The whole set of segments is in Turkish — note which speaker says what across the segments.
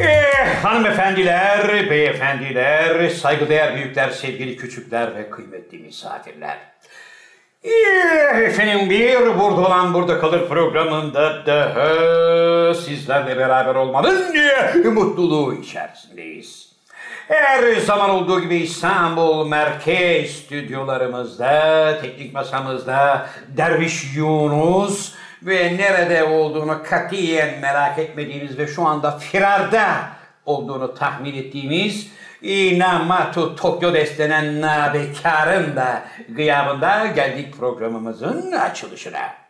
Speaker 1: Eh, Hanımefendiler, beyefendiler, saygıdeğer büyükler, sevgili küçükler ve kıymetli misafirler. Eh, Efendim bir burada olan burada kalır programında daha sizlerle beraber olmanın eh, mutluluğu içerisindeyiz. Her zaman olduğu gibi İstanbul merkez stüdyolarımızda, teknik masamızda Derviş Yunus ve nerede olduğunu katiyen merak etmediğimiz ve şu anda firarda olduğunu tahmin ettiğimiz İnamatu Tokyo destenen nabekarın da gıyabında geldik programımızın açılışına.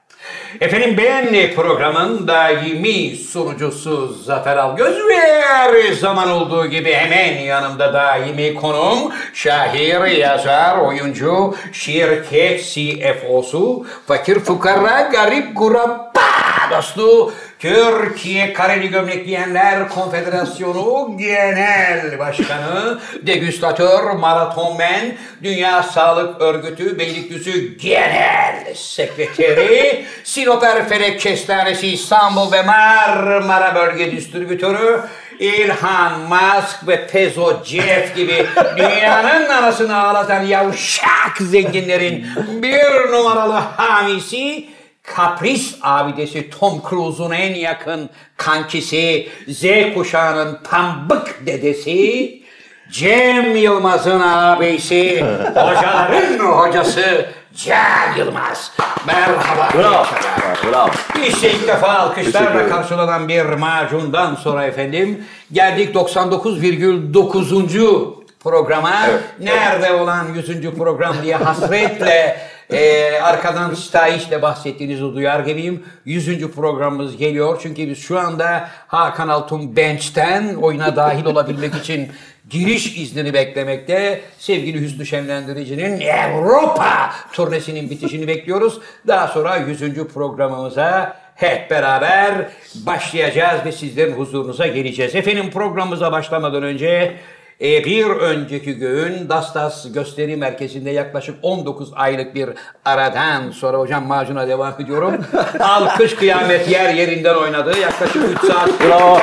Speaker 1: Efendim ben programın daimi sunucusu Zafer Algöz ve her zaman olduğu gibi hemen yanımda daimi konuğum şair, yazar, oyuncu, şirket CFO'su, fakir fukara, garip kurabba dostu Türkiye Kareli Gömlek Giyenler Konfederasyonu Genel Başkanı, degüstatör, maratonmen, Dünya Sağlık Örgütü Beylikdüzü Genel Sekreteri, Sinop Erfelek Kestanesi İstanbul ve Marmara Bölge Distribütörü, İlhan Musk ve Tezo Jeff gibi dünyanın anasını ağlatan yavşak zenginlerin bir numaralı hamisi kapris abidesi Tom Cruise'un en yakın kankisi, Z kuşağının pambık dedesi, Cem Yılmaz'ın ağabeysi, hocaların hocası Cem Yılmaz. Merhaba.
Speaker 2: Bravo.
Speaker 1: arkadaşlar.
Speaker 2: Bravo.
Speaker 1: İşte ilk defa
Speaker 2: Teşekkür
Speaker 1: alkışlarla
Speaker 2: ederim.
Speaker 1: karşılanan bir macundan sonra efendim geldik 99,9. programa.
Speaker 2: Evet.
Speaker 1: Nerede olan 100. program diye hasretle e, arkadan sitayişle bahsettiğinizi duyar gibiyim. 100. programımız geliyor. Çünkü biz şu anda Hakan Altun Bench'ten oyuna dahil olabilmek için giriş iznini beklemekte. Sevgili Hüsnü Şenlendirici'nin Avrupa turnesinin bitişini bekliyoruz. Daha sonra 100. programımıza hep beraber başlayacağız ve sizlerin huzurunuza geleceğiz. Efendim programımıza başlamadan önce e, bir önceki gün Dastas Gösteri Merkezi'nde yaklaşık 19 aylık bir aradan sonra hocam macuna devam ediyorum. Alkış kıyamet yer yerinden oynadı. Yaklaşık 3 saat
Speaker 2: Bravo.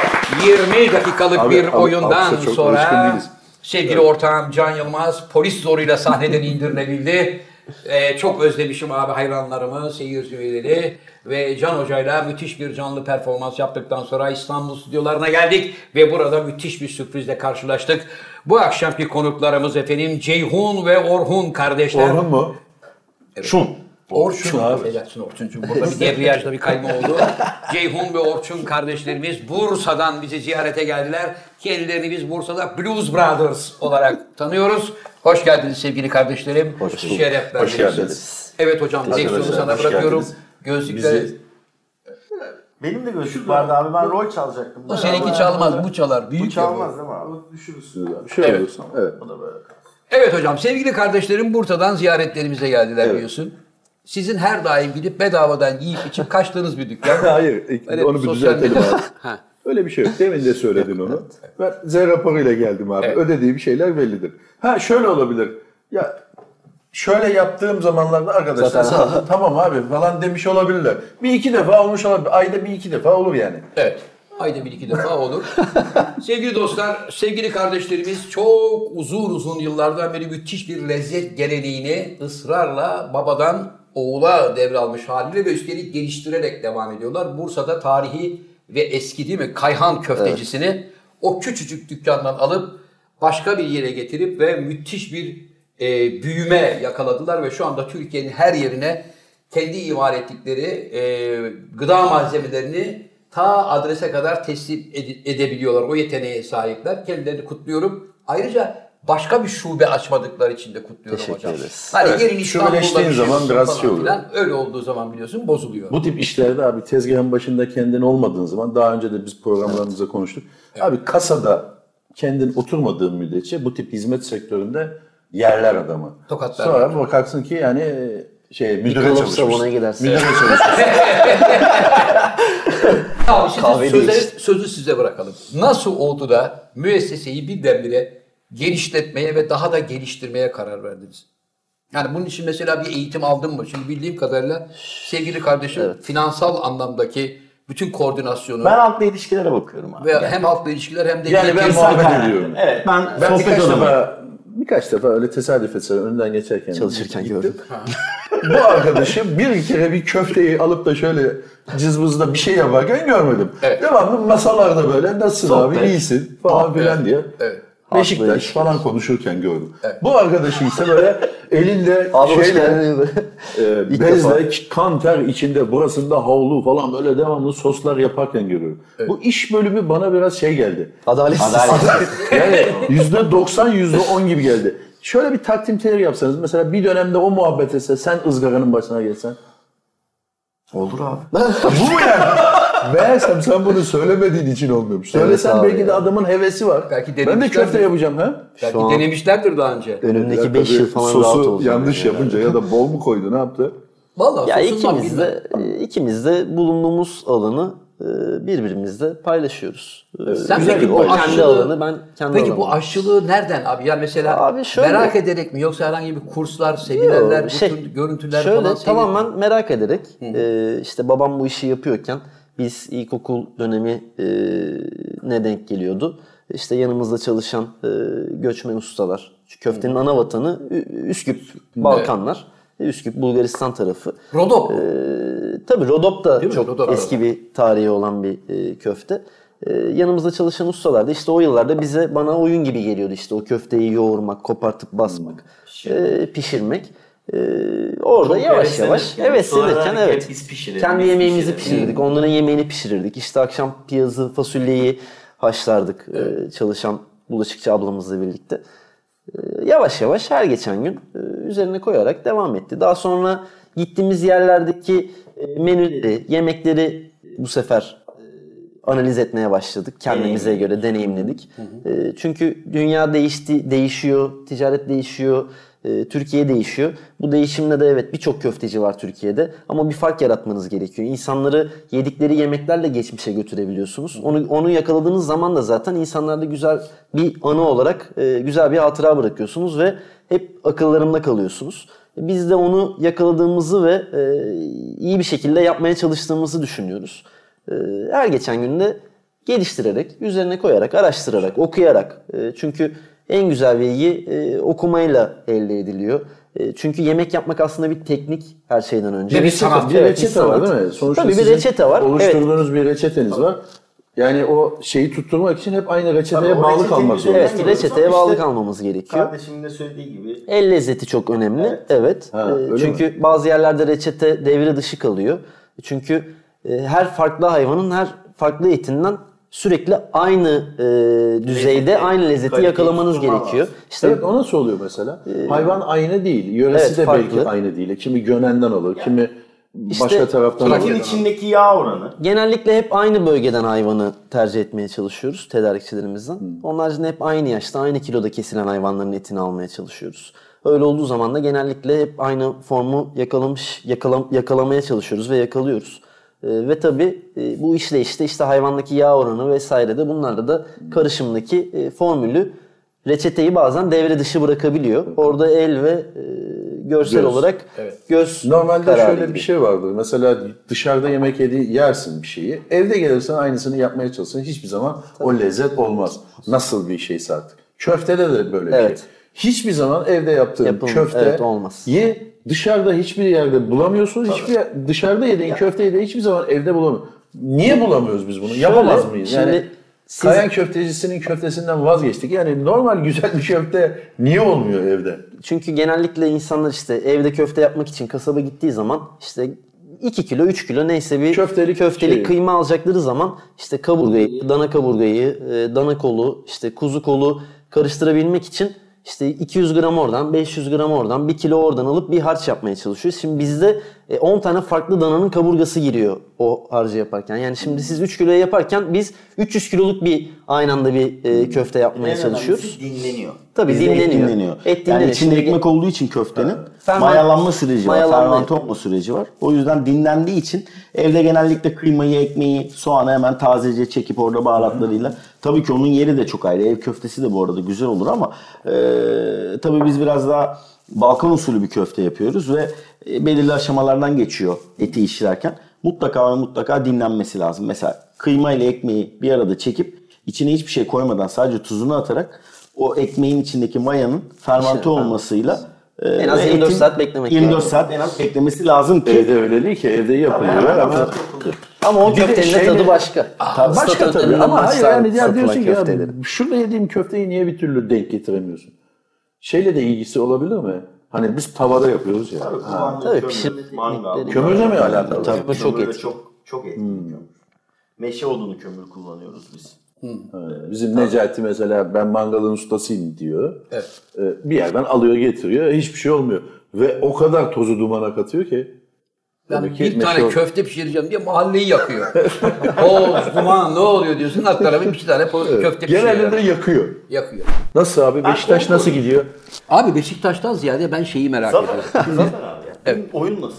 Speaker 1: 20 dakikalık
Speaker 2: Abi,
Speaker 1: bir
Speaker 2: al-
Speaker 1: oyundan
Speaker 2: alkışa çok alışkın
Speaker 1: sonra
Speaker 2: değiliz.
Speaker 1: sevgili ortağım Can Yılmaz polis zoruyla sahneden indirilebildi. Ee, çok özlemişim abi hayranlarımı, seyircileri ve Can Hoca'yla müthiş bir canlı performans yaptıktan sonra İstanbul stüdyolarına geldik ve burada müthiş bir sürprizle karşılaştık. Bu akşamki konuklarımız efendim Ceyhun ve Orhun kardeşler.
Speaker 2: Orhun mu? Şun.
Speaker 1: Orçun
Speaker 2: abi.
Speaker 1: affedersin Orçuncuğum. Burada bir debriyajda bir kayma oldu. Ceyhun ve Orçun kardeşlerimiz Bursa'dan bizi ziyarete geldiler. Kendilerini biz Bursa'da Blues Brothers olarak tanıyoruz. Hoş geldiniz sevgili kardeşlerim.
Speaker 2: Hoş bulduk.
Speaker 1: Şeref verdiniz.
Speaker 2: Hoş geldiniz.
Speaker 1: Evet hocam direksiyonu
Speaker 2: Arkadaşlar,
Speaker 1: sana
Speaker 2: hoş
Speaker 1: bırakıyorum.
Speaker 2: geldiniz.
Speaker 1: Gözlükleri...
Speaker 2: Bizi-
Speaker 3: Benim de gözlük vardı abi. Ben rol çalacaktım.
Speaker 1: Bu seninki çalmaz, bu çalar. Büyük
Speaker 3: Bu
Speaker 1: ya bu.
Speaker 3: çalmaz değil mi abi?
Speaker 2: Şöyle evet. Evet.
Speaker 1: Evet hocam sevgili kardeşlerim Burta'dan ziyaretlerimize geldiler biliyorsun. Sizin her daim gidip bedavadan yiyip içip kaçtığınız bir dükkan.
Speaker 4: Hayır, ilk-
Speaker 1: Öyle
Speaker 4: onu bir
Speaker 1: sosyal
Speaker 4: düzeltelim
Speaker 1: medya-
Speaker 4: abi.
Speaker 1: Ha.
Speaker 4: Öyle bir şey yok. Demin de söyledin onu. Ben Z raporuyla geldim abi.
Speaker 1: Evet.
Speaker 4: Ödediğim şeyler bellidir. Ha şöyle olabilir. Ya şöyle yaptığım zamanlarda arkadaşlar
Speaker 2: Zaten-
Speaker 4: "Ha, tamam abi falan demiş olabilirler. Bir iki defa olmuş olabilir. Ayda bir iki defa olur yani.
Speaker 1: Evet. Ayda bir iki defa olur. sevgili dostlar, sevgili kardeşlerimiz çok uzun uzun yıllardan beri müthiş bir lezzet geleneğini ısrarla babadan oğula devralmış haliyle ve üstelik geliştirerek devam ediyorlar. Bursa'da tarihi ve eski değil mi Kayhan köftecisini o küçücük dükkandan alıp başka bir yere getirip ve müthiş bir e, büyüme yakaladılar ve şu anda Türkiye'nin her yerine kendi imal ettikleri e, gıda malzemelerini ta adrese kadar teslim ed- edebiliyorlar. O yeteneğe sahipler. Kendilerini kutluyorum. Ayrıca başka bir şube açmadıları için de kutluyorum
Speaker 2: Teşekkür
Speaker 1: hocam.
Speaker 2: ederiz.
Speaker 1: Hani
Speaker 4: Evet,
Speaker 1: gelin İstanbul'da
Speaker 4: şubeleştiğin
Speaker 1: bir
Speaker 4: zaman
Speaker 1: olsun
Speaker 4: biraz
Speaker 1: falan
Speaker 4: şey oluyor.
Speaker 1: filan. Öyle olduğu zaman biliyorsun bozuluyor.
Speaker 4: Bu tip işlerde abi tezgahın başında kendin olmadığın zaman daha önce de biz programlarımızda konuştuk. Abi kasada kendin oturmadığın müddetçe bu tip hizmet sektöründe yerler adamı.
Speaker 1: Tokatlar.
Speaker 4: Sonra bakarsın ki yani şey müdüre
Speaker 2: Yıkılıp
Speaker 4: çalışmış.
Speaker 2: sabuna gidersin.
Speaker 4: Müdüre çalışmış.
Speaker 1: Abi şimdi
Speaker 2: Kahve
Speaker 1: sözü,
Speaker 2: değil işte.
Speaker 1: sözü size bırakalım. Nasıl oldu da müesseseyi birdenbire genişletmeye ve daha da geliştirmeye karar verdiniz? Yani bunun için mesela bir eğitim aldın mı? Şimdi bildiğim kadarıyla sevgili kardeşim finansal anlamdaki bütün koordinasyonu
Speaker 3: Ben halkla ilişkilere bakıyorum abi.
Speaker 1: ve hem halkla ilişkiler hem de
Speaker 4: Yani ben
Speaker 1: ilkel-
Speaker 4: muhabbet
Speaker 3: kaynağı.
Speaker 4: ediyorum.
Speaker 3: Evet.
Speaker 4: Ben,
Speaker 3: Ben
Speaker 4: sohbet
Speaker 3: birkaç
Speaker 4: adamı. Birkaç defa öyle tesadüf etsem önden geçerken.
Speaker 5: Çalışırken
Speaker 4: gittim.
Speaker 5: gördüm.
Speaker 4: Bu arkadaşı bir kere bir köfteyi alıp da şöyle cızbızda bir şey yaparken görmedim.
Speaker 1: Evet.
Speaker 4: Devamlı masalarda böyle nasılsın abi
Speaker 3: Sohbet.
Speaker 4: iyisin falan filan diye.
Speaker 1: Evet.
Speaker 4: Beşiktaş falan konuşurken gördüm. Bu arkadaşı ise böyle elinde
Speaker 5: Abi hoş
Speaker 4: şeyle
Speaker 5: geldin.
Speaker 4: e,
Speaker 5: İlk
Speaker 4: bezle kan ter içinde burasında havlu falan böyle devamlı soslar yaparken görüyorum. Bu iş bölümü bana biraz şey geldi.
Speaker 5: Adaletsiz.
Speaker 4: Yani yüzde 90 yüzde 10 gibi geldi. Şöyle bir takdim teleri yapsanız mesela bir dönemde o muhabbet etse sen ızgaranın başına gelsen.
Speaker 3: Olur abi.
Speaker 4: Bu mu yani? Meğersem sen bunu söylemediğin için olmuyormuş. Söylesen
Speaker 5: abi
Speaker 4: belki de adamın hevesi var.
Speaker 1: Belki
Speaker 4: ben de
Speaker 1: denemişlerdir.
Speaker 4: köfte yapacağım ha.
Speaker 1: Belki
Speaker 5: Şu an-
Speaker 1: denemişlerdir daha önce.
Speaker 5: Önümdeki 5 yıl falan
Speaker 4: Sosu
Speaker 5: rahat olacağım.
Speaker 4: yanlış
Speaker 5: yani.
Speaker 4: yapınca ya da bol mu koydu ne yaptı?
Speaker 1: Vallahi
Speaker 5: Ya
Speaker 1: sosundan
Speaker 5: ikimiz
Speaker 1: bilmem.
Speaker 5: de, ikimiz de bulunduğumuz alanı e, birbirimizle paylaşıyoruz. E,
Speaker 1: Sen
Speaker 5: güzel
Speaker 1: peki
Speaker 5: bir-
Speaker 1: bu
Speaker 5: o kendi
Speaker 1: aşçılığı-
Speaker 5: alanı ben kendi
Speaker 1: Peki
Speaker 5: alanım.
Speaker 1: bu aşçılığı nereden abi? Yani mesela
Speaker 5: Abi şöyle-
Speaker 1: merak ederek mi yoksa herhangi bir kurslar, seminerler, bu
Speaker 5: şey,
Speaker 1: tür görüntüler
Speaker 5: şöyle,
Speaker 1: falan şey seyredip-
Speaker 5: tamamen merak ederek e, işte babam bu işi yapıyorken biz ilkokul dönemi e, ne denk geliyordu? İşte yanımızda çalışan e, göçmen ustalar. Şu köftenin ana vatanı Ü- Üsküp, Balkanlar. Üsküp, Bulgaristan tarafı.
Speaker 1: Rodop. mu?
Speaker 5: Ee, tabii Rodop da
Speaker 1: Değil mi?
Speaker 5: çok
Speaker 1: Rodop.
Speaker 5: eski bir tarihi olan bir e, köfte. Ee, yanımızda çalışan ustalar da işte o yıllarda bize bana oyun gibi geliyordu işte o köfteyi yoğurmak, kopartıp basmak, e, pişirmek. Ee, orada yavaş yavaş
Speaker 6: heveslenirken,
Speaker 5: evet
Speaker 6: sonra
Speaker 5: senirken
Speaker 6: hep
Speaker 5: evet.
Speaker 6: biz pişirelim,
Speaker 5: Kendi
Speaker 6: biz
Speaker 5: yemeğimizi
Speaker 6: pişirelim.
Speaker 5: pişirirdik. Onların yemeğini pişirirdik. İşte akşam piyazı, fasulyeyi haşlardık e, çalışan bulaşıkçı ablamızla birlikte yavaş yavaş her geçen gün e, üzerine koyarak devam etti. Daha sonra gittiğimiz yerlerdeki e, menüleri, yemekleri bu sefer e, analiz etmeye başladık. Kendimize göre deneyimledik. E, Çünkü dünya değişti, değişiyor, ticaret değişiyor, e, Türkiye değişiyor. Bu değişimle de evet birçok köfteci var Türkiye'de ama bir fark yaratmanız gerekiyor. İnsanları yedikleri yemeklerle geçmişe götürebiliyorsunuz. Onu onu yakaladığınız zaman da zaten insanlarda güzel bir anı olarak e, güzel bir hatıra bırakıyorsunuz ve hep akıllarında kalıyorsunuz. E, Biz de onu yakaladığımızı ve e, iyi bir şekilde yapmaya çalıştığımızı düşünüyoruz. E, her geçen günde geliştirerek, üzerine koyarak, araştırarak, okuyarak. E, çünkü en güzel bilgi e, okumayla elde ediliyor. E, çünkü yemek yapmak aslında bir teknik her şeyden önce.
Speaker 1: Ve bir sanat.
Speaker 4: Bir
Speaker 5: Evet,
Speaker 4: reçete
Speaker 5: bir
Speaker 4: var
Speaker 5: sanat.
Speaker 4: değil mi? Sonuçta
Speaker 5: Tabii bir
Speaker 4: sizin
Speaker 5: reçete var. Evet.
Speaker 4: Oluşturduğunuz bir reçeteniz var. Yani o şeyi tutturmak için hep aynı reçeteye
Speaker 3: Tabii o
Speaker 4: bağlı
Speaker 3: reçeteyi
Speaker 4: kalmak
Speaker 3: biz-
Speaker 4: zorunda.
Speaker 5: Evet,
Speaker 3: Bilmiyorum.
Speaker 5: reçeteye bağlı
Speaker 3: İşte-
Speaker 5: kalmamız gerekiyor.
Speaker 3: Kardeşimin de söylediği gibi
Speaker 5: El lezzeti çok önemli. Evet.
Speaker 4: Ha,
Speaker 5: Ee,
Speaker 4: öyle
Speaker 5: çünkü bazı yerlerde reçete devre dışı kalıyor. Çünkü e, her farklı hayvanın her farklı etinden sürekli aynı e, düzeyde
Speaker 6: Lezzeti,
Speaker 5: aynı lezzeti
Speaker 6: kaliteyi
Speaker 5: yakalamanız
Speaker 6: tutturman
Speaker 5: gerekiyor.
Speaker 6: lazım.
Speaker 5: İşte
Speaker 4: Evet o nasıl oluyor mesela? Hayvan aynı değil. Yöresi
Speaker 5: Ee, Evet,
Speaker 4: de belki
Speaker 5: farklı.
Speaker 4: aynı değil. Kimi Gönen'den alır, kimi başka taraftan
Speaker 3: bunun
Speaker 4: alır.
Speaker 3: içindeki yağ oranı
Speaker 5: genellikle hep aynı bölgeden hayvanı tercih etmeye çalışıyoruz tedarikçilerimizden.
Speaker 4: Hmm.
Speaker 5: Onun haricinde hep aynı yaşta, aynı kiloda kesilen hayvanların etini almaya çalışıyoruz. Öyle olduğu zaman da genellikle hep aynı formu yakalamış, yakalam- yakalamaya çalışıyoruz ve yakalıyoruz. Ee, ve tabii e, bu işle işte işte hayvandaki yağ oranı vesaire de bunlarla da
Speaker 4: Hmm.
Speaker 5: karışımdaki e, formülü reçeteyi bazen devre dışı bırakabiliyor. Orada el ve e, görsel
Speaker 4: Göz.
Speaker 5: olarak göz
Speaker 4: Normalde
Speaker 5: kararı
Speaker 4: şöyle bir
Speaker 5: gibi.
Speaker 4: şey vardır. Mesela dışarıda yemek yedi, yersin bir şeyi. Evde gelirsen aynısını yapmaya çalışsan hiçbir zaman o lezzet olmaz. Nasıl bir şeyse artık. Köftede de böyle bir
Speaker 5: Evet.
Speaker 4: şey. Hiçbir zaman evde yaptığın
Speaker 5: Yapılmaz.
Speaker 4: köfte
Speaker 5: Evet, olmaz.
Speaker 4: ye dışarıda hiçbir yerde bulamıyorsun. Hiçbir yer- dışarıda yediğin köfteyi de hiçbir zaman evde bulamıyorsun. Niye bulamıyoruz biz bunu? Yapamaz mıyız?
Speaker 5: şimdi
Speaker 4: yani
Speaker 5: siz-
Speaker 4: Kayan köftecisinin köftesinden vazgeçtik. Yani normal güzel bir köfte niye olmuyor evde?
Speaker 5: Çünkü genellikle insanlar işte evde köfte yapmak için kasaba gittiği zaman işte 2 kilo 3 kilo neyse bir
Speaker 4: Köftelik
Speaker 5: köftelik
Speaker 4: şey.
Speaker 5: kıyma alacakları zaman işte kaburgayı, dana kaburgayı, e, dana kolu, işte kuzu kolu karıştırabilmek için işte 200 gram oradan, 500 gram oradan, 1 kilo oradan alıp bir harç yapmaya çalışıyor. Şimdi bizde e, 10 tane farklı dananın kaburgası giriyor o harcı yaparken. Yani şimdi siz 3 kiloya yaparken biz 300 kiloluk bir aynı anda bir e, köfte yapmaya
Speaker 3: en
Speaker 5: çalışıyoruz.
Speaker 3: önemlisi dinleniyor.
Speaker 5: Tabii
Speaker 6: Bizde
Speaker 5: dinleniyor.
Speaker 6: et dinleniyor.
Speaker 5: Et dinleniyor.
Speaker 6: yani içinde
Speaker 5: Şimdi-
Speaker 6: ekmek olduğu için köftenin
Speaker 5: Ferment-
Speaker 6: mayalanma süreci var,
Speaker 5: Mayalanma.
Speaker 6: fermente olma süreci var. O yüzden dinlendiği için evde genellikle kıymayı, ekmeği, soğanı hemen tazece çekip orada baharatlarıyla. Tabii ki onun yeri de çok ayrı. Ev köftesi de bu arada güzel olur ama e, tabii biz biraz daha Balkan usulü bir köfte yapıyoruz ve e, belirli aşamalardan geçiyor eti işlerken. mutlaka ve mutlaka dinlenmesi lazım. Mesela kıyma ile ekmeği bir arada çekip içine hiçbir şey koymadan sadece tuzunu atarak o ekmeğin içindeki mayanın fermante
Speaker 5: İşte,
Speaker 6: olmasıyla e,
Speaker 5: En az
Speaker 6: ve
Speaker 5: 24
Speaker 6: etin
Speaker 5: saat beklemek
Speaker 6: 24
Speaker 5: lazım.
Speaker 6: saat en az beklemesi lazım ki.
Speaker 4: Evde öyle değil ki evde yapılıyor. ama
Speaker 5: Ama o
Speaker 4: Bir de
Speaker 5: köftenin de
Speaker 4: şeyle-
Speaker 5: tadı başka.
Speaker 4: başka tabii
Speaker 5: Statüden
Speaker 4: ama hayır
Speaker 5: başlar
Speaker 4: yani ya
Speaker 5: satılan
Speaker 4: diyorsun ki ya,
Speaker 5: köfteleri.
Speaker 4: şurada yediğim köfteyi niye bir türlü denk getiremiyorsun? Şeyle de ilgisi olabilir mi? Hani biz tavada yapıyoruz ya. Ha.
Speaker 5: Tabii,
Speaker 3: Kömür,
Speaker 5: pişirme
Speaker 3: mangal.
Speaker 5: teknikleri.
Speaker 4: Kömürle mi alakalı? Hmm.
Speaker 5: Tabii.
Speaker 3: Kömürle
Speaker 5: çok etkili.
Speaker 3: Çok, çok etkili kömür. Meşe odunu kömür kullanıyoruz biz.
Speaker 4: Bizim Necati mesela ben mangalın ustasıyım diyor.
Speaker 1: Evet.
Speaker 4: Ee, Bir yerden alıyor getiriyor hiçbir şey olmuyor. Ve o kadar tozu dumana katıyor ki.
Speaker 1: Yani
Speaker 4: Tabii ki
Speaker 1: bir tane
Speaker 4: meşhur.
Speaker 1: köfte pişireceğim diye mahalleyi yakıyor. Oğuz, duman ne oluyor diyorsun. Alt tarafı bir iki tane po- köfte
Speaker 4: Genelde de
Speaker 1: pişiriyor.
Speaker 4: yakıyor.
Speaker 1: Yakıyor.
Speaker 4: Nasıl abi Beşiktaş nasıl gidiyor?
Speaker 1: Abi Beşiktaş'tan ziyade ben şeyi merak ediyorum.
Speaker 3: Zafer abi. Evet. Oyun nasıl?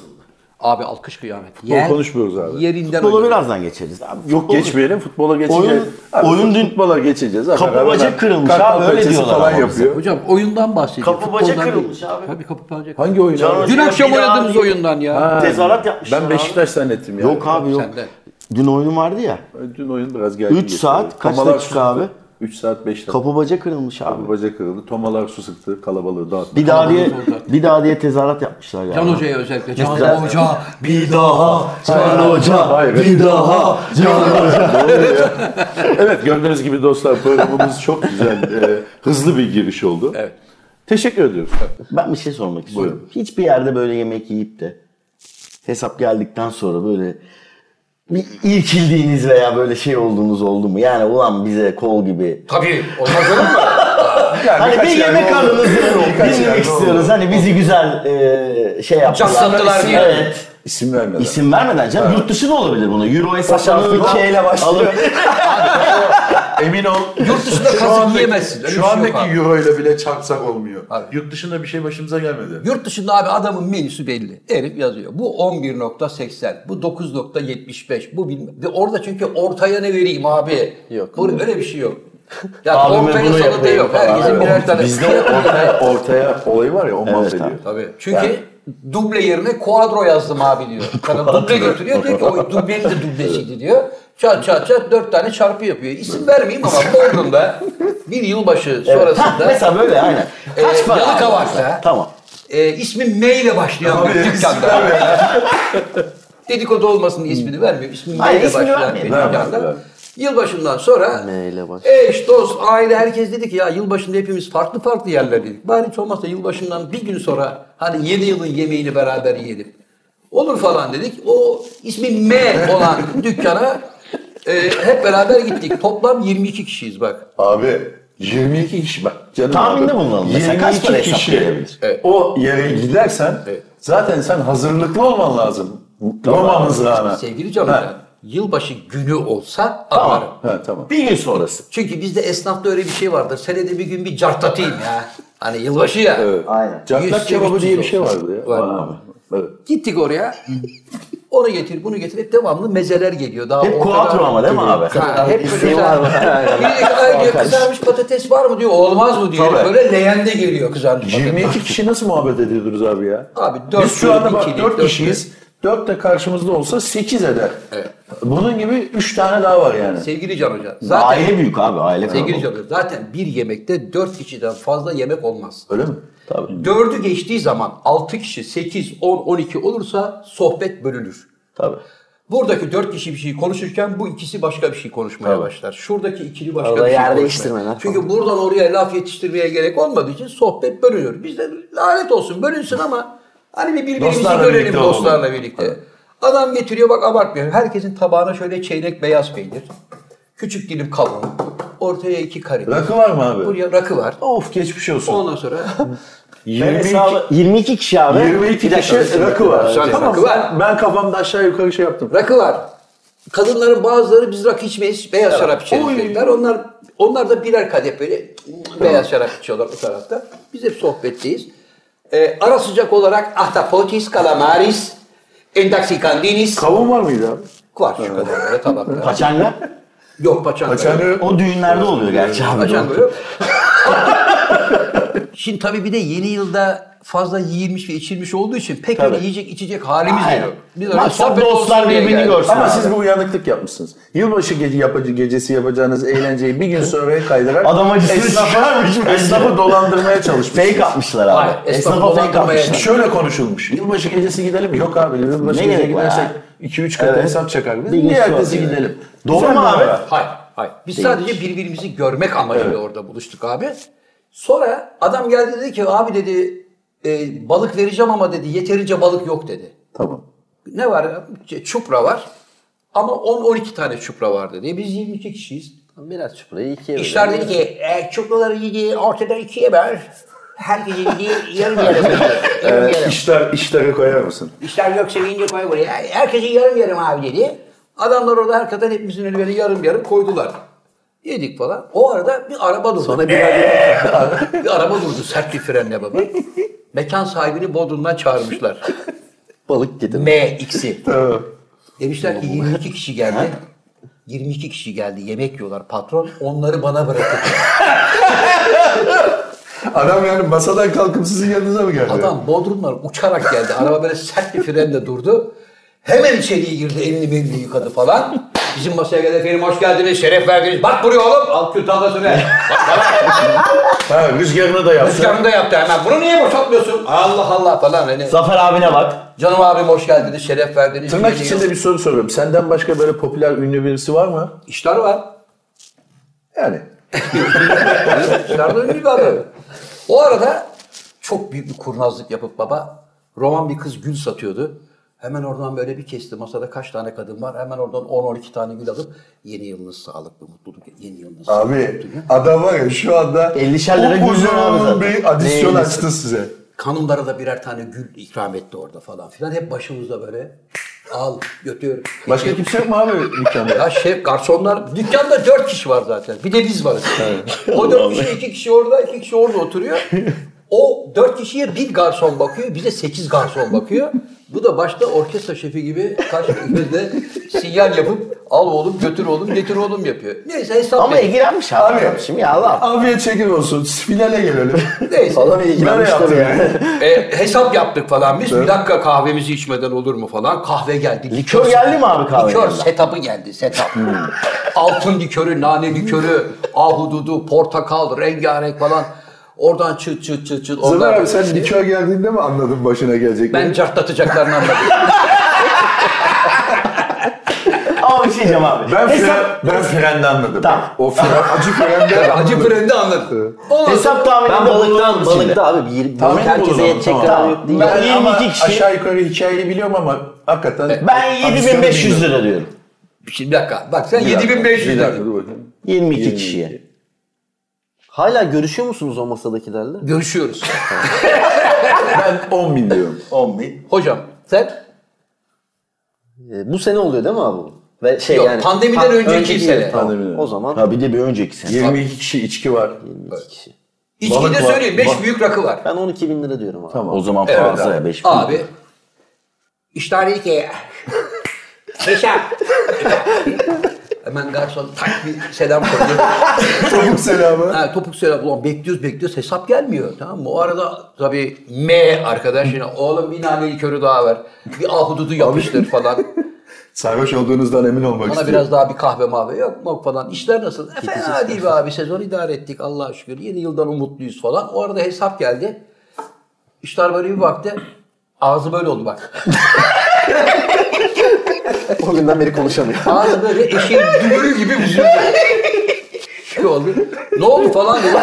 Speaker 1: Abi alkış kıyamet.
Speaker 4: konuşmuyoruz abi.
Speaker 1: Yerinden
Speaker 6: Futbola
Speaker 1: oynadı.
Speaker 6: birazdan geçeriz. Abi,
Speaker 4: Yok geçmeyelim futbola geçeceğiz.
Speaker 6: Oyun- oyun dün-
Speaker 4: futbola geçeceğiz. Abi,
Speaker 6: Kapı
Speaker 4: beraber
Speaker 6: bacak kırılmış
Speaker 4: kartal
Speaker 6: abi, öyle
Speaker 4: pençesi
Speaker 6: diyorlar
Speaker 4: falan
Speaker 6: ama bize.
Speaker 4: yapıyor.
Speaker 1: Hocam oyundan bahsediyor.
Speaker 3: Kapı baca
Speaker 1: futboldan değil.
Speaker 3: kırılmış abi.
Speaker 1: Tabii kapı baca kırılmış.
Speaker 4: Hangi oyun? abi?
Speaker 3: Canım-
Speaker 1: Dün akşam
Speaker 3: Bir daha
Speaker 1: oynadığımız
Speaker 3: değil.
Speaker 1: oyundan ya.
Speaker 3: Tezahürat yapmışlar
Speaker 4: Ben Beşiktaş zannettim ya.
Speaker 6: Yok abi yok.
Speaker 1: Sen de.
Speaker 6: Dün oyunun vardı ya.
Speaker 4: Dün oyun biraz geldi.
Speaker 6: Üç saat, kaç dakika abi?
Speaker 4: 3 saat 5 dakika.
Speaker 6: Kapı baca kırılmış abi.
Speaker 4: Kapı bacak kırıldı. Tomalar su sıktı. Kalabalığı dağıttı.
Speaker 6: Bir daha diye bir daha diye tezahürat yapmışlar ya.
Speaker 1: Can
Speaker 6: Yani.
Speaker 1: Hoca'ya özellikle. Can Hoca bir daha.
Speaker 4: Can Hoca bir daha Can Hoca. evet gördüğünüz gibi dostlar programımız çok güzel, e, hızlı bir giriş oldu. Evet. Teşekkür ediyoruz.
Speaker 6: Ben bir şey sormak istiyorum. Hiçbir yerde böyle yemek yiyip de hesap geldikten sonra böyle bir irkildiğiniz veya böyle şey olduğunuz oldu mu? Yani ulan bize kol gibi.
Speaker 1: Tabii. Olmaz olur mu?
Speaker 6: hani bir yemek aranızı dinlemek
Speaker 4: yerde oldu.
Speaker 6: istiyoruz. Hani bizi güzel e, şey yaptılar.
Speaker 1: sattılar diye.
Speaker 6: Evet.
Speaker 4: İsim vermeden.
Speaker 6: İsim vermeden canım yurt dışı da olabilir bunu. Euro hesaplarını
Speaker 4: K ile başlıyor.
Speaker 6: alıp
Speaker 4: Emin ol.
Speaker 1: Yurt dışında
Speaker 4: Şu
Speaker 1: kazık
Speaker 4: andaki-
Speaker 1: yiyemezsin. Öyle bir
Speaker 4: Şu
Speaker 1: şey yok
Speaker 4: andaki
Speaker 1: abi.
Speaker 4: euro ile bile çarpsak olmuyor.
Speaker 1: Abi.
Speaker 4: Yurt dışında bir şey başımıza gelmedi.
Speaker 1: Yurt dışında abi adamın menüsü belli. Herif yazıyor. Bu 11.80, bu 9.75, bu bilmem. Ve orada çünkü ortaya ne vereyim abi?
Speaker 5: Yok.
Speaker 1: Bu- Öyle bir şey yok. Ya
Speaker 6: Abime
Speaker 1: ortaya
Speaker 6: bunu
Speaker 1: salata
Speaker 6: yapayım
Speaker 1: yok.
Speaker 6: falan.
Speaker 1: Herkesin
Speaker 6: Evet.
Speaker 1: birer tane.
Speaker 4: Bizde ortaya, ortaya olayı var ya o mahvediyor.
Speaker 6: abi.
Speaker 1: Tabii. Çünkü duble yerine kuadro yazdım abi diyor. Sana duble götürüyor diyor ki o dublenin de dublesiydi diyor. Çat çat çat dört tane çarpı yapıyor. İsim vermeyeyim ama Bodrum'da bir yılbaşı
Speaker 6: Ha,
Speaker 1: sonrasında
Speaker 6: mesela böyle aynen.
Speaker 1: Ee,
Speaker 6: Kaç para?
Speaker 1: Yalıkavak'ta-
Speaker 6: abi mesela? Tamam.
Speaker 1: e, ismi M ile başlayan bir dükkanda. Dedikodu olmasın diye ismini vermiyor. İsmi M
Speaker 6: Hayır,
Speaker 1: ile
Speaker 6: ismini
Speaker 1: başlayan bir
Speaker 6: vermeyelim.
Speaker 1: dükkanda. Yılbaşından sonra
Speaker 5: M ile başlayan.
Speaker 1: eş, dost, aile herkes dedi ki ya yılbaşında hepimiz farklı farklı yerlerdeydik. Bari hiç olmazsa yılbaşından bir gün sonra hani yeni yılın yemeğini beraber yiyelim. Olur falan dedik. O ismi M olan dükkana e, hep beraber gittik. Toplam 22 kişiyiz bak.
Speaker 4: Abi 22 kişi bak. Canım
Speaker 6: Tahminde
Speaker 4: abi,
Speaker 6: bulunalım. Mesela kaç
Speaker 4: 22
Speaker 6: para hesap
Speaker 4: kişi
Speaker 6: verebilir?
Speaker 1: Evet.
Speaker 4: O yere gidersen zaten sen hazırlıklı olman lazım. Roma mızrağına.
Speaker 1: Sevgili Can
Speaker 4: Ha,
Speaker 1: Hoca, yılbaşı günü olsa atarım.
Speaker 4: ha, tamam.
Speaker 6: Bir gün sonrası.
Speaker 1: Çünkü bizde esnafta öyle bir şey vardır. Senede bir gün bir cartlatayım ya. Hani yılbaşı ya.
Speaker 3: Aynen.
Speaker 1: Yüz
Speaker 4: Cartlak kebabı
Speaker 1: sekiz
Speaker 4: diye bir
Speaker 1: olsun.
Speaker 4: şey vardı ya.
Speaker 1: Var.
Speaker 4: Var abi. Evet.
Speaker 1: Gittik oraya. Onu getir, bunu getir. Hep devamlı mezeler geliyor. Daha
Speaker 6: Hep
Speaker 1: ortada-
Speaker 6: kuatro ama değil mi abi?
Speaker 1: Ha, hep böyle
Speaker 6: İsteği var mı?
Speaker 1: Bir de, "Ay," diyor, kızarmış patates var mı diyor. Olmaz mı diyor.
Speaker 6: Tabii.
Speaker 1: Böyle leğende geliyor kızarmış patates.
Speaker 4: 22 kişi nasıl muhabbet ediyordunuz abi ya?
Speaker 1: Abi dört
Speaker 4: Biz şu anda bak
Speaker 1: ikili,
Speaker 4: 4
Speaker 1: dört
Speaker 4: kişiyiz. 4 de karşımızda olsa 8 eder. Bunun gibi 3 tane daha var yani.
Speaker 1: Sevgili Can Hoca. Zaten
Speaker 6: aile büyük abi aile
Speaker 1: Sevgili
Speaker 6: kalabalık.
Speaker 1: Can Hoca, zaten bir yemekte dört kişiden fazla yemek olmaz.
Speaker 4: Öyle mi?
Speaker 1: Dördü geçtiği zaman 6 kişi 8, 10, 12 olursa sohbet bölünür.
Speaker 6: Tabii.
Speaker 1: Buradaki dört kişi bir şey konuşurken bu ikisi başka bir şey konuşmaya başlar. Şuradaki ikili başka
Speaker 5: Arada
Speaker 1: bir şey
Speaker 5: yer
Speaker 1: konuşmaya.
Speaker 5: değiştirmeler
Speaker 1: Çünkü buradan oraya laf yetiştirmeye gerek olmadığı için sohbet bölünür. Biz de lanet olsun bölünsün ama hani bir birbirimizi
Speaker 4: Dostlarla
Speaker 1: görelim
Speaker 4: birlikte olalım.
Speaker 1: dostlarla birlikte. Adam getiriyor bak abartmıyorum. Herkesin tabağına şöyle çeyrek beyaz peynir. Küçük dilim kavun. Ortaya iki karides.
Speaker 4: Rakı var mı abi?
Speaker 1: Buraya rakı var.
Speaker 4: Of geçmiş olsun.
Speaker 1: Ondan sonra
Speaker 4: 22,
Speaker 6: Hesabı 22 kişi abi.
Speaker 4: 22
Speaker 6: Bir dakika,
Speaker 4: kişi rakı var.
Speaker 1: Sadece
Speaker 4: Tamam
Speaker 1: rakı var.
Speaker 4: ben, ben kafamda aşağı yukarı şey yaptım.
Speaker 1: Rakı var. Kadınların bazıları biz rakı içmeyiz, beyaz şarap içeriz dediler. Onlar, onlar da birer kadeh böyle beyaz şarap içiyorlar o tarafta. Biz hep sohbetteyiz. Ee, ara sıcak olarak ahtapotis, kalamaris, endaksikandinis
Speaker 4: Kavun var mıydı abi?
Speaker 1: var şu kadar böyle tabakta.
Speaker 6: Paçanga.
Speaker 1: Yok paçanga. yok.
Speaker 4: Paçanı
Speaker 6: O düğünlerde oluyor gerçi abi.
Speaker 1: Paçanga yok. Şimdi tabii bir de yeni yılda fazla yiyilmiş ve içilmiş olduğu için pek öyle yiyecek içecek halimiz de
Speaker 6: Aynen.
Speaker 1: yok. Biz
Speaker 6: Maksat
Speaker 1: sohbet olsun
Speaker 6: dostlar
Speaker 1: diye
Speaker 6: birbirini
Speaker 1: geldik.
Speaker 6: görsün.
Speaker 4: Ama siz bir uyanıklık yapmışsınız. Yılbaşı gece yapıcı gecesi yapacağınız eğlenceyi bir gün sonraya kaydırarak
Speaker 6: Adam acısını çıkarmış
Speaker 4: esnafı,
Speaker 6: bence.
Speaker 4: esnafı dolandırmaya çalışmışsınız.
Speaker 6: Fake atmışlar abi.
Speaker 1: Hayır, esnafı
Speaker 6: Esnafa fake
Speaker 1: dolandırmaya-
Speaker 6: atmışlar.
Speaker 4: Şöyle konuşulmuş. Yılbaşı gecesi gidelim. Yok abi yılbaşı
Speaker 6: Ne
Speaker 4: gecesi
Speaker 6: gerek var
Speaker 4: gidersek
Speaker 6: ya?
Speaker 4: 2-3 kat hesap çakar. Biz
Speaker 6: Bir gün
Speaker 4: niye
Speaker 6: sonra
Speaker 4: ertesi
Speaker 6: yani.
Speaker 4: gidelim?
Speaker 6: Doğru
Speaker 4: Güzel
Speaker 6: mu
Speaker 4: bir
Speaker 6: abi?
Speaker 4: ara.
Speaker 1: Hayır, hayır. Biz sadece birbirimizi görmek amacıyla orada buluştuk abi. Sonra adam geldi dedi ki abi dedi e, balık vereceğim ama dedi yeterince balık yok dedi.
Speaker 4: Tamam.
Speaker 1: Ne var? Çupra var. Ama 10-12 tane çupra var dedi. Biz 22 kişiyiz.
Speaker 5: Biraz çuprayı ikiye
Speaker 1: İşler
Speaker 5: bölelim.
Speaker 1: dedi ki e, çupraları yedi ortadan ikiye böl. Herkes yedi yarım yarım.
Speaker 6: Ee,
Speaker 1: yarım yarım.
Speaker 4: İşler, işlere koyar mısın?
Speaker 1: İşler yok sevince koy buraya. Herkesi yarım yarım abi dedi. Adamlar orada hakikaten hepimizin önüne böyle yarım yarım koydular. Yedik falan. O arada bir araba durdu. Sonra bir, bir araba durdu sert bir frenle baba. Mekan sahibini Bodrum'dan çağırmışlar.
Speaker 5: Balık gidin.
Speaker 1: MX'i. Demişler ki 22 kişi geldi. 22 kişi geldi yemek yiyorlar patron. Onları bana bırakın.
Speaker 4: Adam yani masadan kalkıp sizin yanınıza mı geldi?
Speaker 1: Adam Bodrum'dan uçarak geldi. Araba böyle sert bir frenle durdu. Hemen içeriye girdi. Elini belini yıkadı falan. Bizim masaya geldi. Efendim hoş geldiniz. Şeref verdiniz. Bak buraya oğlum. Al Kürt tablasını.
Speaker 4: Ha, rüzgarını da yaptı.
Speaker 1: Rüzgarını da yaptı hemen. Bunu niye boşaltmıyorsun? Allah Allah falan. Hani,
Speaker 6: Zafer abine bak.
Speaker 1: Canım abim hoş geldiniz. Şeref verdiniz.
Speaker 4: Tırnak içinde bir soru soruyorum. Senden başka böyle popüler ünlü birisi var mı?
Speaker 1: İşler var.
Speaker 4: Yani.
Speaker 1: Dışarıda ünlü bir adam. O arada çok büyük bir kurnazlık yapıp baba roman bir kız gül satıyordu. Hemen oradan böyle bir kesti. Masada kaç tane kadın var. Hemen oradan 10-12 tane gül alıp yeni yılınız sağlıklı, mutluluk, yeni yılınız
Speaker 4: Abi adam var ya şu anda
Speaker 6: 50'şer lira
Speaker 4: upuzun
Speaker 6: gülüyor abi zaten.
Speaker 4: bir adisyon
Speaker 6: Neyiniz?
Speaker 4: açtı size.
Speaker 1: Kanımlara da birer tane gül ikram etti orada falan filan. Hep başımızda böyle al götür.
Speaker 4: Başka kimse yok mu abi dükkanda?
Speaker 1: Ya şef garsonlar dükkanda dört kişi var zaten. Bir de biz varız. o dört kişi iki kişi orada iki kişi orada oturuyor. O dört kişiye bir garson bakıyor. Bize sekiz garson bakıyor. Bu da başta orkestra şefi gibi kaç de sinyal yapıp al oğlum götür oğlum getir oğlum yapıyor. Neyse hesap
Speaker 6: Ama
Speaker 1: yapıyor.
Speaker 6: ilgilenmiş abi.
Speaker 4: Abi.
Speaker 6: Şimdi ya Allah.
Speaker 4: Afiyet şeker olsun. Finale gelelim.
Speaker 1: Neyse.
Speaker 6: Adam ilgilenmiş
Speaker 4: Nereye
Speaker 6: tabii
Speaker 4: yaptı
Speaker 6: yani.
Speaker 1: E, hesap yaptık falan biz. Bir dakika kahvemizi içmeden olur mu falan. Kahve geldi.
Speaker 6: Likör geldi mi abi Hmm. kahve?
Speaker 1: Likör
Speaker 6: yanında?
Speaker 1: setup'ı geldi setap. Altın likörü, nane likörü, ahududu, portakal, rengarenk falan. Oradan çıt çıt çıt çıt.
Speaker 4: Zafer
Speaker 1: Oradan
Speaker 4: abi sen nikah geldiğinde mi anladın başına gelecekleri?
Speaker 1: ben cartlatacaklarını anladım.
Speaker 6: Ama bir şey diyeceğim abi.
Speaker 4: ben,
Speaker 6: Hesap-
Speaker 4: fren, ben frenden anladım.
Speaker 6: Tamam.
Speaker 4: O fren, acı frenden
Speaker 1: Acı
Speaker 4: anladım.
Speaker 1: frende anladım. Ondan
Speaker 6: Hesap
Speaker 5: Ben
Speaker 6: tahmininde
Speaker 5: balıktan,
Speaker 6: bulundum içinde.
Speaker 5: balıkta abi bir, balık
Speaker 4: Tahmin
Speaker 5: herkese
Speaker 4: bulundum,
Speaker 5: yetecek
Speaker 4: tamam.
Speaker 5: kadar yok değil.
Speaker 4: Ben
Speaker 6: 22
Speaker 4: ama
Speaker 6: kişi-
Speaker 4: aşağı yukarı hikayeyi biliyorum ama hakikaten...
Speaker 6: Ben
Speaker 4: şey
Speaker 6: 7500 lira diyorum.
Speaker 1: Şimdi bir dakika. Bak sen
Speaker 4: Bir
Speaker 1: 7500
Speaker 4: dakika
Speaker 1: lira.
Speaker 4: dur bakayım.
Speaker 6: 22 kişiye.
Speaker 5: Hala görüşüyor musunuz o masadakilerle?
Speaker 1: Görüşüyoruz.
Speaker 4: Ben 10 bin diyorum.
Speaker 6: 10 bin.
Speaker 1: Hocam sen
Speaker 5: E, bu sene oluyor değil mi abi bu? Ve şey
Speaker 1: Yok,
Speaker 5: yani
Speaker 1: pandemiden önceki
Speaker 5: önceki
Speaker 1: sene.
Speaker 5: yıl, tamam.
Speaker 4: Pandemiden.
Speaker 5: O zaman
Speaker 6: Ha bir de bir önceki sene.
Speaker 4: 22 kişi içki var.
Speaker 5: iki kişi.
Speaker 1: içkide
Speaker 4: Balık var,
Speaker 1: söyleyeyim 5
Speaker 4: balık.
Speaker 1: büyük rakı var.
Speaker 5: Ben 12 bin lira diyorum abi.
Speaker 4: Tamam.
Speaker 6: O zaman
Speaker 1: Evet
Speaker 6: fazla
Speaker 1: abi.
Speaker 6: ya 5 bin.
Speaker 1: Abi işte dedi ki hesap. Hemen garson tak bir selam koydu.
Speaker 4: Topuk selamı.
Speaker 1: Ha, topuk söyle ulan bekliyoruz bekliyoruz hesap gelmiyor tamam mı? O arada tabii M arkadaş yine oğlum bir nane likörü daha ver. Bir ahududu yapıştır falan.
Speaker 4: Sarhoş olduğunuzdan emin olmak
Speaker 1: Bana
Speaker 4: istiyorum.
Speaker 1: biraz daha bir kahve mahve yok mu falan. İşler nasıl? E, fena değil be abi sezon idare ettik Allah'a şükür. Yeni yıldan umutluyuz falan. O arada hesap geldi. İşler böyle bir baktı. Ağzı böyle oldu bak.
Speaker 5: O günden beri konuşamıyor.
Speaker 1: Ağzı böyle eşeğin dümürü gibi büzüldü. Şey oldu. Ne oldu falan dedi.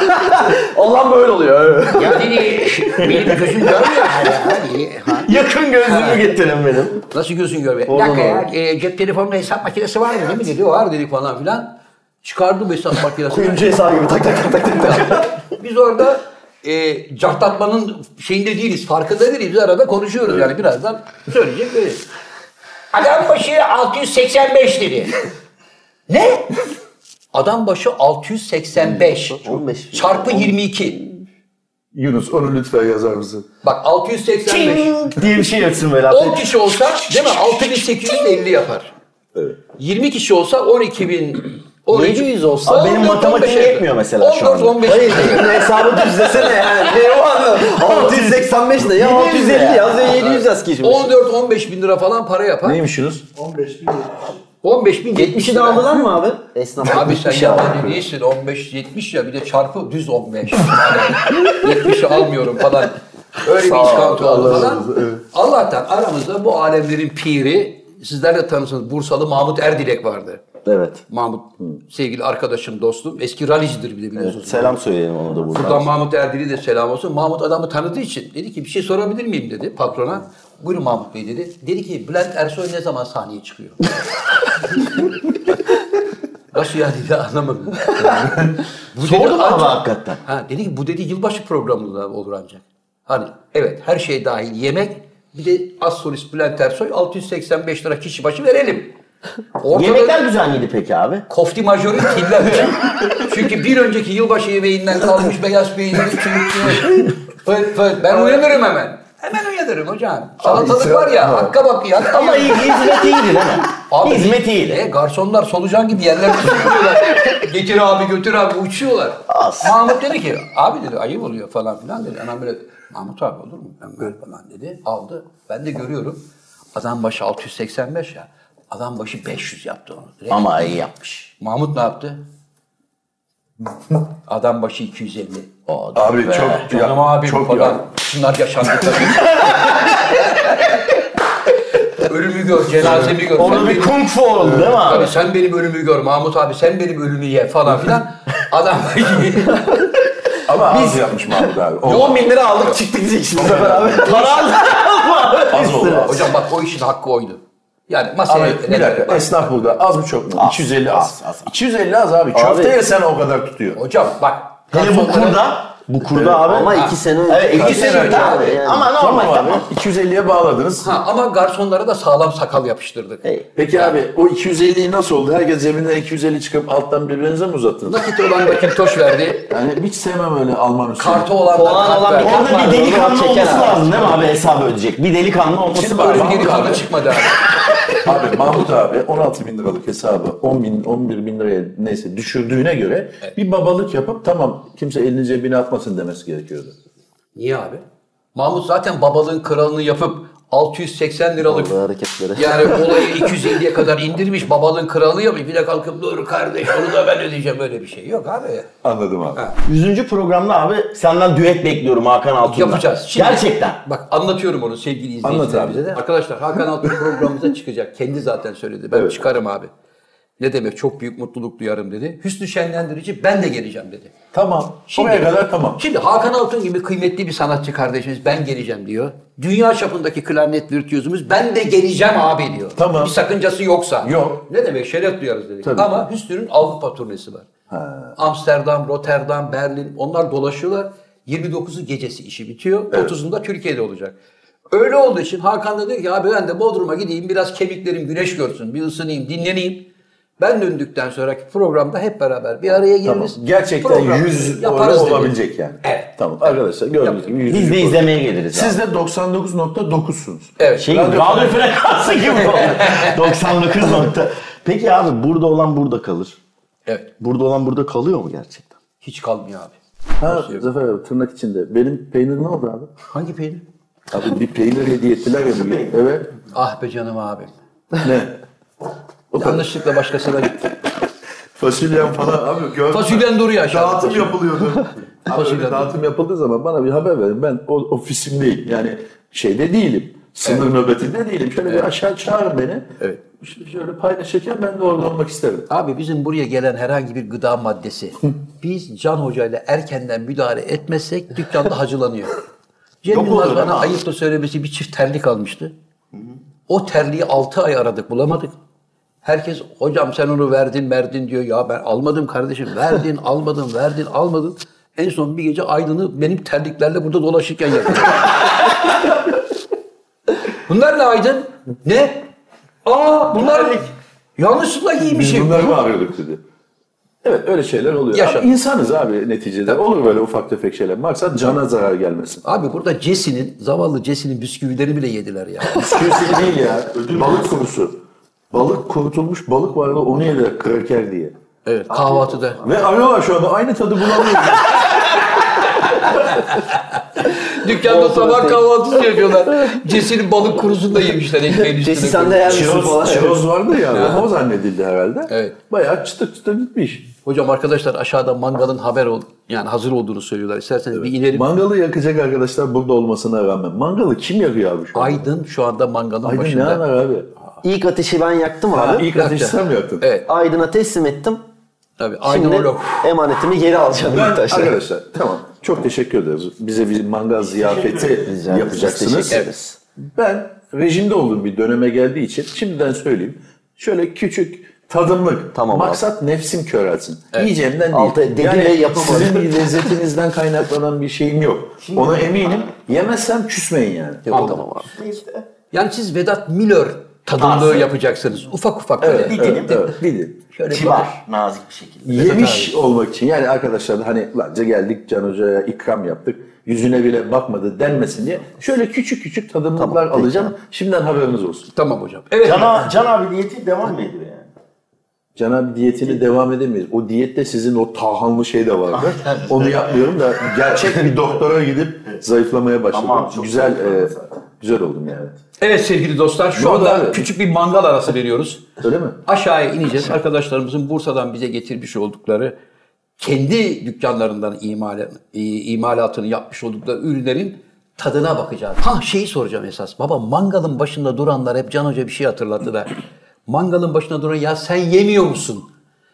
Speaker 6: Olan böyle oluyor.
Speaker 1: Ya dedi benim gözüm görmüyor. hala. Hani, ha.
Speaker 6: Yakın gözlüğümü getirin benim.
Speaker 1: Nasıl gözün görmüyor? Bir
Speaker 6: Oradan
Speaker 1: dakika ya e, cep telefonunun hesap makinesi var mı değil mi dedi. Var dedik falan filan. Çıkardım hesap makinesini.
Speaker 6: Kuyumcu hesabı gibi tak tak tak tak tak.
Speaker 1: Biz orada e, cartlatmanın şeyinde değiliz. Farkında değiliz. Biz arada konuşuyoruz yani birazdan söyleyecek böyle. Adam başı 685 dedi. ne? Adam başı 685.
Speaker 5: 15.
Speaker 1: Çarpı 22.
Speaker 4: Yunus onu lütfen yazar mısın?
Speaker 1: Bak 685.
Speaker 6: diye bir şey yapsın böyle.
Speaker 1: 10 kişi olsa değil mi 6850 yapar. 20 kişi olsa 12800 O
Speaker 6: Niye?
Speaker 1: 700 olsa
Speaker 6: Abi benim
Speaker 1: 14-15
Speaker 6: matematiğim
Speaker 1: yapıyor.
Speaker 6: yetmiyor mesela şu anda.
Speaker 1: 14-15
Speaker 5: Hayır
Speaker 1: yapıyor.
Speaker 5: bunun hesabı düzlesene yani. Ne o anlam? 685 ne ya? 650 yaz ya 700 yaz ki şimdi.
Speaker 1: 14-15 bin lira falan para yapar.
Speaker 4: Neymiş Yunus?
Speaker 3: 15 bin lira.
Speaker 1: 15 bin
Speaker 5: 70'i de aldılar mı abi? Esnaf
Speaker 1: Abi sen
Speaker 5: 70'i aldı.
Speaker 1: yabancı değilsin 15-70 ya bir de çarpı düz 15. Yani 70'i almıyorum falan. Öyle bir iskanto oldu falan. Allah'tan aramızda bu alemlerin piri sizlerle tanısınız Bursalı Mahmut Erdilek vardı.
Speaker 6: Evet.
Speaker 1: Mahmut sevgili arkadaşım dostum eski ralicidir bir de biliyorsunuz.
Speaker 6: Selam söyleyelim ona da buradan.
Speaker 1: Buradan Mahmut Erdil'e de selam olsun. Mahmut adamı tanıdığı için dedi ki bir şey sorabilir miyim dedi patrona. Buyurun Mahmut Bey dedi. Dedi ki Bülent Ersoy ne zaman sahneye çıkıyor? Nasıl ya dedi anlamadım. bu dedi
Speaker 6: Sordum ama
Speaker 1: ancak-
Speaker 6: hakikaten.
Speaker 1: Ha, dedi ki bu dedi yılbaşı programında olur ancak. Hani evet her şey dahil yemek bir de az solist Bülent Ersoy 685 lira kişi başı verelim. Ortada-
Speaker 6: Yemekler güzel miydi peki abi?
Speaker 1: Kofti majörü kirlenmiş. Çünkü bir önceki yılbaşı yemeğinden kalmış beyaz peyniri çürütmüş. Fıt fıt. Ben uyanırım hemen. Hemen uyanırım hocam. Salatalık var ya, hakka bak ya. Hakka
Speaker 6: Ama
Speaker 1: bak.
Speaker 6: hizmet iyiydi değil mi? hizmet iyiydi.
Speaker 1: E, garsonlar solucan gibi yerlerde sürüyorlar. Getir abi götür abi uçuyorlar. Mahmut dedi ki abi dedi ayıp oluyor falan filan dedi. Anam böyle Mahmut abi olur mu? Ben böyle falan dedi. Aldı. Ben de görüyorum. Adam başı 685 ya. Adam başı 500 yaptı onu. Direkt.
Speaker 6: Ama iyi yapmış.
Speaker 1: Mahmut ne yaptı? Adam başı 250.
Speaker 4: Abi çok
Speaker 1: Canım abi
Speaker 4: çok
Speaker 1: falan.
Speaker 4: ya.
Speaker 1: Şunlar yaşandı tabii. ölümü gör, cenazemi gör.
Speaker 6: Orada
Speaker 1: Sen
Speaker 6: bir
Speaker 1: benim-
Speaker 6: E, kung fu oldu değil mi abi?
Speaker 1: Tabii sen benim ölümü gör Mahmut abi sen benim ölümü ye falan filan. Adam
Speaker 4: Ama az yapmış Mahmut abi. O-
Speaker 6: 10 bin lira aldık çıktık diyeceksin bu sefer abi. Para aldık.
Speaker 4: az oldu. az.
Speaker 1: hocam bak o işin hakkı oydu. Yani masaya
Speaker 4: Abi bir dakika esnaf burada Şey, az mı çok mu? 250 az. 250 az abi. Köfte yesen o kadar tutuyor.
Speaker 1: Hocam bak.
Speaker 6: Hele bu
Speaker 1: garsonlara-
Speaker 6: kurda. Bu kurda abi.
Speaker 5: Ama 2 sene önce.
Speaker 6: Evet, iki sene
Speaker 1: önce
Speaker 6: abi. Ama normal
Speaker 4: Tamam abi.
Speaker 6: tamam.
Speaker 4: 250'ye bağladınız.
Speaker 1: Ha, ama garsonlara da sağlam sakal yapıştırdık.
Speaker 4: Peki abi o 250'yi nasıl oldu? Herkes cebinden 250 çıkıp alttan birbirinize mi uzattınız?
Speaker 1: Nakit olan nakit toş verdi.
Speaker 4: Yani hiç sevmem öyle Alman usulü.
Speaker 1: Kartı olan da
Speaker 5: Puan
Speaker 1: kart
Speaker 5: olan
Speaker 1: verdi.
Speaker 5: bir
Speaker 6: Orada
Speaker 5: Yapma,
Speaker 6: bir
Speaker 5: onu
Speaker 6: delikanlı
Speaker 5: çeken
Speaker 6: olması
Speaker 5: abi.
Speaker 6: lazım değil mi abi hesabı ödeyecek? Bir delikanlı olması
Speaker 4: Şimdi
Speaker 6: lazım.
Speaker 4: bak-
Speaker 1: Öyle bir
Speaker 4: Mahmut
Speaker 1: delikanlı
Speaker 4: abi.
Speaker 1: çıkmadı abi.
Speaker 4: Abi Mahmut abi 16 bin liralık hesabı 10 bin, 11 bin liraya neyse düşürdüğüne göre bir babalık yapıp tamam kimse elini cebine atmasın demesi gerekiyordu.
Speaker 1: Niye abi? Mahmut zaten babalığın kralını yapıp 680 liralık
Speaker 5: Vallahi hareketleri.
Speaker 1: yani olayı 250'ye kadar indirmiş babalığın kralı yapmış. Bir de kalkıp dur kardeş onu da ben ödeyeceğim öyle bir şey. Yok abi.
Speaker 4: Anladım abi.
Speaker 6: Yüzüncü programda abi senden düet bekliyorum Hakan Altun'dan.
Speaker 1: Yapacağız. Şimdi-
Speaker 6: Gerçekten.
Speaker 1: Bak anlatıyorum onu sevgili izleyicilerimize de. Arkadaşlar Hakan Altun programımıza çıkacak. Kendi zaten söyledi. Ben çıkarım abi. Ne demek çok büyük mutluluk duyarım dedi. Hüsnü şenlendirici ben de geleceğim dedi.
Speaker 4: Tamam. Oraya kadar tamam.
Speaker 1: Şimdi Hakan Altun gibi kıymetli bir sanatçı kardeşimiz ben geleceğim diyor. Dünya çapındaki klarnet virtüözümüz ben de geleceğim abi diyor.
Speaker 4: Tamam.
Speaker 1: Bir sakıncası yoksa.
Speaker 4: Yok.
Speaker 1: Ne demek şeref duyarız dedik.
Speaker 4: Tabii.
Speaker 1: Ama Hüsnü'nün Avrupa turnesi var. Amsterdam, Rotterdam, Berlin onlar dolaşıyorlar. 29'u gecesi işi bitiyor. 30'unda Türkiye'de olacak. Öyle olduğu için Hakan da diyor ki abi ben de Bodrum'a gideyim biraz kemiklerim güneş görsün. Bir ısınayım, dinleneyim. Ben döndükten sonraki programda hep beraber bir araya
Speaker 4: Tamam.
Speaker 1: geliriz.
Speaker 4: Gerçekten
Speaker 1: Program
Speaker 4: 100
Speaker 1: yaparız dedi.
Speaker 4: olabilecek yani.
Speaker 1: Evet. şey
Speaker 4: Tamam arkadaşlar gördüğünüz
Speaker 1: Yaparız.
Speaker 4: gibi 100.
Speaker 6: Biz de izlemeye geliriz abi.
Speaker 4: Siz de 99.9'sunuz.
Speaker 1: Evet.
Speaker 6: Şey, radyo, frekansı gibi bu. 99 nokta. Peki abi burada olan burada kalır.
Speaker 1: Evet.
Speaker 6: Burada olan burada kalıyor mu gerçekten?
Speaker 1: Hiç kalmıyor abi.
Speaker 4: Ha Zafer abi tırnak içinde. Benim peynir ne oldu abi?
Speaker 1: Hangi peynir?
Speaker 4: Abi bir peynir hediye ettiler ya bugün. Evet.
Speaker 1: Ah be canım abim.
Speaker 4: Ne?
Speaker 1: Yanlışlıkla başkasına gitti.
Speaker 4: Fasulyen falan abi gördüm.
Speaker 1: Fasulyen duruyor aşağıda.
Speaker 4: Dağıtım yapılıyordu. Abi
Speaker 1: Fasulyen
Speaker 4: öyle dağıtım yapıldığı zaman bana bir haber verin. Ben o ofisimdeyim. Yani şeyde değilim. Sınır nöbetinde değilim. Şöyle bir aşağı çağırın beni. Evet. Şöyle paylaşırken ben de orada olmak isterim.
Speaker 1: Abi bizim buraya gelen herhangi bir gıda maddesi biz Can Hoca ile erkenden müdahale etmezsek dükkanda hacılanıyor. Cem
Speaker 6: Yok
Speaker 1: Yılmaz
Speaker 6: olur
Speaker 1: bana
Speaker 6: ama.
Speaker 1: ayıpla söylemesi bir çift terlik almıştı. O terliği 6 ay aradık bulamadık. Herkes hocam sen onu verdin verdin diyor. Ya ben almadım kardeşim verdin almadın verdin almadın. En son bir gece Aydın'ı benim terliklerle burada dolaşırken yakaladı. Bunlar ne Aydın? Ne? Aa bunlar yanlışlıkla
Speaker 4: Biz
Speaker 1: giymişim.
Speaker 4: bunları mı arıyorduk dedi. Evet öyle şeyler oluyor.
Speaker 1: Yaşa.
Speaker 4: Abi insanız abi neticede. Olur böyle ufak tefek şeyler. Maksat cana zarar gelmesin.
Speaker 1: Abi burada Cesi'nin, zavallı Cesi'nin bisküvilerini bile yediler ya.
Speaker 4: Bisküvisi değil ya. Balık kurusu. Balık kurutulmuş balık vardı onu yediler kraker diye.
Speaker 1: Evet. Kahvaltıda.
Speaker 4: Ve arıyorlar şu anda aynı tadı bulamıyoruz.
Speaker 1: Dükkanda sabah kahvaltısı yapıyorlar. Cesin balık kurusunu da yemişler ekmeğin üstüne.
Speaker 7: Cesi sen de yer misin falan.
Speaker 4: çiroz, çiroz vardı ya. O zannedildi herhalde.
Speaker 1: Evet.
Speaker 4: Bayağı çıtır çıtır bitmiş.
Speaker 1: Hocam arkadaşlar aşağıda mangalın haber ol yani hazır olduğunu söylüyorlar. İsterseniz bir inelim.
Speaker 4: Mangalı yakacak arkadaşlar burada olmasına rağmen. Mangalı kim yakıyor abi şu anda?
Speaker 1: Aydın şu anda mangalın
Speaker 4: Aydın ne
Speaker 1: başında.
Speaker 4: anlar abi?
Speaker 7: İlk ateşi ben yaktım
Speaker 4: Ha,
Speaker 7: abi.
Speaker 4: ilk ateşi sen mi yaktın?
Speaker 1: Evet.
Speaker 7: Aydın'a teslim ettim.
Speaker 1: Tabii. Aydın
Speaker 7: Şimdi
Speaker 1: Olof.
Speaker 7: emanetimi geri alacağım
Speaker 4: Ben,
Speaker 7: taşla.
Speaker 4: arkadaşlar tamam. Çok teşekkür ederiz. Bize bir mangal ziyafeti
Speaker 7: Rica ederiz.
Speaker 4: yapacaksınız.
Speaker 7: Teşekkür ederiz.
Speaker 4: Ben rejimde olduğum bir döneme geldiği için şimdiden söyleyeyim. Şöyle küçük tadımlık.
Speaker 7: Tamam abi.
Speaker 4: Maksat nefsim körelsin. Yiyeceğimden değil.
Speaker 7: Altı dedi ve yapamadı.
Speaker 4: Sizin lezzetinizden kaynaklanan bir şeyim yok. Ona eminim. Yemezsem küsmeyin yani.
Speaker 7: Yok, tamam abi.
Speaker 1: Yani siz Vedat Milor tadımlığı yapacaksınız. Ufak ufak böyle.
Speaker 4: Evet, evet, evet. Bilin.
Speaker 1: Şöyle bakar.
Speaker 6: Kibar, nazik bir şekilde.
Speaker 4: Yemiş olmak için yani arkadaşlar da hani lanca geldik Can Hoca'ya ikram yaptık. Yüzüne bile bakmadı denmesin diye. Şöyle küçük küçük tadımlıklar alacağım. Şimdiden haberiniz olsun.
Speaker 1: Tamam hocam. Evet.
Speaker 6: Can, a- Can abi niyeti devam mı ediyor yani?
Speaker 4: Can abi diyetini devam edemeyiz. O diyette sizin o tahanlı şey de vardı. Onu yapmıyorum da gerçek bir doktora gidip zayıflamaya başladım.
Speaker 6: Tamam, çok
Speaker 4: güzel
Speaker 6: zayıfladın
Speaker 4: e,
Speaker 6: zaten.
Speaker 4: güzel oldum yani.
Speaker 1: Evet sevgili dostlar şu
Speaker 4: Ne oldu
Speaker 1: anda
Speaker 4: abi?
Speaker 1: küçük bir mangal arası veriyoruz.
Speaker 4: Öyle mi?
Speaker 1: Aşağıya ineceğiz. Arkadaşlarımızın Bursa'dan bize getirmiş oldukları kendi dükkanlarından imal, i- imalatını yapmış oldukları ürünlerin tadına bakacağız. Ha şeyi soracağım esas. Baba mangalın başında duranlar hep Can Hoca bir şey hatırlattı da. Mangalın başında duran ya sen yemiyor musun?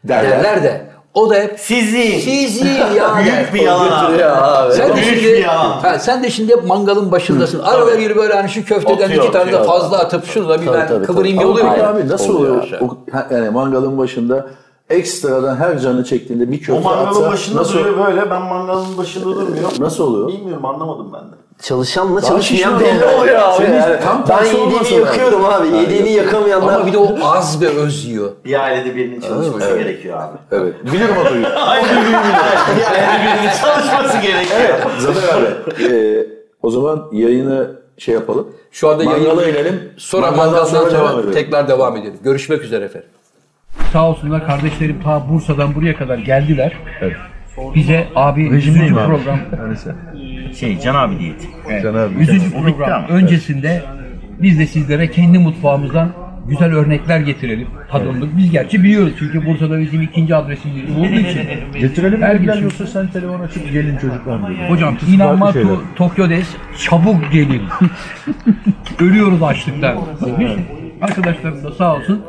Speaker 4: Derler.
Speaker 1: Derler, de. O da hep
Speaker 6: Sizin.
Speaker 1: sizin ya der.
Speaker 6: Büyük bir yalan abi.
Speaker 1: Sen de
Speaker 6: Büyük
Speaker 1: şimdi,
Speaker 6: bir yalan.
Speaker 1: ha, sen de şimdi hep mangalın başındasın. Arada bir böyle hani şu köfteden
Speaker 6: Atıyor,
Speaker 1: iki tane de
Speaker 6: atıyor.
Speaker 1: fazla atıp şunu da bir
Speaker 7: Tabii,
Speaker 1: ben
Speaker 7: tabii,
Speaker 1: kıvırayım
Speaker 7: tabii.
Speaker 1: yolluyor.
Speaker 4: Ama
Speaker 1: ya.
Speaker 4: abi nasıl oluyor?
Speaker 1: aşağı.
Speaker 4: O- ha- yani mangalın başında ekstradan her canı çektiğinde bir köfte
Speaker 6: O mangalın
Speaker 4: atsa
Speaker 6: başında
Speaker 4: nasıl,
Speaker 6: duruyor böyle. Ben mangalın başında durmuyorum.
Speaker 4: nasıl oluyor?
Speaker 6: Bilmiyorum anlamadım ben de.
Speaker 7: Çalışanla
Speaker 4: şişman
Speaker 7: çalışmayan belli
Speaker 4: oluyor.
Speaker 7: oluyor abi.
Speaker 4: Senin
Speaker 7: Yani
Speaker 4: tam
Speaker 7: ben
Speaker 4: tersi olması
Speaker 7: yediğini
Speaker 4: lazım.
Speaker 7: yakıyorum abi. Yediğini yakamayanlar.
Speaker 1: Ama bir de o az ve öz yiyor.
Speaker 6: Bir ailede birinin çalışması gerekiyor abi.
Speaker 4: Evet. Bilirim o duyguyu.
Speaker 6: bir ailede birinin çalışması gerekiyor.
Speaker 4: Zafer abi. e, o zaman yayını şey yapalım.
Speaker 1: Şu anda
Speaker 4: Mangala
Speaker 1: yayın-
Speaker 4: inelim.
Speaker 1: Sonra mangaldan sonra tekrar devam edelim. Görüşmek üzere efendim.
Speaker 8: Sağ olsunlar kardeşlerim ta Bursa'dan buraya kadar geldiler. Bize abi 100. program
Speaker 5: Şey Can abi diyeti.
Speaker 8: 100. program öncesinde biz de sizlere kendi mutfağımızdan güzel örnekler getirelim. Tadımlık. Biz gerçi biliyoruz çünkü Bursa'da bizim ikinci adresimiz olduğu için.
Speaker 9: Getirelim
Speaker 8: Her
Speaker 9: Her
Speaker 8: gün-
Speaker 9: yoksa sen telefon açıp gelin çocuklar diyor.
Speaker 8: Hocam
Speaker 9: farklı
Speaker 8: inanma
Speaker 9: şeyler.
Speaker 8: to- Tokyo des çabuk gelin. Ölüyoruz açlıktan. demiş. Arkadaşlarım da sağ olsun.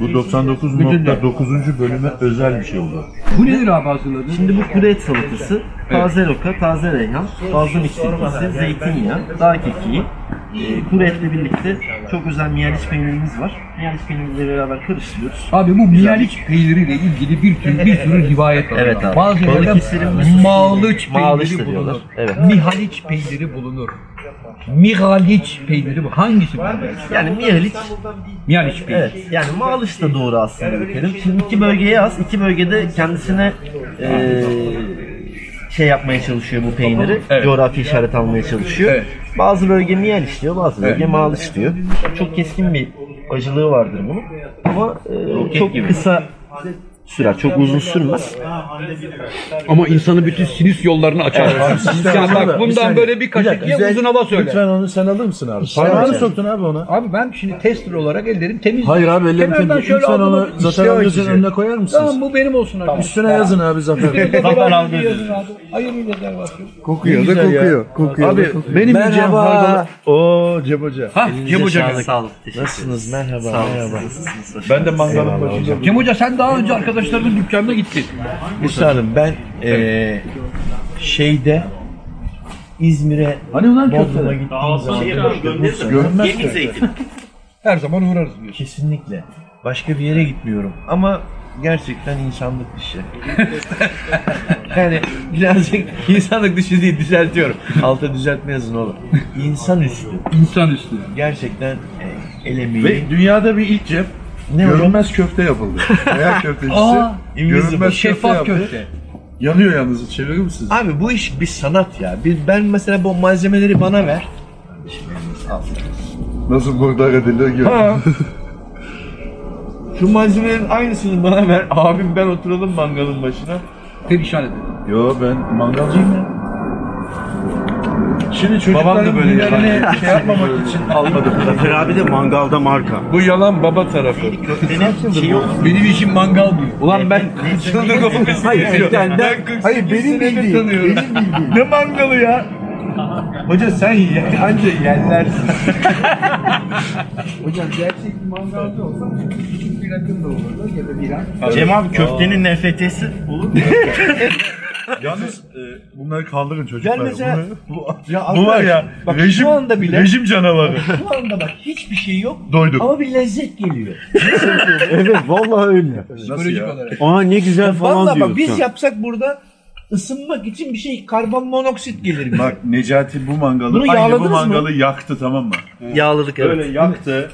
Speaker 9: Bu 99.9. bölüme özel bir şey oldu.
Speaker 8: Bu nedir abi hazırladın?
Speaker 5: Şimdi bu kuru et salatası, taze roka, taze reyhan, fazla
Speaker 8: şey
Speaker 5: mikserisi, zeytinyağı, dar kekiği, e, kuru etle birlikte çok özel miyaliç peynirimiz var. Miyaliç peynirimizle beraber karıştırıyoruz.
Speaker 8: Abi bu miyalıç peyniriyle ilgili bir sürü, bir sürü rivayet var.
Speaker 5: Evet abi.
Speaker 8: Bazı yerlerde
Speaker 5: Balıkesir'in meşhur
Speaker 8: malıç
Speaker 5: peyniri. Malıç da
Speaker 8: peyniri bulunur.
Speaker 5: diyorlar. Evet.
Speaker 8: Mihaliç peyniri bulunur. Mihaliç peyniri bu. Hangisi bu?
Speaker 5: Yani miyaliç,
Speaker 8: Mihaliç peyniri.
Speaker 5: evet yani
Speaker 8: Şey-
Speaker 5: mağlış da doğru aslında bir terim. Şimdi iki bölgeye az, iki bölgede kendisine e, şey yapmaya çalışıyor bu peyniri.
Speaker 8: Evet.
Speaker 5: Coğrafi işaret almaya çalışıyor.
Speaker 8: Evet.
Speaker 5: Bazı bölge miyaliç diyor, bazı bölge mağlış diyor. Çok keskin bir acılığı vardır bunun. Ama e, çok kısa sürer, çok uzun sürmez.
Speaker 8: Ama insanı bütün sinüs yollarını açar. yani bak bundan böyle bir kaşık ye uzun hava söyle.
Speaker 9: Lütfen onu sen alır mısın abi? Parmağını soktun abi ona.
Speaker 8: Abi ben şimdi tester olarak ellerim temiz.
Speaker 9: Hayır abi ellerim
Speaker 8: Kenardan
Speaker 9: temiz.
Speaker 8: şöyle
Speaker 9: Lütfen
Speaker 8: aldım,
Speaker 9: onu
Speaker 8: işte
Speaker 9: Zafer
Speaker 8: o
Speaker 9: amcanın
Speaker 8: içecek.
Speaker 9: önüne koyar mısınız?
Speaker 8: Tamam bu benim olsun arkadaşlar.
Speaker 9: Üstüne yazın abi Zafer Bey.
Speaker 8: Kapan abi. Hayırlı geceler bakayım.
Speaker 9: Kokuyor da kokuyor. Kokuyor abi, Benim yiyeceğim harbalı. Oo Cem Hoca.
Speaker 8: Hah Cem Hoca geldi.
Speaker 5: Sağ olun. Teşekkür
Speaker 9: Nasılsınız? Merhaba. Merhaba. Ben de mangalın başında.
Speaker 8: Cem Hoca sen daha önce arkadaşlarının dükkanına gittin.
Speaker 9: Musa Hanım ben eee şeyde İzmir'e
Speaker 4: Hani ulan
Speaker 9: Bodrum'a
Speaker 4: köfteler?
Speaker 9: gittiğim
Speaker 8: şey
Speaker 9: zaman görünmez köfte.
Speaker 8: Her zaman uğrarız diyorsun.
Speaker 9: Kesinlikle. Başka bir yere gitmiyorum ama gerçekten insanlık dışı. yani birazcık insanlık dışı değil düzeltiyorum. Alta düzeltme yazın oğlum. İnsan üstü.
Speaker 8: İnsan üstü.
Speaker 9: Gerçekten e, el emeği.
Speaker 10: Ve dünyada bir ilk cep
Speaker 9: ne o?
Speaker 10: görünmez köfte yapıldı. Veya köftecisi
Speaker 8: Aa,
Speaker 9: invisible.
Speaker 10: görünmez
Speaker 8: Şeffaf
Speaker 10: köfte yaptı.
Speaker 8: köfte.
Speaker 10: Yanıyor yalnız çevirir misiniz?
Speaker 9: Abi bu iş bir sanat ya. Bir, ben mesela bu malzemeleri bana ver.
Speaker 10: Nasıl burada ediliyor gör.
Speaker 9: Ha.
Speaker 8: Şu malzemelerin aynısını bana ver. Abim ben oturalım mangalın başına.
Speaker 1: Perişan edin.
Speaker 2: Yo ben mangalcıyım ya. Şimdi
Speaker 8: Babam
Speaker 2: çocukların
Speaker 8: da böyle yapar.
Speaker 2: günlerini şey yapmamak için almadım.
Speaker 5: Zafer abi de mangalda marka.
Speaker 8: Bu yalan baba tarafı.
Speaker 5: Benim şey yok.
Speaker 1: Benim işim mangal bu. Ulan ben
Speaker 8: Çıldırdım. Hayır, ben, hayır benim bildiğim. Benim bildiğim. ne mangalı ya? Hoca sen ye, anca yerlersin.
Speaker 5: Cem abi köftenin nefetesi olur mu?
Speaker 2: Yalnız e, bunları kaldırın çocuklar.
Speaker 8: Ben mesela
Speaker 2: Bunları-
Speaker 8: bu, ya
Speaker 2: Bu var ya
Speaker 8: arkadaş, bak
Speaker 2: rejim,
Speaker 8: şu anda bile
Speaker 2: rejim canavarı.
Speaker 8: şu anda bak hiçbir şey yok
Speaker 2: Doyduk.
Speaker 8: ama bir lezzet geliyor.
Speaker 5: evet vallahi öyle.
Speaker 2: Nasıl ya?
Speaker 1: olarak.
Speaker 5: Aa ne güzel falan
Speaker 8: Vallahi
Speaker 5: diyor.
Speaker 8: bak biz yapsak burada ısınmak için bir şey karbonmonoksit gelir.
Speaker 2: Bak Necati bu mangalı,
Speaker 8: Bunu
Speaker 2: aynı bu
Speaker 8: yağladınız mı?
Speaker 2: mangalı yaktı tamam mı?
Speaker 5: Yağladık evet.
Speaker 2: Böyle yaktı.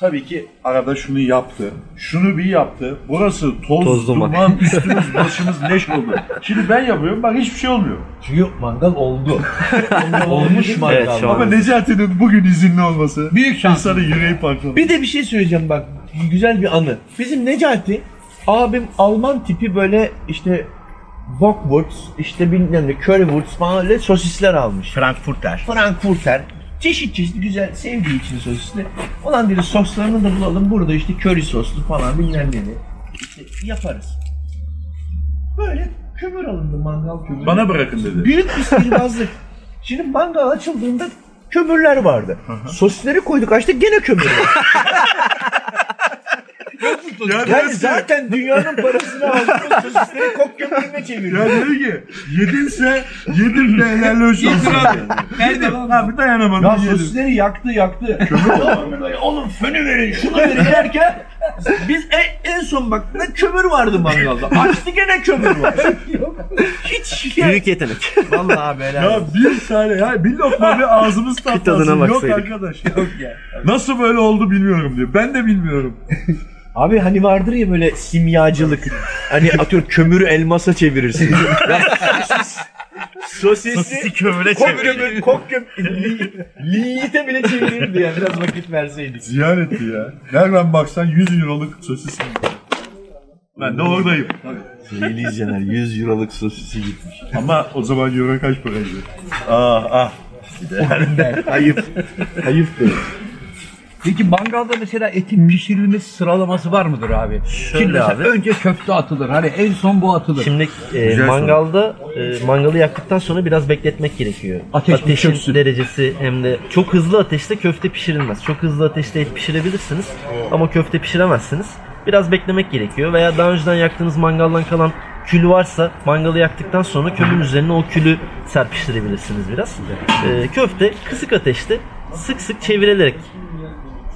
Speaker 2: Tabii ki arada şunu yaptı. Şunu bir yaptı. Burası toz,
Speaker 5: Toz duman.
Speaker 2: duman, üstümüz başımız leş oldu. Şimdi ben yapıyorum bak hiçbir şey olmuyor.
Speaker 8: Çünkü mangal oldu. Olmuş mangal.
Speaker 5: Evet, şu an.
Speaker 2: Ama Necati'nin bugün izinli olması
Speaker 1: Büyük şans.
Speaker 2: insanın yüreği parçaladı.
Speaker 8: Bir de bir şey söyleyeceğim bak. Güzel bir anı. Bizim Necati abim Alman tipi böyle işte Bockwurst, işte bilmem ne Currywurst falan öyle sosisler almış.
Speaker 5: Frankfurter.
Speaker 8: Frankfurter. Çeşit çeşit güzel sevdiği için sosisli. Olan dedi soslarını da bulalım burada işte köri soslu falan bilmem ne. İşte yaparız. Böyle kömür alındı mangal kömürü.
Speaker 2: Bana bırakın dedi.
Speaker 8: Büyük bir sihirbazlık. Şimdi mangal açıldığında kömürler vardı. Sosisleri koyduk açtık gene kömür var. yani zaten dünyanın parasını aldığımız sosisleri kok kömürüne çeviriyor.
Speaker 2: Ya dedi ki yedinse yedim de helal olsun.
Speaker 1: Nerede lan?
Speaker 2: Abi dayanamadım
Speaker 8: Ya
Speaker 2: yedim.
Speaker 8: sosisleri yaktı yaktı. Oğlum fönü verin şunu verin derken biz en, en son baktığında kömür vardı mangalda. Açtı gene kömür var. Hiç ya.
Speaker 5: Büyük yetenek.
Speaker 8: Vallahi bela.
Speaker 2: Ya bir tane ya bir lokma bir ağzımız
Speaker 5: tadına
Speaker 2: tatlansın. Yok
Speaker 5: baksaydık.
Speaker 2: arkadaş yok ya. Nasıl böyle oldu bilmiyorum diyor. Ben de bilmiyorum.
Speaker 8: Abi hani vardır ya böyle simyacılık. hani atıyorum kömürü elmasa çevirirsin. Ya sosis- Sosisi
Speaker 5: kömüre
Speaker 8: kok kömür, kok kömür, li- linyite bile çevirirdi yani biraz vakit verseydik.
Speaker 2: Ziyan etti ya. Nereden baksan 100 euroluk sosis. Ben de oradayım.
Speaker 8: Lili Cener 100 euroluk sosisi gitmiş.
Speaker 2: Ama o zaman euro kaç paraydı? Ah ah.
Speaker 5: Ayıp değil.
Speaker 1: Peki mangalda mesela etin pişirilmesi sıralaması var mıdır abi? Şimdi mesela
Speaker 5: abi.
Speaker 1: önce köfte atılır. Hani en son bu atılır.
Speaker 5: Şimdi e, mangalda e, mangalı yaktıktan sonra biraz bekletmek gerekiyor.
Speaker 1: Ateş
Speaker 5: Ateşin
Speaker 1: düşürsün.
Speaker 5: derecesi hem de çok hızlı ateşte köfte pişirilmez. Çok hızlı ateşte et pişirebilirsiniz ama köfte pişiremezsiniz. Biraz beklemek gerekiyor veya daha önceden yaktığınız mangaldan kalan kül varsa mangalı yaktıktan sonra kömürün üzerine o külü serpiştirebilirsiniz biraz. E, köfte kısık ateşte sık sık çevirilerek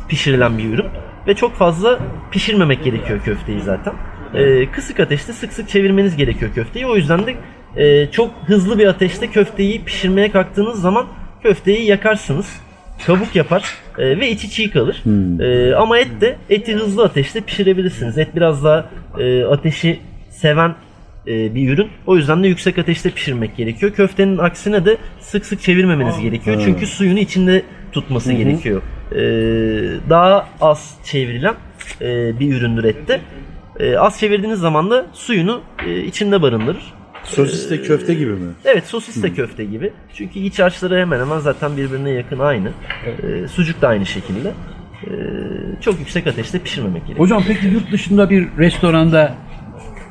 Speaker 5: pişirilen bir ürün ve çok fazla pişirmemek gerekiyor köfteyi zaten. Ee, kısık ateşte sık sık çevirmeniz gerekiyor köfteyi. O yüzden de e, çok hızlı bir ateşte köfteyi pişirmeye kalktığınız zaman köfteyi yakarsınız. Kabuk yapar e, ve içi çiğ kalır. E, ama et de eti hızlı ateşte pişirebilirsiniz. Et biraz daha e, ateşi seven e, bir ürün. O yüzden de yüksek ateşte pişirmek gerekiyor. Köftenin aksine de sık sık çevirmemeniz gerekiyor. Çünkü suyunu içinde tutması gerekiyor. E, daha az çevrilen e, bir üründür ette. E, az çevirdiğiniz zaman da suyunu e, içinde barındırır. E,
Speaker 11: Sosis de köfte gibi mi?
Speaker 5: Evet sosis de köfte gibi. Çünkü iç harçları hemen hemen zaten birbirine yakın aynı. E, sucuk da aynı şekilde. E, çok yüksek ateşte pişirmemek gerekiyor.
Speaker 1: Hocam peki yurt dışında bir restoranda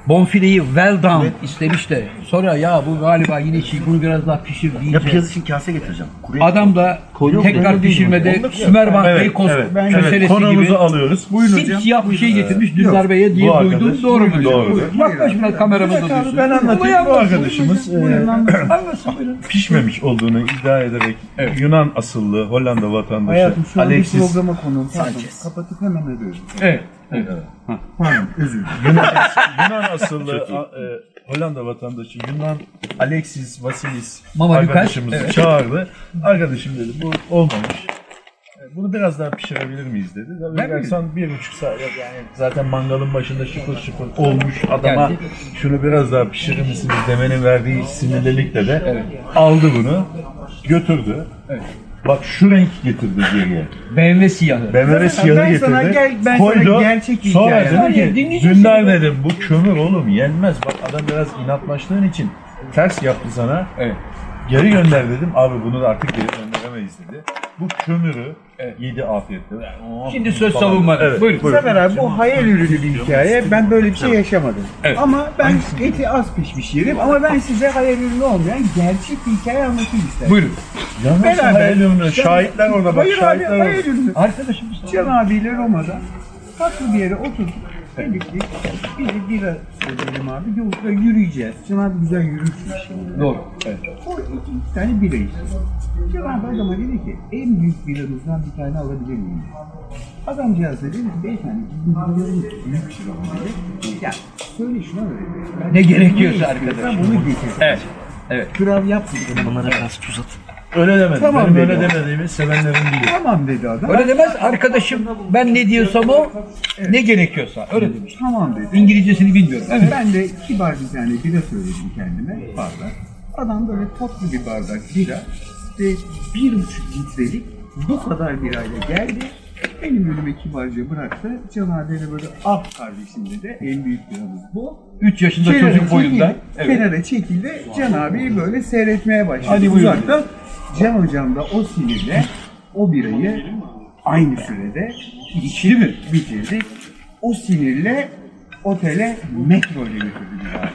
Speaker 1: bonfileyi well done istemiş de sonra ya bu galiba yine şey bunu biraz daha pişir
Speaker 5: Ya
Speaker 1: diyince
Speaker 5: piyaz için kase getireceğim. Kuru
Speaker 1: adam da
Speaker 5: Koyun
Speaker 1: tekrar
Speaker 5: mu?
Speaker 1: pişirmede Sümerbank
Speaker 2: Evet,
Speaker 1: Beykoz
Speaker 2: evet. Evet,
Speaker 1: köselesi gibi
Speaker 2: konumuzu alıyoruz. Buyurun hocam.
Speaker 1: simsiyah bir şey getirmiş Dündar Bey'e diye
Speaker 2: bu arkadaş-
Speaker 1: duydum. Doğru mu?
Speaker 2: Doğru.
Speaker 1: Buyurun. Bak şimdi kameramı da diyorsun.
Speaker 2: Ben anlatayım. Bu arkadaşımız e,
Speaker 1: Anlasın buyurun.
Speaker 2: pişmemiş olduğunu iddia ederek Yunan asıllı Hollanda vatandaşı
Speaker 12: Hayatım şu an bir
Speaker 2: Alexis
Speaker 12: programa konuğum. Sanchez. Kapatıp hemen arıyorum.
Speaker 1: Evet.
Speaker 2: Yunan asıllı a- e, Hollanda vatandaşı Yunan Alexis Vasilis
Speaker 1: Mama
Speaker 2: arkadaşımızı
Speaker 1: Lukas, evet.
Speaker 2: çağırdı. Arkadaşım dedi bu olmamış. E, Bunu biraz daha pişirebilir miyiz dedi. Tabii
Speaker 1: Ben
Speaker 2: baksan bir buçuk saat yani zaten mangalın başında şıpır şıpır olmuş adama
Speaker 1: Geldi.
Speaker 2: şunu biraz daha pişirir misiniz demenin verdiği sinirlilikle de aldı bunu götürdü. Bak şu renk getirdi geriye.
Speaker 13: BMW siyahı.
Speaker 2: BMW
Speaker 8: Zaten
Speaker 2: siyahı
Speaker 8: ben
Speaker 2: getirdi.
Speaker 8: sana gel- ben sana
Speaker 2: koydu.
Speaker 8: gerçek bir
Speaker 2: sonra
Speaker 8: hikaye
Speaker 13: anlatayım.
Speaker 2: dedim ki
Speaker 13: Dinleyici
Speaker 2: Dündar
Speaker 13: şimdi-
Speaker 2: dedim bu kömür oğlum yenmez. Bak adam biraz inatlaştığın için ters yaptı sana.
Speaker 13: Evet.
Speaker 2: Geri gönder dedim. Abi bunu da artık geri gönderemeyiz dedi. Bu kömürü yedi afiyetle. Oh,
Speaker 13: Şimdi söz
Speaker 2: falan.
Speaker 13: savunmada.
Speaker 2: Evet,
Speaker 13: Buyurun.
Speaker 8: Sefer abi bu hayal ürünü bir hikaye. Ben böyle bir şey yaşamadım.
Speaker 13: Evet.
Speaker 8: Ama ben eti az pişmiş yerim ama ben size hayal ürünü olmayan gerçek bir hikaye anlatayım isterim.
Speaker 13: Buyurun.
Speaker 2: Yalnız
Speaker 8: Beraber.
Speaker 2: hayal ürünü.
Speaker 8: Sen-
Speaker 2: Şahitler orada bak.
Speaker 8: Hayır abi
Speaker 2: şahitler orada.
Speaker 8: hayal ürünü.
Speaker 13: Arkadaşım işte.
Speaker 8: Can abiyle Roma'da tatlı bir yere oturduk. Dedik ki bir bira söyleyelim abi. Yolda yürüyeceğiz. Can abi güzel yürütmüş.
Speaker 13: Doğru. Evet.
Speaker 8: O iki, iki tane bira içti. Can abi adama dedi ki en büyük biramızdan bir tane alabilir miyim? Adamcağız da dedi ki beyefendi bizim biramız büyük şıram dedi. Ya söyle şuna da dedi.
Speaker 13: Ne gerekiyorsa
Speaker 8: istiyorsan
Speaker 13: arkadaşım.
Speaker 8: Bunu getir.
Speaker 13: Evet. Evet.
Speaker 8: Kral yapmayın.
Speaker 2: Öyle demedi.
Speaker 8: Tamam
Speaker 2: Benim
Speaker 8: dedi
Speaker 2: öyle
Speaker 8: o.
Speaker 2: demediğimi sevenlerim bilir.
Speaker 8: Tamam dedi adam.
Speaker 13: Öyle demez arkadaşım ben ne diyorsam o ne gerekiyorsa öyle demiş.
Speaker 8: Tamam dedi.
Speaker 13: İngilizcesini bilmiyorum. Evet.
Speaker 8: Ben de kibar bir tane bira söyledim kendime. Bardak. Adam böyle tatlı bir bardak bira. İşte bir buçuk litrelik bu kadar birayla geldi. Benim önüme kibarca bıraktı. Can abiyle böyle ah kardeşim dedi. En büyük biramız bu.
Speaker 13: 3 yaşında
Speaker 8: Kenara
Speaker 13: çocuk boyunda.
Speaker 8: çekildi,
Speaker 13: Evet.
Speaker 8: Kenara çekildi. Can abi böyle seyretmeye başladı.
Speaker 13: Hadi buyurun.
Speaker 8: Uzaktan. Can hocam da o sinirle o birayı aynı sürede içti mi bitirdik. O sinirle otele metro ile götürdü bizi abi.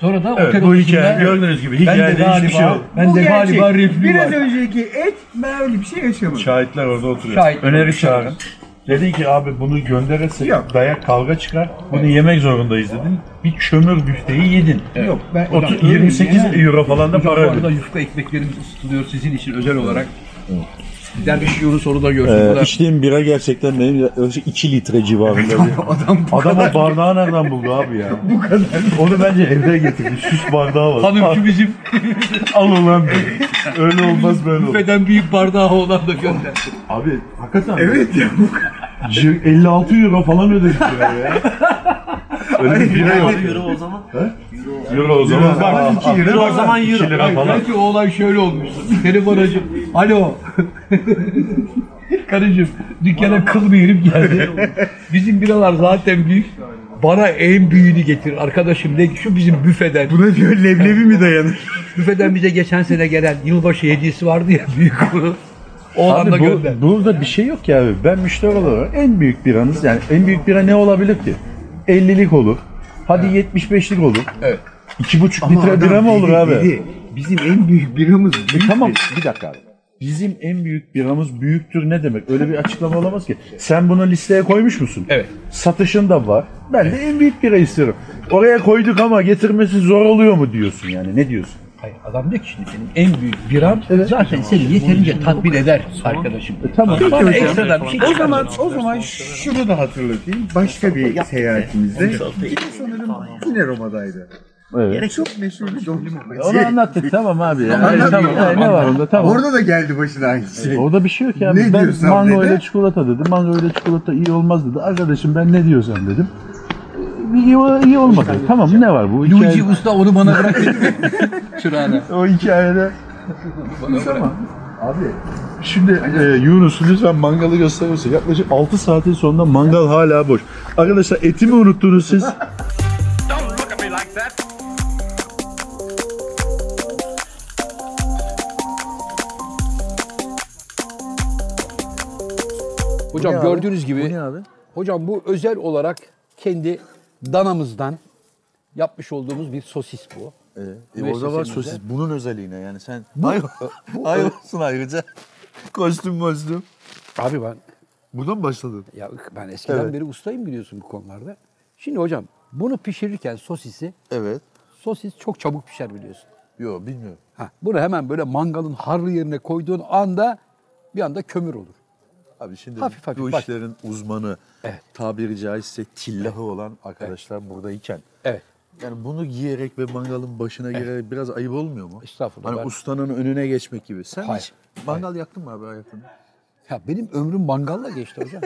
Speaker 13: Sonra da
Speaker 2: Evet,
Speaker 13: otel
Speaker 2: bu
Speaker 13: odasında-
Speaker 2: hikaye gördüğünüz gibi
Speaker 13: Ben de
Speaker 2: hikayede hiçbir şey
Speaker 13: galiba,
Speaker 2: yok.
Speaker 13: ben
Speaker 8: Bu
Speaker 13: de
Speaker 8: gerçek.
Speaker 13: galiba reflü
Speaker 8: Biraz
Speaker 13: var.
Speaker 8: önceki et ben öyle bir şey yaşamadım.
Speaker 2: Şahitler orada oturuyor.
Speaker 13: Şahit.
Speaker 2: Öneri çağırın. Dedi ki abi bunu gönderirsek
Speaker 8: Yok.
Speaker 2: dayak kavga çıkar. Bunu yemek zorundayız dedin. Bir çömür büfteyi yedin.
Speaker 8: Yok ben
Speaker 2: Otu-
Speaker 8: Ulan öyle
Speaker 2: 28
Speaker 8: yemem.
Speaker 2: euro falan da
Speaker 13: Bu
Speaker 2: para
Speaker 13: arada
Speaker 2: ödedin.
Speaker 13: yufka ekmeklerimiz ısıtılıyor sizin için özel olarak. Sizler bir yiyoruz onu da görsün. Bu da-
Speaker 4: Ee, içtiğim bira gerçekten benim yaklaşık 2 litre civarında. bir-
Speaker 13: Adam bu
Speaker 2: Adam o bardağı nereden buldu abi ya? bu kadar. Onu bence evde getirdi. Süs bardağı var.
Speaker 13: hanımcı bizim
Speaker 2: Al ulan beni. Öyle olmaz böyle olur.
Speaker 13: büfeden büyük bardağı olan da gönder.
Speaker 2: Abi hakikaten. Evet ya. 56 euro falan ödedik ya. ya. Öyle bir bira yok.
Speaker 14: Euro o zaman.
Speaker 2: Euro o zaman.
Speaker 8: Bak, iki euro.
Speaker 2: o zaman euro. lira falan.
Speaker 13: Belki o olay şöyle olmuştu. Telefon açıp, alo. Karıcığım dükkana kıl bir herif geldi. Bizim biralar zaten büyük. Bana en büyüğünü getir arkadaşım de ki şu bizim büfeden. Buna diyor leblebi mi dayanır? büfeden bize geçen sene gelen yılbaşı hediyesi vardı ya büyük onu. O
Speaker 2: Abi
Speaker 13: anda
Speaker 2: bu-
Speaker 13: gönder.
Speaker 2: burada bir şey yok ki abi. Ben müşteri olarak en büyük biranız yani en büyük bira ne olabilir ki? 50'lik olur. Hadi 75'lik olur.
Speaker 13: Evet.
Speaker 2: 2,5
Speaker 8: Ama
Speaker 2: litre
Speaker 8: adam
Speaker 2: bira mı olur
Speaker 8: dedi,
Speaker 2: abi?
Speaker 8: dedi, Bizim en büyük biramız büyük.
Speaker 2: E tamam bir dakika abi. Bizim en büyük biramız büyüktür ne demek? Öyle bir açıklama olamaz ki. Sen bunu listeye koymuş musun?
Speaker 13: Evet.
Speaker 2: Satışın da var. Ben de en büyük bira istiyorum. Oraya koyduk ama getirmesi zor oluyor mu diyorsun yani? Ne diyorsun?
Speaker 13: Hayır, adam diyor ki şimdi benim en büyük biram zaten seni yeterince tatmin eder arkadaşım.
Speaker 2: Tamam.
Speaker 13: Bana ekstradan bir şey
Speaker 8: O
Speaker 13: çıkar.
Speaker 8: zaman o zaman şunu da hatırlatayım. Başka bir seyahatimizde yine sanırım yine Roma'daydı.
Speaker 2: Evet.
Speaker 8: Çok meşhur bir dondurma.
Speaker 13: Şey-
Speaker 2: Onu anlattık tamam abi. ya.
Speaker 8: Tamam,
Speaker 2: Evet, tamam.
Speaker 8: anlattık.
Speaker 2: Ne var onda tamam.
Speaker 8: Orada da geldi başına aynı şey.
Speaker 2: Orada bir şey yok yani.
Speaker 8: Ne
Speaker 2: ben
Speaker 8: diyorsan
Speaker 2: mango
Speaker 8: dedi.
Speaker 2: ile çikolata dedim. Mango ile çikolata iyi olmaz dedi. Arkadaşım ben ne diyorsam dedim. İyi, iyi olmadı. Tamam ne var bu
Speaker 13: Luigi
Speaker 2: hikayede?
Speaker 13: Usta onu bana bırak dedi. Çırağına.
Speaker 2: O hikayede.
Speaker 13: Bana bırak.
Speaker 2: Şimdi e, Yunus lütfen mangalı gösterir misin? Yaklaşık 6 saatin sonunda mangal hala boş. Arkadaşlar eti mi unuttunuz siz?
Speaker 1: Hocam gördüğünüz gibi. Hocam bu özel olarak kendi danamızdan yapmış olduğumuz bir sosis bu.
Speaker 4: E, orada var sosis. Bunun özelliğine yani sen... Ay, ay olsun ayrıca. Kostüm kostüm.
Speaker 1: Abi ben
Speaker 4: Buradan mı başladın?
Speaker 1: ya ben eskiden
Speaker 4: Evet.
Speaker 1: beri ustayım biliyorsun bu konularda. Şimdi hocam bunu pişirirken sosisi
Speaker 4: Evet.
Speaker 1: sosis çok çabuk pişer biliyorsun.
Speaker 4: Yo bilmiyorum.
Speaker 1: Ha, bunu hemen böyle mangalın harlı yerine koyduğun anda bir anda kömür olur.
Speaker 4: Abi şimdi
Speaker 1: Hafif hafif,
Speaker 4: bu
Speaker 1: bak.
Speaker 4: işlerin uzmanı
Speaker 1: Evet.
Speaker 4: tabiri caizse tillahı olan arkadaşlar buradayken
Speaker 1: Evet.
Speaker 4: yani bunu giyerek ve mangalın başına girerek biraz ayıp olmuyor mu?
Speaker 1: Estağfurullah,
Speaker 4: Hani
Speaker 1: ben-
Speaker 4: ustanın önüne geçmek gibi. Sen
Speaker 1: Hayır,
Speaker 4: hiç mangal yaktın mı abi hayatında?
Speaker 1: Ya benim ömrüm mangalla geçti hocam.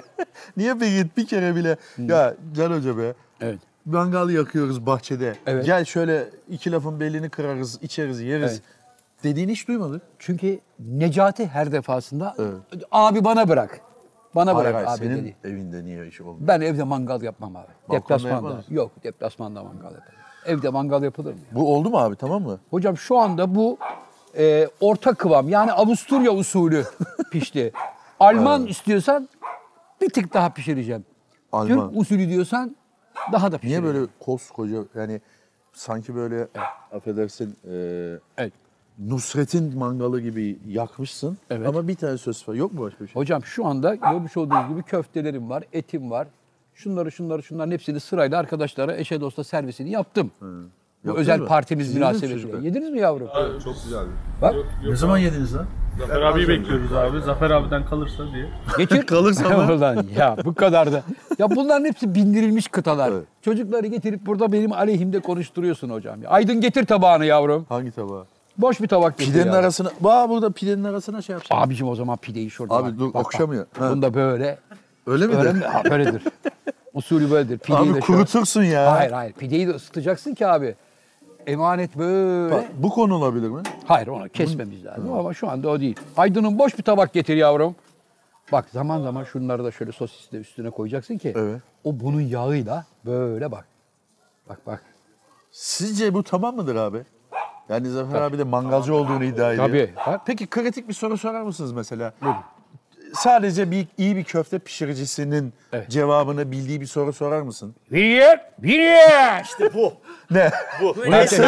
Speaker 4: Niye peki git bir kere bile ya Can Hoca be
Speaker 1: evet.
Speaker 4: mangal yakıyoruz bahçede.
Speaker 1: Evet.
Speaker 4: Gel şöyle iki lafın belini kırarız, içeriz, yeriz.
Speaker 1: Evet.
Speaker 15: Dediğini hiç duymadık.
Speaker 16: Çünkü Necati her defasında abi bana bırak. Bana
Speaker 4: Hayır,
Speaker 16: bırak
Speaker 4: hayır,
Speaker 16: abi
Speaker 4: senin
Speaker 16: dedi.
Speaker 4: evinde niye iş olmuyor?
Speaker 16: Ben evde mangal yapmam abi. Deplasmanda.
Speaker 4: yapmaz.
Speaker 16: Yok deplasmanda mangal yaparım. Evde mangal yapılır mı? ya?
Speaker 4: Bu oldu mu abi tamam mı?
Speaker 16: Hocam şu anda bu e, orta kıvam yani Avusturya usulü pişti. Alman istiyorsan bir tık daha pişireceğim.
Speaker 4: Alman.
Speaker 16: Türk usulü diyorsan daha da
Speaker 4: Niye
Speaker 16: pişireceğim.
Speaker 4: böyle koskoca yani sanki böyle eh, affedersin e,
Speaker 16: Evet.
Speaker 4: Nusret'in mangalı gibi yakmışsın
Speaker 16: Evet.
Speaker 4: ama bir tane söz var. Yok mu başka bir şey?
Speaker 16: Hocam şu anda görmüş olduğunuz gibi köftelerim var, etim var. Şunları şunları şunların hepsini sırayla arkadaşlara eşe dosta servisini yaptım. Bu
Speaker 4: Yaptınız
Speaker 16: özel
Speaker 4: mı?
Speaker 16: partimiz
Speaker 4: Yediniz mi
Speaker 16: münasebetiyle.
Speaker 4: çocuklar?
Speaker 16: Yediniz mi yavrum?
Speaker 4: Ne zaman yediniz lan?
Speaker 2: Zafer abiyi bekliyoruz abi. Zafer abiden kalırsa diye.
Speaker 16: Getir.
Speaker 4: Kalırsa mı?
Speaker 16: Oradan ya bu kadar da. Ya bunların hepsi bindirilmiş kıtalar.
Speaker 4: Evet.
Speaker 16: Çocukları getirip burada benim aleyhimde konuşturuyorsun hocam. ya. Aydın getir tabağını yavrum.
Speaker 4: Hangi tabağa?
Speaker 16: Boş bir tabak getir
Speaker 4: Pidenin
Speaker 16: yavrum.
Speaker 4: arasına, bak burada pidenin arasına şey yapacağım.
Speaker 16: Abicim o zaman pideyi şurada.
Speaker 4: Abi dur, okşamıyor. Ha.
Speaker 16: Bunda böyle.
Speaker 4: Öyle mi?
Speaker 16: Öyle mi? Ha, böyledir. Usulü böyledir. Pideyi de
Speaker 4: Abi
Speaker 16: şöyle-
Speaker 4: kurutursun ya.
Speaker 16: Hayır hayır. Pideyi de ısıtacaksın ki abi. Emanet böyle.
Speaker 4: Bak, bu konu olabilir mi?
Speaker 16: Hayır onu kesmemiz lazım ama şu anda o değil. Aydın'ın boş bir tabak getir yavrum. Bak zaman zaman şunları da şöyle sosisle üstüne koyacaksın ki
Speaker 4: Evet.
Speaker 16: o bunun yağıyla böyle bak. Bak bak.
Speaker 4: Sizce bu tamam mıdır abi? Yani Zafer abi de mangalcı olduğunu iddia ediyor.
Speaker 16: Tabii. Bak.
Speaker 4: Peki kritik bir soru sorar mısınız mesela? Sadece bir iyi bir köfte pişiricisinin
Speaker 16: Evet.
Speaker 4: cevabını bildiği bir soru sorar mısın?
Speaker 16: Biliyor, biliyor. İşte
Speaker 4: Ne?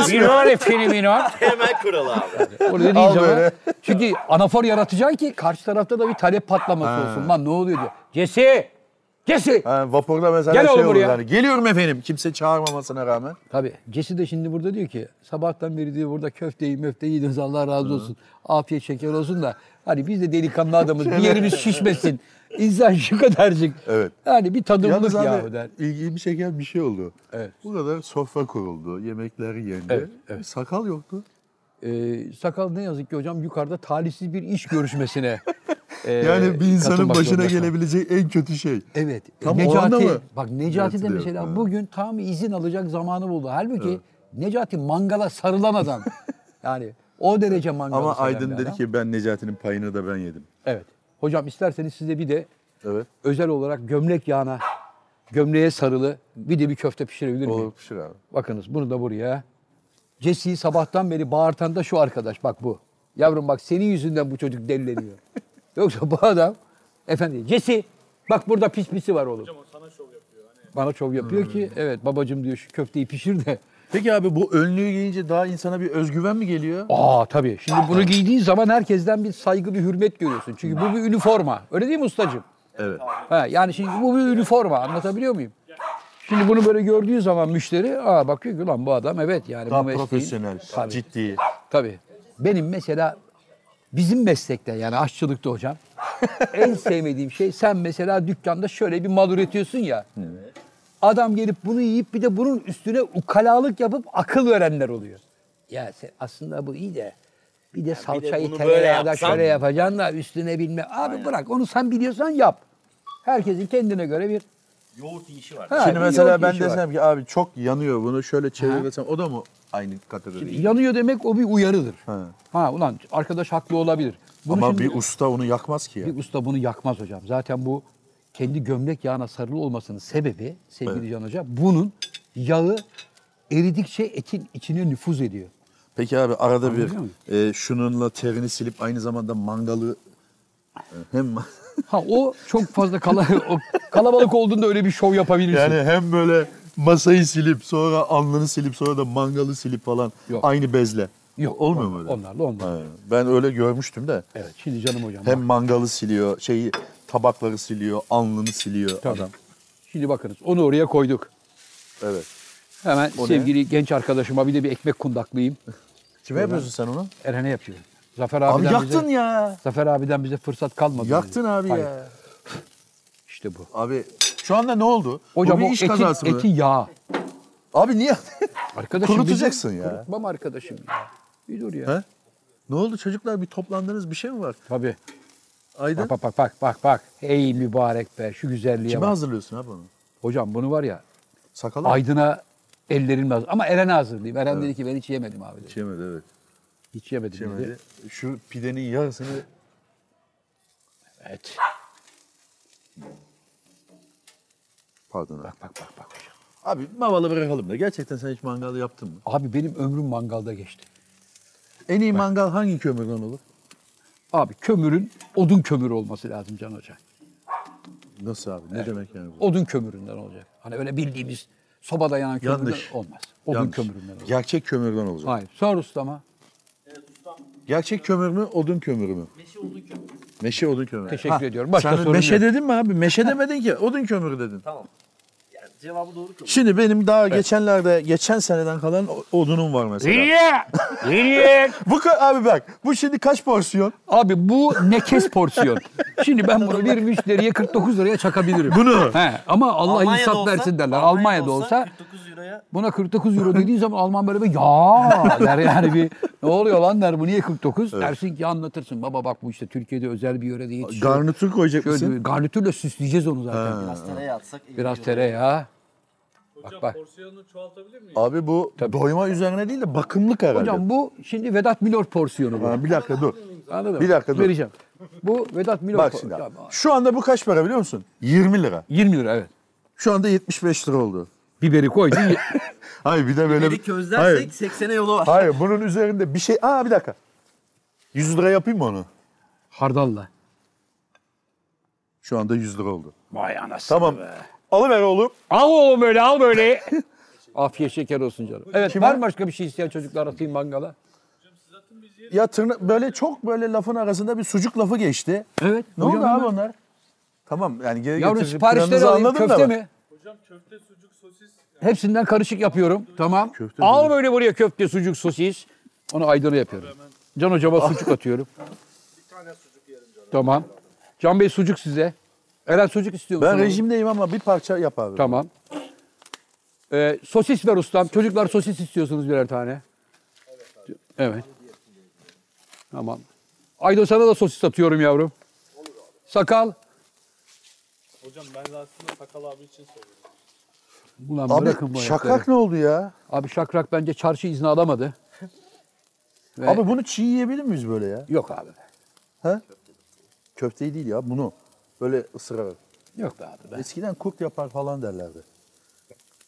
Speaker 16: biliyor efendim inan.
Speaker 17: Hemen kural abi.
Speaker 16: Orada dediğin
Speaker 4: Al
Speaker 16: zaman.
Speaker 4: böyle.
Speaker 16: Çünkü anafor yaratacaksın ki karşı tarafta da bir talep patlaması olsun. Lan ne oluyor diyor. Cesi, Cesi.
Speaker 4: Ha, vapurda mesela
Speaker 16: Gel
Speaker 4: şey
Speaker 16: oğlum
Speaker 4: olur
Speaker 16: buraya.
Speaker 4: yani. Geliyorum efendim kimse çağırmamasına rağmen.
Speaker 16: Tabii. Cesi de şimdi burada diyor ki sabahtan beri diyor burada köfteyi möfteyi yediniz Allah razı olsun. Afiyet şeker olsun da hani biz de delikanlı adamız bir yerimiz şişmesin. İnsan şu kadarcık.
Speaker 4: Evet.
Speaker 16: Yani bir tadımlık
Speaker 4: Yalnız abi
Speaker 16: yahu der.
Speaker 4: ilgimi çeken bir şey oldu.
Speaker 16: Evet.
Speaker 4: Bu kadar sofra kuruldu, yemekler yendi. E,
Speaker 16: Evet, evet.
Speaker 4: Sakal yoktu.
Speaker 16: Ee, sakal ne yazık ki hocam yukarıda talihsiz bir iş görüşmesine. e,
Speaker 4: Yani bir insanın
Speaker 16: katılmak
Speaker 4: başına
Speaker 16: zorunda kaldı.
Speaker 4: gelebilecek en kötü şey.
Speaker 16: Evet. E,
Speaker 4: Tam oranda
Speaker 16: Necati,
Speaker 4: mı?
Speaker 16: bak Necati de
Speaker 4: Yönetiliyor.
Speaker 16: mesela
Speaker 4: Ha.
Speaker 16: bugün tam izin alacak zamanı buldu. Halbuki Necati mangala sarılan adam. yani o derece mangala
Speaker 4: Ama
Speaker 16: seven
Speaker 4: Aydın
Speaker 16: bir
Speaker 4: dedi
Speaker 16: adam.
Speaker 4: ki ben Necati'nin payını da ben yedim.
Speaker 16: Evet. Hocam isterseniz size bir de
Speaker 4: Evet.
Speaker 16: özel olarak gömlek yağına, gömleğe sarılı bir de bir köfte pişirebilir miyim?
Speaker 4: Olur pişir abi.
Speaker 16: Bakınız bunu da buraya. Jesse'yi sabahtan beri bağırtan da şu arkadaş bak bu. Yavrum bak senin yüzünden bu çocuk delileniyor. Yoksa bu adam efendim Jesse bak burada pis pisi var oğlum. Bana şov
Speaker 4: Hmm.
Speaker 16: yapıyor ki evet babacım diyor şu köfteyi pişir de.
Speaker 4: Peki abi bu önlüğü giyince daha insana bir özgüven mi geliyor?
Speaker 16: Aa tabii şimdi bunu giydiğin zaman herkesten bir saygı bir hürmet görüyorsun. Çünkü bu bir üniforma öyle değil mi ustacığım?
Speaker 4: Evet.
Speaker 16: Ha, yani şimdi bu bir üniforma anlatabiliyor muyum? Şimdi bunu böyle gördüğü zaman müşteri aa bakıyor ki lan bu adam evet yani
Speaker 4: Daha
Speaker 16: bu mesleğin.
Speaker 4: profesyonel,
Speaker 16: Tabii.
Speaker 4: ciddi.
Speaker 16: Tabii. Benim mesela bizim meslekte yani aşçılıkta hocam en sevmediğim şey sen mesela dükkanda şöyle bir mal üretiyorsun ya. Adam gelip bunu yiyip bir de bunun üstüne ukalalık yapıp akıl verenler oluyor. Ya sen, aslında bu iyi de bir de salçayı
Speaker 17: bunu böyle
Speaker 16: tereyağda
Speaker 17: yapsan-
Speaker 16: şöyle yapacaksın da üstüne bilme. Abi bırak onu sen biliyorsan yap. Herkesin kendine göre bir...
Speaker 17: Yoğurt işi var.
Speaker 16: Ha,
Speaker 4: Şimdi
Speaker 16: bir
Speaker 4: mesela
Speaker 16: yoğurt
Speaker 4: ben
Speaker 16: işi var.
Speaker 4: desem ki abi çok yanıyor bunu şöyle çevirsem o da mı aynı kategori?
Speaker 16: Yanıyor demek o bir uyarıdır.
Speaker 4: Ha.
Speaker 16: Ha, ulan arkadaş haklı olabilir. Bunu
Speaker 4: Ama
Speaker 16: şimdi-
Speaker 4: bir usta onu yakmaz ki ya.
Speaker 16: Bir usta bunu yakmaz hocam. Zaten bu kendi gömlek yağına sarılı olmasının sebebi sevgili Can Hoca bunun yağı eridikçe etin içine nüfuz ediyor.
Speaker 4: Peki abi arada bir
Speaker 16: Anlıyor musun?
Speaker 4: e, şununla terini silip aynı zamanda mangalı e, hem
Speaker 16: Ha o çok fazla kala, o kalabalık olduğunda öyle bir şov yapabilirsin.
Speaker 4: yani hem böyle masayı silip sonra alnını silip sonra da mangalı silip falan
Speaker 16: Yok.
Speaker 4: aynı bezle.
Speaker 16: Yok,
Speaker 4: olmuyor
Speaker 16: on-
Speaker 4: mu öyle?
Speaker 16: Onlarla onlarla.
Speaker 4: Ha, Ben öyle görmüştüm de.
Speaker 16: Evet şimdi canım hocam.
Speaker 4: Hem
Speaker 16: bak.
Speaker 4: mangalı siliyor, şeyi tabakları siliyor, alnını siliyor
Speaker 16: Tabii.
Speaker 4: adam.
Speaker 16: Şimdi bakınız onu oraya koyduk.
Speaker 4: Evet.
Speaker 16: Hemen
Speaker 4: O ne?
Speaker 16: sevgili genç arkadaşıma bir de bir ekmek kundaklayayım.
Speaker 4: Kime yapıyorsun sen onu?
Speaker 16: Erhan'e yapıyorum. Zafer
Speaker 4: Abi
Speaker 16: abiden
Speaker 4: yaktın
Speaker 16: bize,
Speaker 4: ya.
Speaker 16: Zafer abiden bize fırsat kalmadı.
Speaker 4: Yaktın abi
Speaker 16: Hayır,
Speaker 4: ya.
Speaker 16: İşte bu.
Speaker 4: Abi şu anda ne oldu?
Speaker 16: Hocam
Speaker 4: bu
Speaker 16: o
Speaker 4: bir iş
Speaker 16: etin,
Speaker 4: kazası mı?
Speaker 16: etin yağı.
Speaker 4: Abi niye?
Speaker 16: Arkadaşım bizim-
Speaker 4: Kurutacaksın ya.
Speaker 16: Kurutmam arkadaşım ya. Bir dur ya.
Speaker 4: He? ne oldu çocuklar bir toplandınız bir şey mi var?
Speaker 16: Tabii.
Speaker 4: Aydın
Speaker 16: Bak bak bak bak bak bak. Ey mübarek be şu güzelliğe
Speaker 4: kime
Speaker 16: bak.
Speaker 4: hazırlıyorsun abi onu?
Speaker 16: Hocam bunu var ya
Speaker 4: Sakala mı?
Speaker 16: Aydın'a ellerim lazım. Ama Eren'e hazırlayayım. Eren dedi ki ben hiç yemedim abi dedi.
Speaker 4: Şey mi? evet.
Speaker 16: Hiç yemedim.
Speaker 4: Yemedi.
Speaker 16: dedi.
Speaker 4: Şu pidenin yarısını
Speaker 16: Evet.
Speaker 4: Pardon. Bak bak bak bak. Abi mavalı bırakalım da gerçekten sen hiç mangal yaptın mı?
Speaker 16: Abi benim ömrüm mangalda geçti.
Speaker 4: En iyi mangal hangi kömürden olur?
Speaker 16: Abi kömürün odun kömürü olması lazım Can Hoca.
Speaker 4: Nasıl abi? Ne demek yani bu?
Speaker 16: Odun kömüründen olacak. Hani öyle bildiğimiz sobada yanan kömürden
Speaker 4: Yanlış.
Speaker 16: olmaz. Odun
Speaker 4: Yanlış.
Speaker 16: kömüründen olacak.
Speaker 4: Gerçek kömürden olacak.
Speaker 16: Hayır. Sor ustama.
Speaker 4: Gerçek kömür mü, odun kömürü mü?
Speaker 5: Meşe odun kömürü.
Speaker 4: Meşe odun kömürü.
Speaker 16: Teşekkür ediyorum. Başka
Speaker 4: sen
Speaker 16: sorun
Speaker 4: meşe
Speaker 16: yok.
Speaker 4: dedin mi abi? Meşe demedin ki. Odun kömürü dedin.
Speaker 5: Tamam. Yani cevabı doğru kabul.
Speaker 4: Şimdi benim daha geçenlerde, geçen seneden kalan o- odunum var mesela. bu ka- abi bak, bu şimdi kaç porsiyon?
Speaker 16: Abi bu nekes porsiyon. Şimdi ben bunu bir müşteriye 49 liraya çakabilirim.
Speaker 4: Bunu?
Speaker 16: He, ama Allah
Speaker 5: Almanya'da
Speaker 16: insaf
Speaker 5: olsa-
Speaker 16: versin derler. Almanya'da, olsa
Speaker 5: 49 euroya
Speaker 16: Buna 49 euro dediğin zaman Alman böyle bir ya der yani bir ne oluyor lan der bu niye 49 dersin ki anlatırsın baba bak bu işte Türkiye'de özel bir yörede yetişiyor.
Speaker 4: Garnitür koyacak
Speaker 16: Şöyle
Speaker 4: mısın?
Speaker 16: bir garnitürle süsleyeceğiz onu zaten.
Speaker 5: biraz tereyağı atsak. elli
Speaker 16: Biraz
Speaker 5: euro.
Speaker 16: tereyağı.
Speaker 18: Hocam
Speaker 16: bak.
Speaker 18: porsiyonu çoğaltabilir miyiz?
Speaker 4: Abi bu doyma üzerine değil de bakımlık herhalde.
Speaker 16: Hocam bu şimdi Vedat Milor porsiyonu bu.
Speaker 4: Ha, bir dakika dur.
Speaker 16: Anladın mı?
Speaker 4: bir dakika dur.
Speaker 16: Vereceğim. Bu Vedat Milor
Speaker 4: Bak
Speaker 16: por-
Speaker 4: şimdi
Speaker 16: Ya,
Speaker 4: abi. Şu anda bu kaç para biliyor musun? 20 lira.
Speaker 16: 20 lira evet.
Speaker 4: Şu anda 75 lira oldu.
Speaker 16: Biberi koydun.
Speaker 4: Hayır bir de böyle...
Speaker 5: Biberi
Speaker 4: Hayır.
Speaker 5: közlersek 80'e yolu var.
Speaker 4: Hayır bunun üzerinde bir şey... Aa bir dakika. 100 lira yapayım mı onu?
Speaker 16: Hardalla.
Speaker 4: Şu anda 100 lira oldu.
Speaker 16: Vay anasını
Speaker 4: Tamam. Alıver oğlum.
Speaker 16: Al oğlum böyle al böyle. Afiyet şeker olsun canım. Evet var mı başka bir şey isteyen çocuklar atayım mangala?
Speaker 4: Ya tırna böyle çok böyle lafın arasında bir sucuk lafı geçti.
Speaker 16: Evet.
Speaker 4: Ne
Speaker 16: hocam
Speaker 4: oldu
Speaker 16: hemen-
Speaker 4: abi onlar? Tamam yani geri
Speaker 16: Yavrum
Speaker 4: getirip
Speaker 16: siparişleri
Speaker 4: planınızı
Speaker 16: alayım
Speaker 4: anladım da
Speaker 16: köfte
Speaker 4: ben.
Speaker 16: mi?
Speaker 18: Hocam köfte, sucuk, sosis.
Speaker 16: Hepsinden karışık yapıyorum. Tamam.
Speaker 4: Köfte
Speaker 16: Al böyle buraya köfte, sucuk, sosis. Onu aydana yapıyorum. Can hocama
Speaker 4: Ah.
Speaker 16: sucuk atıyorum. Bir tane sucuk yerim canım. Tamam. Can Bey sucuk size. Eren sucuk istiyor musun?
Speaker 4: Ben
Speaker 16: oğlum?
Speaker 4: rejimdeyim ama bir parça yap abi.
Speaker 16: Tamam. Ee, sosis ver ustam. Çocuklar sosis istiyorsunuz birer tane. Evet. Tamam. Aydo sana da sosis atıyorum yavrum. Sakal.
Speaker 18: Hocam ben de aslında Sakal abi için soruyorum.
Speaker 16: Ulan bırakın
Speaker 4: Abi
Speaker 16: bu
Speaker 4: şakrak
Speaker 16: ayakları.
Speaker 4: ne oldu ya?
Speaker 16: Abi şakrak bence çarşı izni alamadı. Ve-
Speaker 4: Abi bunu çiğ yiyebilir miyiz böyle ya?
Speaker 16: Yok abi.
Speaker 4: Köfteyi değil ya bunu. Böyle ısırarak.
Speaker 16: Yok be abi. Ben.
Speaker 4: Eskiden kurt yapar falan derlerdi.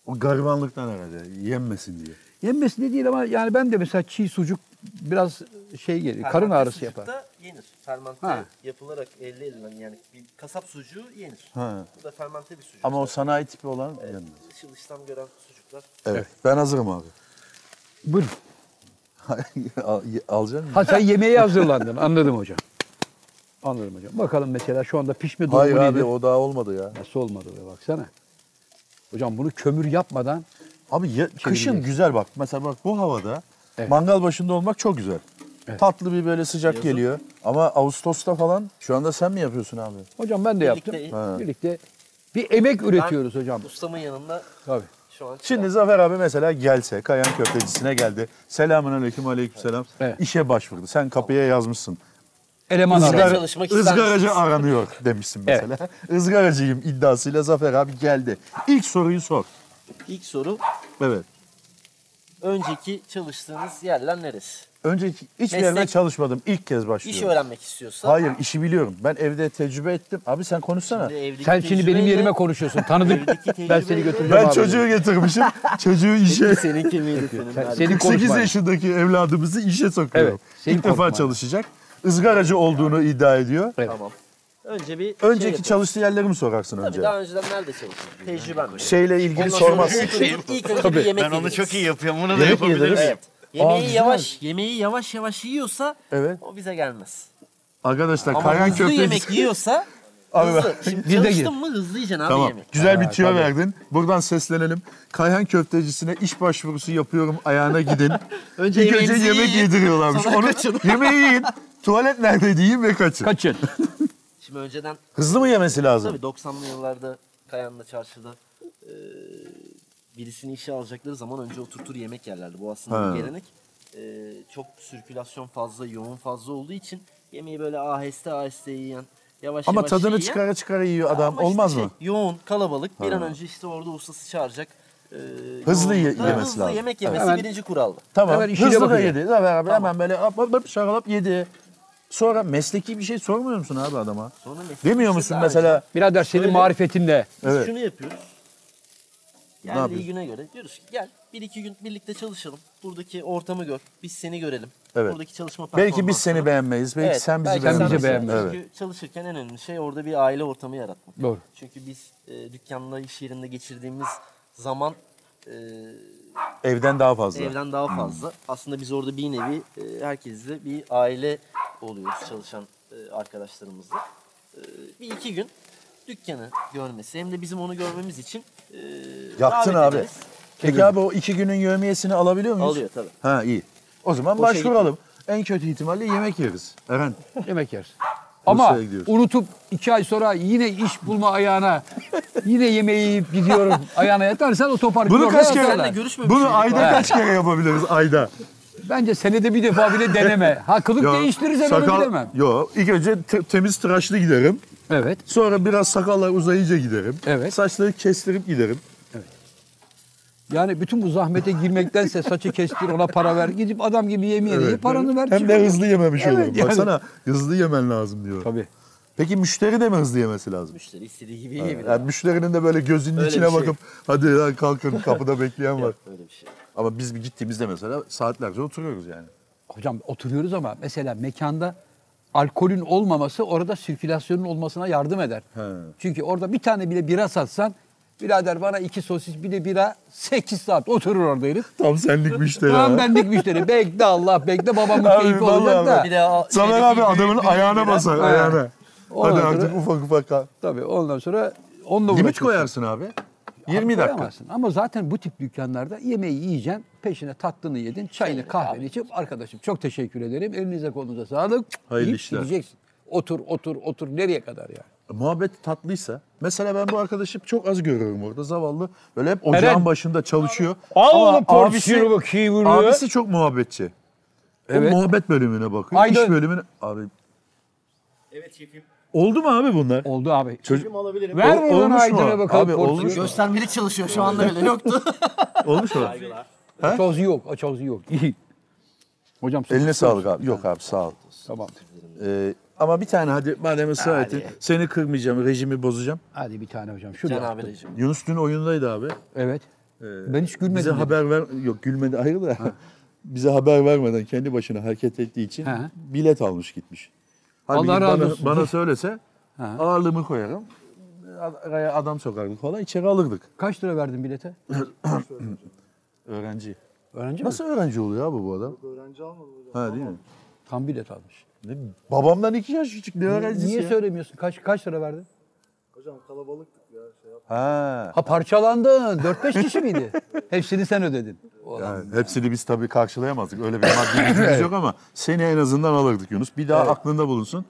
Speaker 4: O garibanlıktan herhalde yenmesin diye.
Speaker 16: Yenmesi de değil ama yani ben de mesela çiğ sucuk biraz şey geliyor. Karın
Speaker 5: Fermante
Speaker 16: ağrısı
Speaker 5: sucuk
Speaker 16: yapar.
Speaker 5: da yenir. Fermante
Speaker 16: Ha.
Speaker 5: yapılarak elde edilen yani bir kasap sucuğu yenir.
Speaker 4: Ha.
Speaker 5: Bu da fermante bir sucuk.
Speaker 4: Ama o sanayi tipi olan yenmez.
Speaker 5: Işıl işlem gören sucuklar.
Speaker 4: Evet. Ben hazırım abi.
Speaker 16: Buyurun.
Speaker 4: Al, alacak mısın?
Speaker 16: Ha sen yemeğe hazırlandın. Anladım hocam. Anladım hocam. Bakalım mesela şu anda pişme durumu
Speaker 4: Hayır abi
Speaker 16: nedir?
Speaker 4: o daha olmadı ya.
Speaker 16: Nasıl olmadı be baksana. Hocam bunu kömür yapmadan
Speaker 4: Abi ya- kışın
Speaker 16: biliyorsun.
Speaker 4: güzel bak. Mesela bak bu havada
Speaker 16: Evet.
Speaker 4: mangal başında olmak çok güzel.
Speaker 16: Evet.
Speaker 4: Tatlı bir böyle sıcak geliyor. Ama Ağustos'ta falan şu anda sen mi yapıyorsun abi?
Speaker 16: hocam ben de yaptım.
Speaker 5: Birlikte-
Speaker 4: Ha.
Speaker 16: Birlikte bir emek üretiyoruz hocam.
Speaker 5: Ustamın yanında
Speaker 16: Tabii.
Speaker 5: şu an
Speaker 4: Şimdi Zafer abi mesela gelse Kayan Köftecisi'ne geldi. Selamun aleyküm aleyküm selam.
Speaker 16: Evet.
Speaker 4: İşe başvurdu. Sen kapıya yazmışsın.
Speaker 16: Eleman
Speaker 4: Izgar-
Speaker 16: arar.
Speaker 5: çalışmak ister
Speaker 4: ızgaracı
Speaker 5: misiniz?
Speaker 4: aranıyor demişsin mesela. Izgaracıyım iddiasıyla Zafer abi geldi. İlk soruyu sor.
Speaker 5: ilk soru
Speaker 4: Evet.
Speaker 5: önceki çalıştığınız yerler neresi?
Speaker 4: Önce hiçbir yerde
Speaker 5: Meslek-
Speaker 4: çalışmadım. İlk kez başlıyorum.
Speaker 5: İş öğrenmek istiyorsa.
Speaker 4: Hayır işi biliyorum. Ben evde tecrübe ettim. Abi sen konuşsana.
Speaker 5: evdeki
Speaker 16: Sen şimdi benim
Speaker 5: tecrübeyle-
Speaker 16: yerime konuşuyorsun. Tanıdık.
Speaker 5: Evdeki
Speaker 16: ben
Speaker 5: tecrübeyle-
Speaker 16: seni götüreceğim
Speaker 4: Ben
Speaker 16: abi.
Speaker 4: çocuğu getirmişim. çocuğu işe.
Speaker 5: Senin kimliğini senin.
Speaker 16: Sen-
Speaker 5: nerede?
Speaker 16: Senin
Speaker 4: 8
Speaker 16: konuşman.
Speaker 4: yaşındaki evladımızı işe sokuyorum.
Speaker 16: Evet, senin
Speaker 4: İlk defa
Speaker 16: korkman.
Speaker 4: çalışacak. Izgaracı olduğunu iddia ediyor.
Speaker 5: Tamam. Önce bir şey
Speaker 4: Önceki
Speaker 5: yapın.
Speaker 4: çalıştığı yerleri mi sorarsın önce?
Speaker 5: Tabii daha önceden nerede çalıştın? Tecrüben mi?
Speaker 4: Şeyle ilgili
Speaker 5: Ondan
Speaker 4: sormazsın.
Speaker 5: sonra ilk- ilk önce bir yemek yediniz.
Speaker 19: yapıyorum. Bunu
Speaker 4: Yemek yediririz.
Speaker 5: Yemeği
Speaker 4: güzel.
Speaker 5: yavaş, yemeği yavaş yavaş yiyorsa
Speaker 4: Evet.
Speaker 5: o bize gelmez.
Speaker 4: Arkadaşlar
Speaker 5: Ama
Speaker 4: kayan
Speaker 5: hızlı
Speaker 4: köftesi.
Speaker 5: yemek yiyorsa
Speaker 4: Abi
Speaker 5: hızlı.
Speaker 4: bak,
Speaker 5: Şimdi
Speaker 16: bir de gir.
Speaker 5: çalıştın mı hızlı yiyeceksin abi
Speaker 4: Tamam.
Speaker 5: yemek.
Speaker 4: Güzel bir tüyo verdin. Buradan seslenelim. Kayhan köftecisine iş başvurusu yapıyorum ayağına gidin.
Speaker 5: Önce
Speaker 4: İlk önce
Speaker 5: yemeğinizi
Speaker 4: yemek
Speaker 5: yiyin,
Speaker 4: yediriyorlarmış.
Speaker 5: sonra
Speaker 4: Onu
Speaker 5: kaçın.
Speaker 4: yemeği yiyin. Tuvalet neredeydi yiyin ve kaçın.
Speaker 16: Kaçın.
Speaker 5: Şimdi önceden
Speaker 4: Hızlı mı yemesi lazım?
Speaker 5: tabii 90'lı yıllarda Kayan'la çarşıda e, birisini işe alacakları zaman önce oturtur yemek yerlerdi. Bu aslında
Speaker 4: Ha.
Speaker 5: bir gelenek. E, çok sirkülasyon fazla, yoğun fazla olduğu için yemeği böyle aheste aheste yiyen, yavaş
Speaker 4: Ama
Speaker 5: yavaş
Speaker 4: tadını
Speaker 5: yiyen-
Speaker 4: çıkara çıkara yiyor adam.
Speaker 5: Ama işte
Speaker 4: Olmaz
Speaker 5: şey,
Speaker 4: mı?
Speaker 5: yoğun, kalabalık. Bir an önce işte orada ustası çağıracak.
Speaker 14: Hızlı ye-
Speaker 5: yoğunlukta
Speaker 14: yemesi
Speaker 5: hızlı
Speaker 14: lazım.
Speaker 5: yemek yemesi
Speaker 14: Evet.
Speaker 5: birinci kuraldı.
Speaker 14: Tamam.
Speaker 5: Hemen işine
Speaker 14: Hızlı da
Speaker 5: bakıyor.
Speaker 14: yedi. Değil mi? Beraber Hemen böyle hop hop hop şaralap yedi. Sonra mesleki bir şey sormuyor musun abi adama?
Speaker 5: mesleki
Speaker 14: Demiyor
Speaker 5: bir
Speaker 14: musun
Speaker 5: şey
Speaker 14: mesela?
Speaker 16: Birader senin marifetin ne?
Speaker 5: Biz
Speaker 14: Evet.
Speaker 5: şunu yapıyoruz. Geldiği
Speaker 14: yapıyorsun?
Speaker 5: güne göre diyoruz ki gel bir iki gün birlikte çalışalım. Buradaki ortamı gör. Biz seni görelim.
Speaker 14: Evet.
Speaker 5: Buradaki çalışma
Speaker 14: Belki biz
Speaker 5: performansını-
Speaker 14: seni beğenmeyiz. Belki
Speaker 5: Evet,
Speaker 14: sen bizi
Speaker 5: belki
Speaker 14: beğenmezsin.
Speaker 5: bizi
Speaker 14: Evet.
Speaker 5: Çünkü çalışırken en önemli şey orada bir aile ortamı yaratmak.
Speaker 14: Doğru.
Speaker 5: Çünkü biz e, dükkanda, iş yerinde geçirdiğimiz zaman e,
Speaker 14: Evden daha fazla.
Speaker 5: evden daha fazla. Aslında biz orada bir nevi e, herkesle bir aile oluyoruz çalışan e, arkadaşlarımızla. E, bir iki gün dükkanı görmesi hem de bizim onu görmemiz için e,
Speaker 14: Yaptın
Speaker 5: davet
Speaker 14: abi.
Speaker 5: ederiz.
Speaker 14: Peki abi o iki günün yevmiyesini alabiliyor muyuz?
Speaker 5: Alıyor tabii.
Speaker 14: Ha iyi. O zaman
Speaker 16: Boşa
Speaker 14: başvuralım. En kötü ihtimalle yemek yeriz. Eren.
Speaker 16: Yemek yeriz. Ama
Speaker 14: Bursa'ya gidiyoruz.
Speaker 16: unutup iki ay sonra yine iş bulma ayağına, yine yemeği yiyip gidiyorum ayağına yatarsan o topar.
Speaker 14: Bunu kaç kere? Bunu ayda kaç kere yapabiliriz ayda?
Speaker 16: Bence senede bir defa bile deneme. Ha kılık
Speaker 14: Ya,
Speaker 16: değiştirirsen onu bilemem.
Speaker 14: Yo, ilk önce te- temiz tıraşlı giderim.
Speaker 16: Evet.
Speaker 14: Sonra biraz sakallar uzayınca giderim.
Speaker 16: Evet.
Speaker 14: Saçları kestirip giderim.
Speaker 16: Yani bütün bu zahmete girmektense saçı kestir ona para ver. Gidip adam gibi yemeğe
Speaker 14: Evet.
Speaker 16: yiyip paranı ver.
Speaker 14: Hem
Speaker 16: çıkıyor.
Speaker 14: de hızlı yememiş
Speaker 16: Evet,
Speaker 14: oluyorum.
Speaker 16: yani.
Speaker 14: Baksana hızlı yemen lazım diyor.
Speaker 16: Tabii.
Speaker 14: Peki müşteri de mi hızlı yemesi lazım?
Speaker 5: Müşteri istediği gibi
Speaker 14: Ha,
Speaker 5: yiyebilir.
Speaker 14: yani müşterinin de böyle gözünün
Speaker 5: Öyle
Speaker 14: içine
Speaker 5: bir şey.
Speaker 14: bakıp hadi lan kalkın kapıda bekleyen var.
Speaker 5: Yok, öyle bir şey.
Speaker 14: Ama biz bir gittiğimizde mesela saatlerce oturuyoruz yani.
Speaker 16: Hocam oturuyoruz ama mesela mekanda alkolün olmaması orada sirkülasyonun olmasına yardım eder. Çünkü orada bir tane bile bira satsan birader bana iki sosis bir de bira 8 saat oturur orada herif.
Speaker 14: Tam senlik müşteri.
Speaker 16: Tam
Speaker 14: ha.
Speaker 16: benlik müşteri. Bekle Allah bekle babamın
Speaker 14: Abi,
Speaker 16: keyfi
Speaker 14: vallahi
Speaker 16: olacak da.
Speaker 14: bak. Bir de o Zafer şeydeki abi adamın büyük- ayağına büyük- basar,
Speaker 16: Ha.
Speaker 14: ayağına.
Speaker 16: Ondan
Speaker 14: Hadi
Speaker 16: sonra-
Speaker 14: artık ufak ufak kal.
Speaker 16: Tabii ondan sonra onunla
Speaker 14: Limit
Speaker 16: uğraşıyorsun.
Speaker 14: koyarsın abi. 20 dakika.
Speaker 16: Koyamazsın. Ama zaten bu tip dükkanlarda yemeği yiyeceksin, peşine tatlını
Speaker 14: Şey,
Speaker 16: yedin, çayını kahveni içip arkadaşım çok teşekkür ederim. Elinize kolunuza sağlık.
Speaker 14: Hayırlı
Speaker 16: Deyip
Speaker 14: işler.
Speaker 16: Gideceksin. Otur, otur, otur. Nereye kadar yani?
Speaker 14: Muhabbet tatlıysa. Mesela ben bu arkadaşı çok az görüyorum orada zavallı. Böyle hep ocağın
Speaker 16: Eren.
Speaker 14: başında çalışıyor.
Speaker 16: Al
Speaker 14: Ama
Speaker 16: oğlum porsiyonu bakayım bunu.
Speaker 14: Abisi çok muhabbetçi.
Speaker 16: Evet.
Speaker 14: O muhabbet bölümüne bakıyor.
Speaker 16: Aydın.
Speaker 14: İş bölümüne. Abi
Speaker 1: Evet şefim.
Speaker 14: oldu mu abi bunlar?
Speaker 16: Oldu abi.
Speaker 1: Şefim alabilirim.
Speaker 16: Ver
Speaker 14: Ol-
Speaker 16: buradan
Speaker 14: olmuş mu?
Speaker 16: Aydın'a bakalım.
Speaker 14: Abi
Speaker 16: porsiyon.
Speaker 14: olmuş mu?
Speaker 5: Göstermelik çalışıyor şu anda öyle yoktu.
Speaker 14: Olmuş mu? He?
Speaker 16: Açoz yok, açoz yok. İyi. Hocam siz-
Speaker 14: Eline sağlık abi. Yok abi sağ ol.
Speaker 16: Tamam.
Speaker 14: Ee, ama bir tane hadi madem ısrar ettin. Seni kırmayacağım, rejimi bozacağım.
Speaker 16: Hadi bir tane hocam. Şurada.
Speaker 5: Can abi rejim.
Speaker 14: Yunus dün oyundaydı abi.
Speaker 16: Evet.
Speaker 14: Ee,
Speaker 16: Ben hiç gülmedim.
Speaker 14: Bize
Speaker 16: dedi.
Speaker 14: haber ver... Yok gülmedi hayır da. bize haber vermeden kendi başına hareket ettiği için
Speaker 16: Ha.
Speaker 14: bilet almış gitmiş. Halbuki
Speaker 16: Allah razı
Speaker 14: bana,
Speaker 16: olsun.
Speaker 14: Bana söylese ağırlığımı koyarım. Araya adam sokardık falan içeri alırdık.
Speaker 16: Kaç lira verdin bilete?
Speaker 14: Öğrenci.
Speaker 16: Öğrenci
Speaker 14: Nasıl
Speaker 16: mi?
Speaker 14: öğrenci oluyor abi bu adam? Ha değil mi?
Speaker 16: Tam bilet almış.
Speaker 14: Ne, babamdan iki yaş küçük ne öğrencisi
Speaker 16: Niye
Speaker 14: ya?
Speaker 16: söylemiyorsun? Kaç kaç lira verdin?
Speaker 14: Ha.
Speaker 16: Ha parçalandın. 4-5 kişi miydi? Hepsini sen ödedin.
Speaker 14: Yani hepsini biz tabii karşılayamazdık. Öyle bir maddi gücümüz yok ama seni en azından alırdık Yunus. Bir daha aklında bulunsun.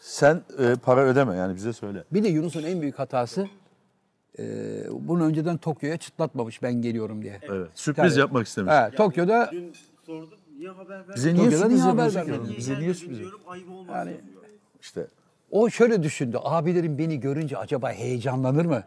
Speaker 14: Sen e, para ödeme yani bize söyle.
Speaker 16: Bir de Yunus'un en büyük hatası e, bunu önceden Tokyo'ya çıtlatmamış ben geliyorum diye.
Speaker 14: Evet. Sürpriz
Speaker 16: Yani-
Speaker 14: yapmak istemiş.
Speaker 16: Ha, Tokyo'da
Speaker 14: Bize niye
Speaker 16: Tokyo'da
Speaker 14: sürpriz
Speaker 16: niye haber
Speaker 14: yapıyorsun?
Speaker 16: vermedin?
Speaker 14: ki? Bize niye sürpriz yapıyorsun?
Speaker 16: yani
Speaker 14: İşte
Speaker 16: o şöyle düşündü. Abilerim beni görünce acaba heyecanlanır mı?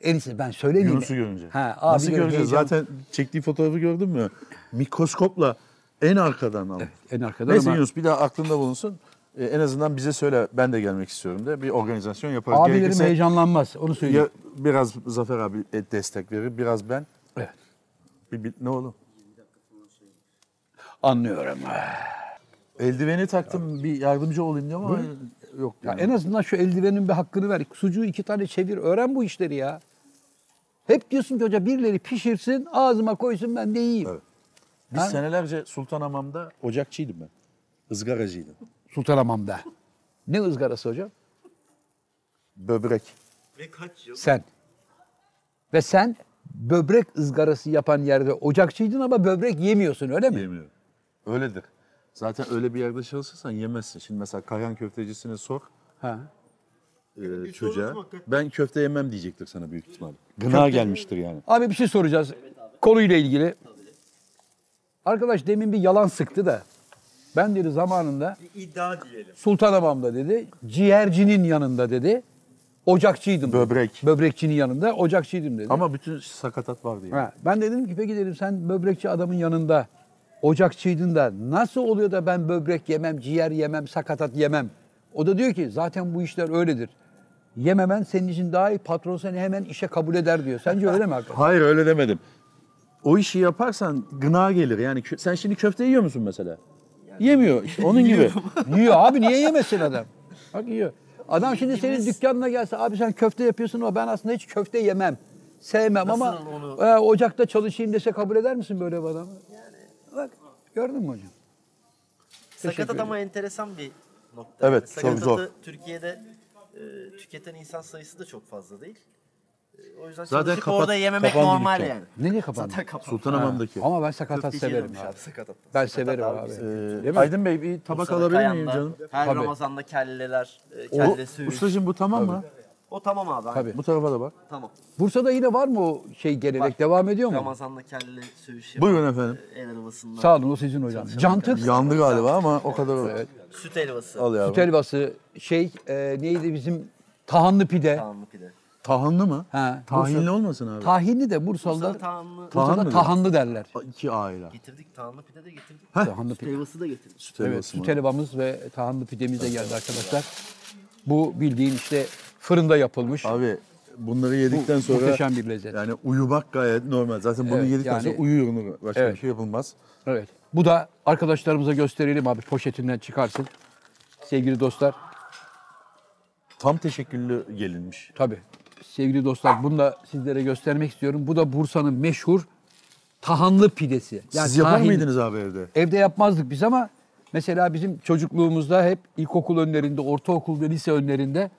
Speaker 16: En iyisi ben söylemeyeyim.
Speaker 14: Yunus'u görünce.
Speaker 16: Ha,
Speaker 14: Nasıl
Speaker 16: abilerim
Speaker 14: göreceğiz?
Speaker 16: heyecan-
Speaker 14: Zaten çektiği fotoğrafı gördün mü? Mikroskopla en arkadan al.
Speaker 16: en arkada
Speaker 14: Neyse
Speaker 16: ama
Speaker 14: Yunus bir daha aklında bulunsun. E, en azından bize söyle ben de gelmek istiyorum de bir organizasyon yaparız.
Speaker 16: abilerim
Speaker 14: Gerekirse-
Speaker 16: heyecanlanmaz. Onu
Speaker 14: Ya
Speaker 16: söyleyeyim.
Speaker 14: biraz Zafer abi et- destek verir, biraz ben.
Speaker 16: Evet.
Speaker 14: Bir, bir- ne oğlum?
Speaker 16: Anlıyorum.
Speaker 14: Eldiveni taktım bir yardımcı olayım diyor ama yok.
Speaker 16: Ya
Speaker 14: yani.
Speaker 16: en azından şu eldivenin bir hakkını ver. Sucuğu iki tane çevir. Öğren bu işleri ya. Hep diyorsun ki hoca birileri pişirsin, ağzıma koysun ben de yiyeyim.
Speaker 14: Evet. Biz
Speaker 16: Ha?
Speaker 14: senelerce Sultanamam'da ocakçıydım ben. Izgaracıydım.
Speaker 16: Sultanamam'da. Ne ızgarası hocam?
Speaker 14: Böbrek.
Speaker 1: Ve kaç yıl?
Speaker 16: Sen. Ve sen böbrek ızgarası yapan yerde ocakçıydın ama böbrek yemiyorsun öyle mi?
Speaker 14: Yemiyorum. Öyledir. Zaten öyle bir yerde çalışırsan yemezsin. Şimdi mesela Kayan köftecisine sor
Speaker 16: Ha.
Speaker 14: e, çocuğa. Ben köfte yemem diyecektir sana büyük ihtimalle. Gına gelmiştir yani.
Speaker 16: Abi bir şey soracağız. Konuyla ilgili. Arkadaş demin bir yalan sıktı da. Ben dedi zamanında
Speaker 1: Bir iddia diyelim.
Speaker 16: Sultanamam'da dedi. Ciğercinin yanında dedi. Ocakçıydım.
Speaker 2: Böbrek.
Speaker 16: Böbrekçinin yanında ocakçıydım dedi.
Speaker 2: Ama bütün sakatat vardı yani.
Speaker 16: Ha, ben de dedim ki peki dedim sen böbrekçi adamın yanında ocakçıydın da nasıl oluyor da ben böbrek yemem, ciğer yemem, sakatat yemem. O da diyor ki zaten bu işler öyledir. Yememen senin için daha iyi patron seni hemen işe kabul eder diyor. Sence öyle mi hakikaten?
Speaker 2: Hayır öyle demedim. O işi yaparsan gına gelir. Yani kö- sen şimdi köfte yiyor musun mesela? Yemiyor. İşte onun gibi.
Speaker 16: yiyor abi niye yemesin adam? Bak yiyor. Adam şimdi senin dükkanına gelse abi sen köfte yapıyorsun ama ben aslında hiç köfte yemem. Sevmem ama
Speaker 20: onu-
Speaker 16: e, ocakta çalışayım dese kabul eder misin böyle bir adamı? Bak gördün mü hocam?
Speaker 5: Teşekkür
Speaker 14: Sakatat
Speaker 5: ederim.
Speaker 14: ama enteresan bir nokta.
Speaker 2: Evet,
Speaker 14: Yani sakatatı
Speaker 2: çok zor.
Speaker 14: Türkiye'de e, tüketen insan sayısı da çok fazla değil. E, o yüzden
Speaker 2: Zaten
Speaker 14: Zaten
Speaker 2: kapat-
Speaker 14: orada yememek
Speaker 2: kapandı
Speaker 14: normal
Speaker 2: dükkan.
Speaker 14: yani.
Speaker 16: Nereye kapandı?
Speaker 14: Zaten kapandı.
Speaker 2: Sultanhamam'daki.
Speaker 16: Ha, Ama ben sakatat
Speaker 14: 42
Speaker 16: severim
Speaker 14: yılmış
Speaker 16: abi.
Speaker 14: abi, sakatat.
Speaker 16: Ben
Speaker 14: Sakatat
Speaker 16: severim
Speaker 14: abi
Speaker 16: abi.
Speaker 14: bizim.
Speaker 16: Değil
Speaker 2: Ee,
Speaker 16: mi?
Speaker 2: Aydın Bey bir tabak
Speaker 14: Bursa'da
Speaker 2: alabilir miyim
Speaker 14: Kayan'da
Speaker 2: canım?
Speaker 14: Her
Speaker 16: Tabii.
Speaker 14: Ramazan'da kelleler, e,
Speaker 16: O-
Speaker 14: kelle suyu.
Speaker 2: Ustacığım bu tamam mı?
Speaker 14: O tamam abi. aynen.
Speaker 16: Tabii.
Speaker 2: Bu tarafa da bak.
Speaker 14: Tamam.
Speaker 16: Bursa'da yine var mı o şey gelenek? Devam ediyor mu?
Speaker 14: Ramazan'da kelle söğüş
Speaker 2: Buyurun efendim.
Speaker 5: E,
Speaker 14: El helvasından.
Speaker 16: Sağ olun o sizin hocam. Cantık.
Speaker 2: Yandı galiba ama o kadar olur.
Speaker 14: Süt helvası.
Speaker 2: Al yavrum.
Speaker 16: Süt helvası şey e, neydi bizim tahanlı pide.
Speaker 14: Tahanlı pide.
Speaker 2: Tahanlı mı?
Speaker 16: Ha,
Speaker 2: Tahinli
Speaker 16: Bursa-
Speaker 2: olmasın abi?
Speaker 16: Tahinli de Bursalılar
Speaker 14: Bursa'da tahanlı-
Speaker 16: Bursa'da
Speaker 2: Tahan mı?
Speaker 16: tahanlı derler.
Speaker 2: İki aile.
Speaker 14: Getirdik tahanlı pide de getirdik.
Speaker 2: Heh.
Speaker 16: Tahanlı
Speaker 14: Süt
Speaker 16: pide.
Speaker 14: helvası da getirdik.
Speaker 2: Süt
Speaker 16: Evet,
Speaker 2: helvası
Speaker 16: süt
Speaker 2: mı?
Speaker 16: helvamız ve tahanlı pidemiz de geldi arkadaşlar. Bu bildiğin işte fırında yapılmış.
Speaker 2: Abi bunları yedikten
Speaker 16: Bu
Speaker 2: sonra
Speaker 16: muhteşem bir lezzet.
Speaker 2: yani uyumak gayet normal. Zaten bunu
Speaker 16: Evet,
Speaker 2: yedikten
Speaker 16: yani-
Speaker 2: sonra uyuyor. Başka
Speaker 16: Evet.
Speaker 2: bir şey yapılmaz.
Speaker 16: Evet. Bu da arkadaşlarımıza gösterelim abi poşetinden çıkarsın. Sevgili dostlar.
Speaker 2: Tam teşekküllü gelinmiş.
Speaker 16: Tabii. Sevgili dostlar bunu da sizlere göstermek istiyorum. Bu da Bursa'nın meşhur tahanlı pidesi.
Speaker 2: Siz yapar
Speaker 16: tahin-
Speaker 2: mıydınız abi evde?
Speaker 16: Evde yapmazdık biz ama mesela bizim çocukluğumuzda hep ilkokul önlerinde, ortaokul ve lise önlerinde